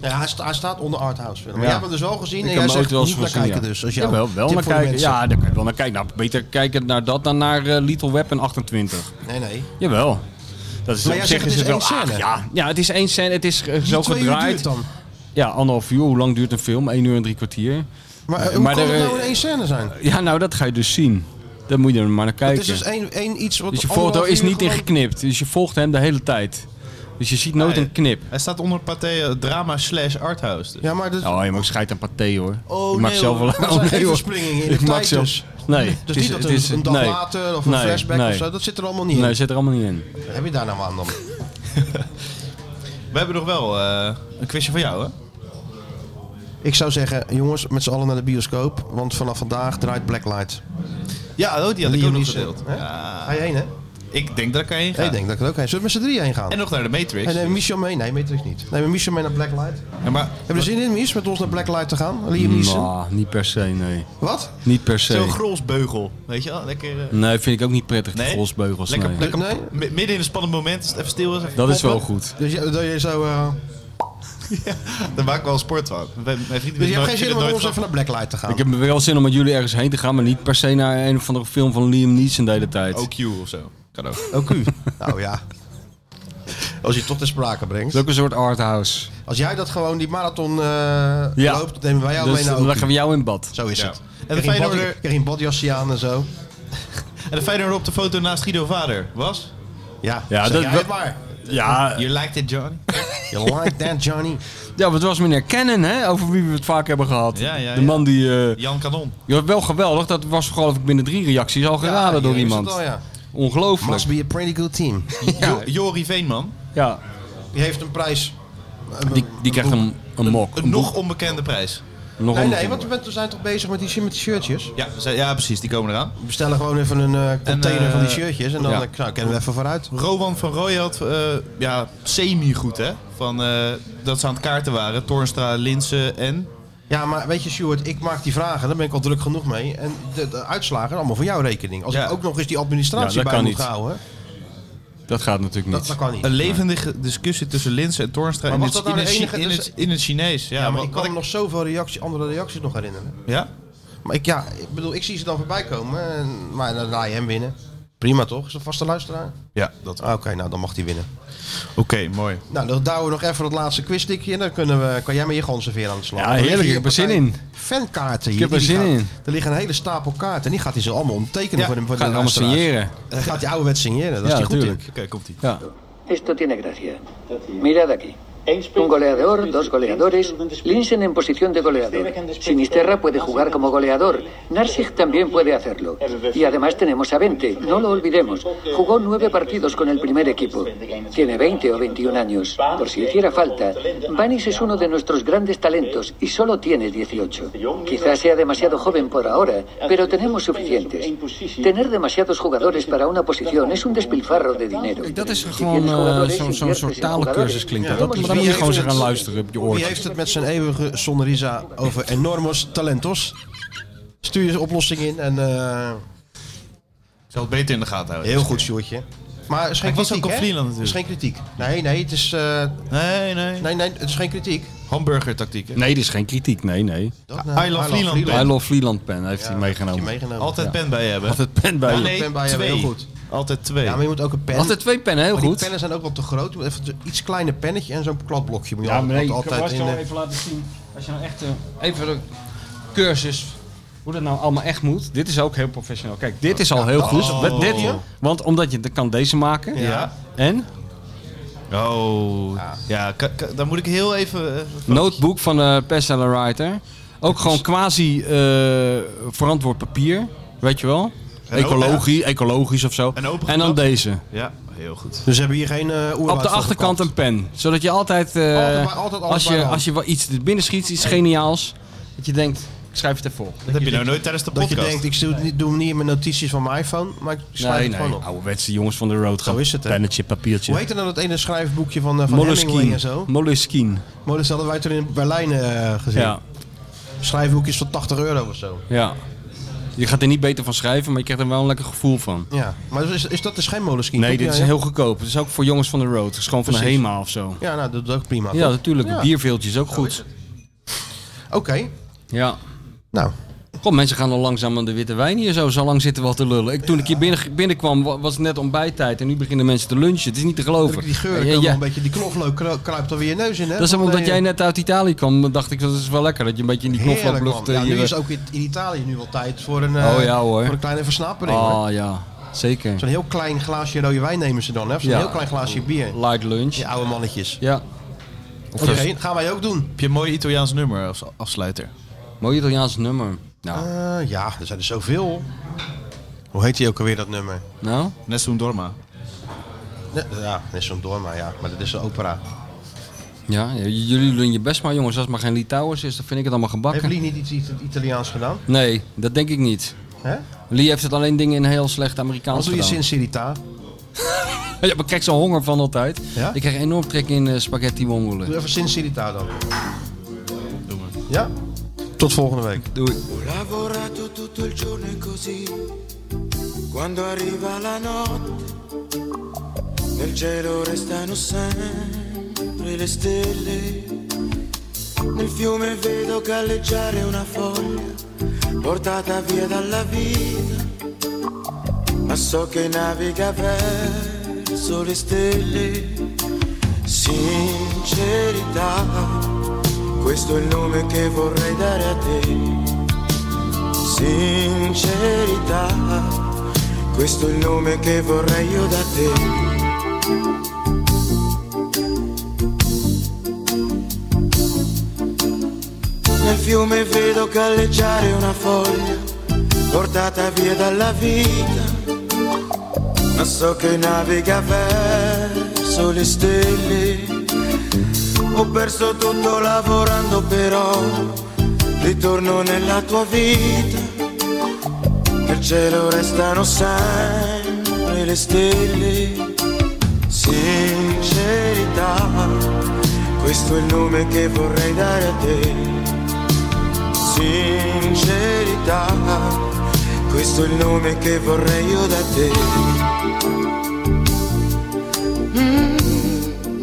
Ja, hij, sta- hij staat onder arthouse film. Maar Ja. jij hebt hem dus wel gezien en heb jij hem zegt ooit wel eens niet naar gezien, kijken ja. dus. Als jou, Jawel, wel naar kijken. Ja. Ja, daar kan je wel naar kijken. Nou, beter kijken naar dat dan naar eh, Little Weapon 28. Nee, nee. Jawel. Dat is Maar op jij zich dus zegt het is is het wel "Ah, één scène. ach, ja. ja, het is één scène. Het is eh, zo Die twee uur gedraaid. duurt dan. Ja, anderhalf uur. Hoe lang duurt een film? 1 uur en drie kwartier. Maar eh, hoe Maar kan er, het nou eh, in één scène zijn? Ja, nou, dat ga je dus zien. Daar moet je er maar naar Het kijken. is dus één, één iets wat dus je foto anderhalf is uur niet gewoon- ingeknipt. Dus je volgt hem de hele tijd. Dus je ziet nooit Nee. een knip. Hij staat onder pathé eh, drama slash arthouse. Dus. Ja, maar dat... Oh, je mag scheid aan paté hoor. Oh, ik maak nee, zelf wel hoor. Dat zijn nee, hoor. verspringingen in de Ik maak tijd zelf- dus. Nee. Dus het is- niet dat het een, is- een dag nee. later of een Nee, flashback nee. of zo. Dat zit er allemaal niet in. Nee, zit er allemaal niet in. Wat heb je daar nou aan dan? We hebben nog wel eh, een quizje van jou, hè? Ik zou zeggen, jongens, met z'n allen naar de bioscoop. Want vanaf vandaag draait Blacklight. Ja, oh, die had ik ook nog Dionisio. gedeeld. Hè? Ja, Ga je heen, hè? ik denk dat ik erheen ga. Ik denk dat ik er ook heen. Zullen we met z'n drieën heen gaan? En nog naar de Matrix. En neem Michel mee? Nee, Matrix niet. Neem Michel mee naar Blacklight. Hebben Ja, maar we er zin in, Mies, met ons naar Blacklight te gaan? Liam Neeson? Nou, niet per se, nee. Wat? Niet per se. zo'n grolsbeugel, weet je wel? Lekker... eh, Nee, vind ik ook niet prettig, die Nee? golfsbeugels. Lekker, nee. lekker Nee. m- midden in een spannend moment, als het even stil is, even Dat is wel poppen. goed. Dus je, dat je zo... eh, Daar maak ik wel sport van. Mijn- Mijn vrienden Dus je hebt geen nooit- zin vinden om met nooit ons van- even naar Blacklight te gaan? Ik heb wel zin om met jullie ergens heen te gaan, maar niet per se naar een of andere film van Liam Neeson de hele tijd. OQ of zo. Kan ook. Ook u? nou ja. Als je het toch ter sprake Het brengt. is ook een soort arthouse. Als jij dat gewoon, die marathon eh, Ja. loopt, dan nemen wij jou Dus mee naar dan Oku. leggen we jou in bad. Zo is Ja. het. En En de de Feyenoorder- Feyenoordje een badjasje aan en zo. En de Feyenoorder op de foto naast Guido vader was... Ja, Ja, zeg dat- jij het maar. Ja, Eh. You liked it, Johnny? You like that, Johnny? ja maar het was meneer Cannon, hè, over wie we het vaak hebben gehad. Ja, ja, de ja. man die... eh, Jan Kanon. ja, wel geweldig, dat was geloof ik binnen drie reacties al geraden Ja, door hier is iemand. het al, ja. Ongelooflijk. Must be a pretty good team. Jo- Jori Veenman. Ja, Die heeft een prijs. die, die krijgt een, een mok. Een nog onbekende prijs. nog Nee, een nee, want we bent- we zijn toch bezig met die, shir- met die shirtjes? Ja, ze- ja, precies. Die komen eraan. We bestellen gewoon even een eh, container eh, van die shirtjes en dan ja. eh, nou, kunnen we even vooruit. Rowan van Rooij had eh, ja, semi-goed, hè? Van, eh, dat ze aan het kaarten waren. Toornstra, Linsen en... Ja, maar weet je, Stuart, ik maak die vragen, daar ben ik al druk genoeg mee. En de, de uitslagen allemaal voor jouw rekening. Als Ja. ik ook nog eens die administratie Ja, bij dat kan moet niet. houden, Dat gaat natuurlijk niet. dat, dat kan niet. Een levendige discussie tussen Linse en Toornstra Maar in, was het, dat nou in het de Chi- enige- in, het, in het Chinees. Ja, ja, maar wat- ik kan wat me nog zoveel reactie, andere reacties nog herinneren. ja? Maar ik, ja, ik bedoel, ik zie ze dan voorbij komen. En, maar dan laat je hem winnen. Prima toch? Is een vaste luisteraar? ja, dat. Ah, Oké, nou dan mag hij winnen. Oké, mooi. Nou, dan douwen we nog even dat laatste quizstukje. En dan kunnen we, kan jij met je ganzenveer aan de slag. Ja, Er liggen heerlijk, hier ik heb er partij zin in. Fankaarten hier. heb er die zin gaan- in. Er liggen een hele stapel kaarten. En die gaat hij zo allemaal omtekenen voor de, voor de Gaan allemaal luisteraars. signeren. Dan gaat hij ouderwets signeren. Dat Ja, is die goed natuurlijk. in. Oké, komt ie. Ja. Esto tiene gracia. Mirad aquí. Un goleador, dos goleadores, Linsen en posición de goleador. Sinisterra puede jugar como goleador. Narsic también puede hacerlo. Y además tenemos a 20, no lo olvidemos. Jugó nueve partidos con el primer equipo. Tiene 20 o 21 años, por si hiciera falta. Vanis es uno de nuestros grandes talentos y solo tiene 18. Quizás sea demasiado joven por ahora, pero tenemos suficientes. Tener demasiados jugadores para una posición es un despilfarro de dinero. Kijk, dat is Si gewoon tienes eh, zo'n jugadores, zo'n inviertes soort en jugadores. talencursus klinkt dat. Ja, dat. Maar dat dan is- moet je gewoon wie ze gaan heeft- luisteren op je Wie oortjes. heeft het met zijn eeuwige sonrisa over enormos talentos? Stuur je oplossing in en eh, Ik zal het beter in de gaten houden. Dus- heel goed, Sjoerdje. Maar het is geen Ik was kritiek, ook op hè? Vlieland Het is geen kritiek. Nee, nee, het is, eh, Nee, nee. nee, nee, het is geen kritiek. Hamburger tactieken. Nee, dit er is geen kritiek. Nee, nee. Dat, I eh, love Vlieland, I love Vlieland pen heeft hij Heb je meegenomen. meegenomen. Altijd ja. pen bij je hebben. Altijd pen bij Ah, je. nee, pen bij je twee. hebben, heel goed. Altijd twee. Ja, maar je moet ook een pen. Altijd twee pennen, heel maar die goed. pennen zijn ook wel te groot. Je moet Even een iets kleiner pennetje en zo'n kladblokje. Moet je al- altijd in eh, de- even laten zien. Als je nou echt even een cursus. Hoe dat nou allemaal echt moet. Dit is ook heel professioneel. Kijk, dit is al heel goed. Met dit, ja. want omdat je dan kan deze maken. Ja. En Oh. Ja, ka- ka- dan moet ik heel even... eh, notebook van de bestseller writer. Ook gewoon quasi eh, verantwoord papier. Weet je wel? En ook, Ecologie, ecologisch of zo. En open En dan geklapt. deze. ja, heel goed. Dus ze hebben hier geen eh oerwoud Op de voor achterkant gekapt. een pen. Zodat je altijd, eh, Altijd bij- altijd alles als, bij de je, hand. als je wel iets er binnen schiet, iets geniaals. Dat je denkt, ik schrijf het even op. Dat heb je nou nooit tijdens de Dat podcast. je denkt, ik doe, het niet- doe hem niet in mijn notities van mijn iPhone, maar ik schrijf Nee, het nee. gewoon op. Ouderwetse jongens van de road. Zo is het, hè. Pennetje, papiertje. Hoe heette nou dat ene schrijfboekje van, eh, van Hemingway Moleskine. en zo? Moleskine. Maar dat hadden wij toen in Berlijn eh, gezien. Ja, Schrijfboekjes van 80 euro of zo. ja. Je gaat er niet beter van schrijven, maar je krijgt er wel een lekker gevoel van. Ja, maar is, is dat dus geen Moleskine? Nee, toch? Ja, dit is ja. heel goedkoop. Het is ook voor jongens van de road. Het is gewoon van de Precies. HEMA of zo. Ja, nou, dat is ook prima. Ja, toch? natuurlijk. Ja. Bierveeltje is ook goed. Oké, Ja. nou. Kom, mensen gaan al langzaam aan de witte wijn hier zo. Zo lang zitten we al te lullen. Ik, toen ik hier binnen, binnenkwam wa- was het net ontbijttijd en nu beginnen mensen te lunchen. Het is niet te geloven. Die geur, Ja, ja, komt wel ja. een beetje, die knoflook kru- kruipt alweer je neus in, hè? Dat is Want, omdat eh, jij net uit Italië kwam. dacht ik, dat is wel lekker dat je een beetje in die Heerlijk, knoflooklucht... man. eh, Ja, nu hier- is ook in in Italië nu wel tijd voor een, eh, Oh, ja, hoor. Voor een kleine versnapering. hoor. Ah ja, zeker. Zo'n heel klein glaasje rode wijn nemen ze dan, hè? Zo'n Ja. heel klein glaasje bier. Light lunch. Die Ja. oude mannetjes. Oké, gaan wij ook doen. Heb je een mooi Italiaans nummer als afsluiter? Mooi Italiaans nummer. Nou, Eh, ja, er zijn er zoveel. Hoe heet die ook alweer, dat nummer? nou? Nessun Dorma. Ne- ja, net zo'n Dorma, ja. Maar dat is een opera. Ja, j- jullie doen je best maar jongens. Als het maar geen Litouwers is, dan vind ik het allemaal Hebben gebakken. jullie niet iets Ita- Italiaans gedaan? Nee, dat denk ik niet. Hè? Lee heeft het alleen dingen in heel slecht Amerikaans Wat doe je gedaan. sincerita? Ja, maar ik krijg zo'n honger van altijd. Ja? Ik krijg enorm trek in eh, spaghetti Doe mongolen. even sincerita dan. Ja? Tot volgende week. Doei. Ho lavorato tutto il giorno e così, quando arriva la notte, nel cielo restano sempre le stelle. Nel fiume vedo galleggiare una foglia, portata via dalla vita, ma so che naviga verso le stelle. Sincerità, questo è il nome che vorrei dare a te. Sincerità, questo è il nome che vorrei io da te. Nel fiume vedo galleggiare una foglia, portata via dalla vita, ma so che naviga verso le stelle. Ho perso tutto lavorando però ritorno nella tua vita, nel cielo restano sempre le stelle. Sincerità, questo è il nome che vorrei dare a te. sincerità. Questo è il nome che vorrei io da te. Mm,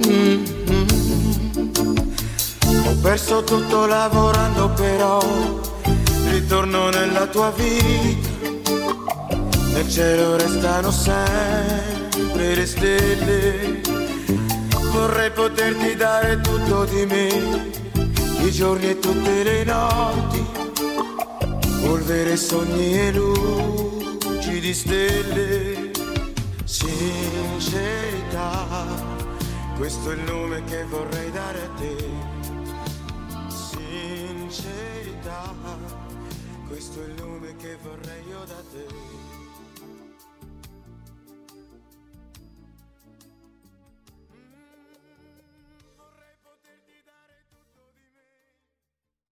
mm, mm. Ho perso tutto lavorando però, ritorno nella tua vita. Nel cielo restano sempre le stelle. Vorrei poterti dare tutto di me, i giorni e tutte le notti, polvere, sogni e luci di stelle, sincerità, questo è il nome che vorrei dare a te, sincerità, questo è il nome che vorrei io.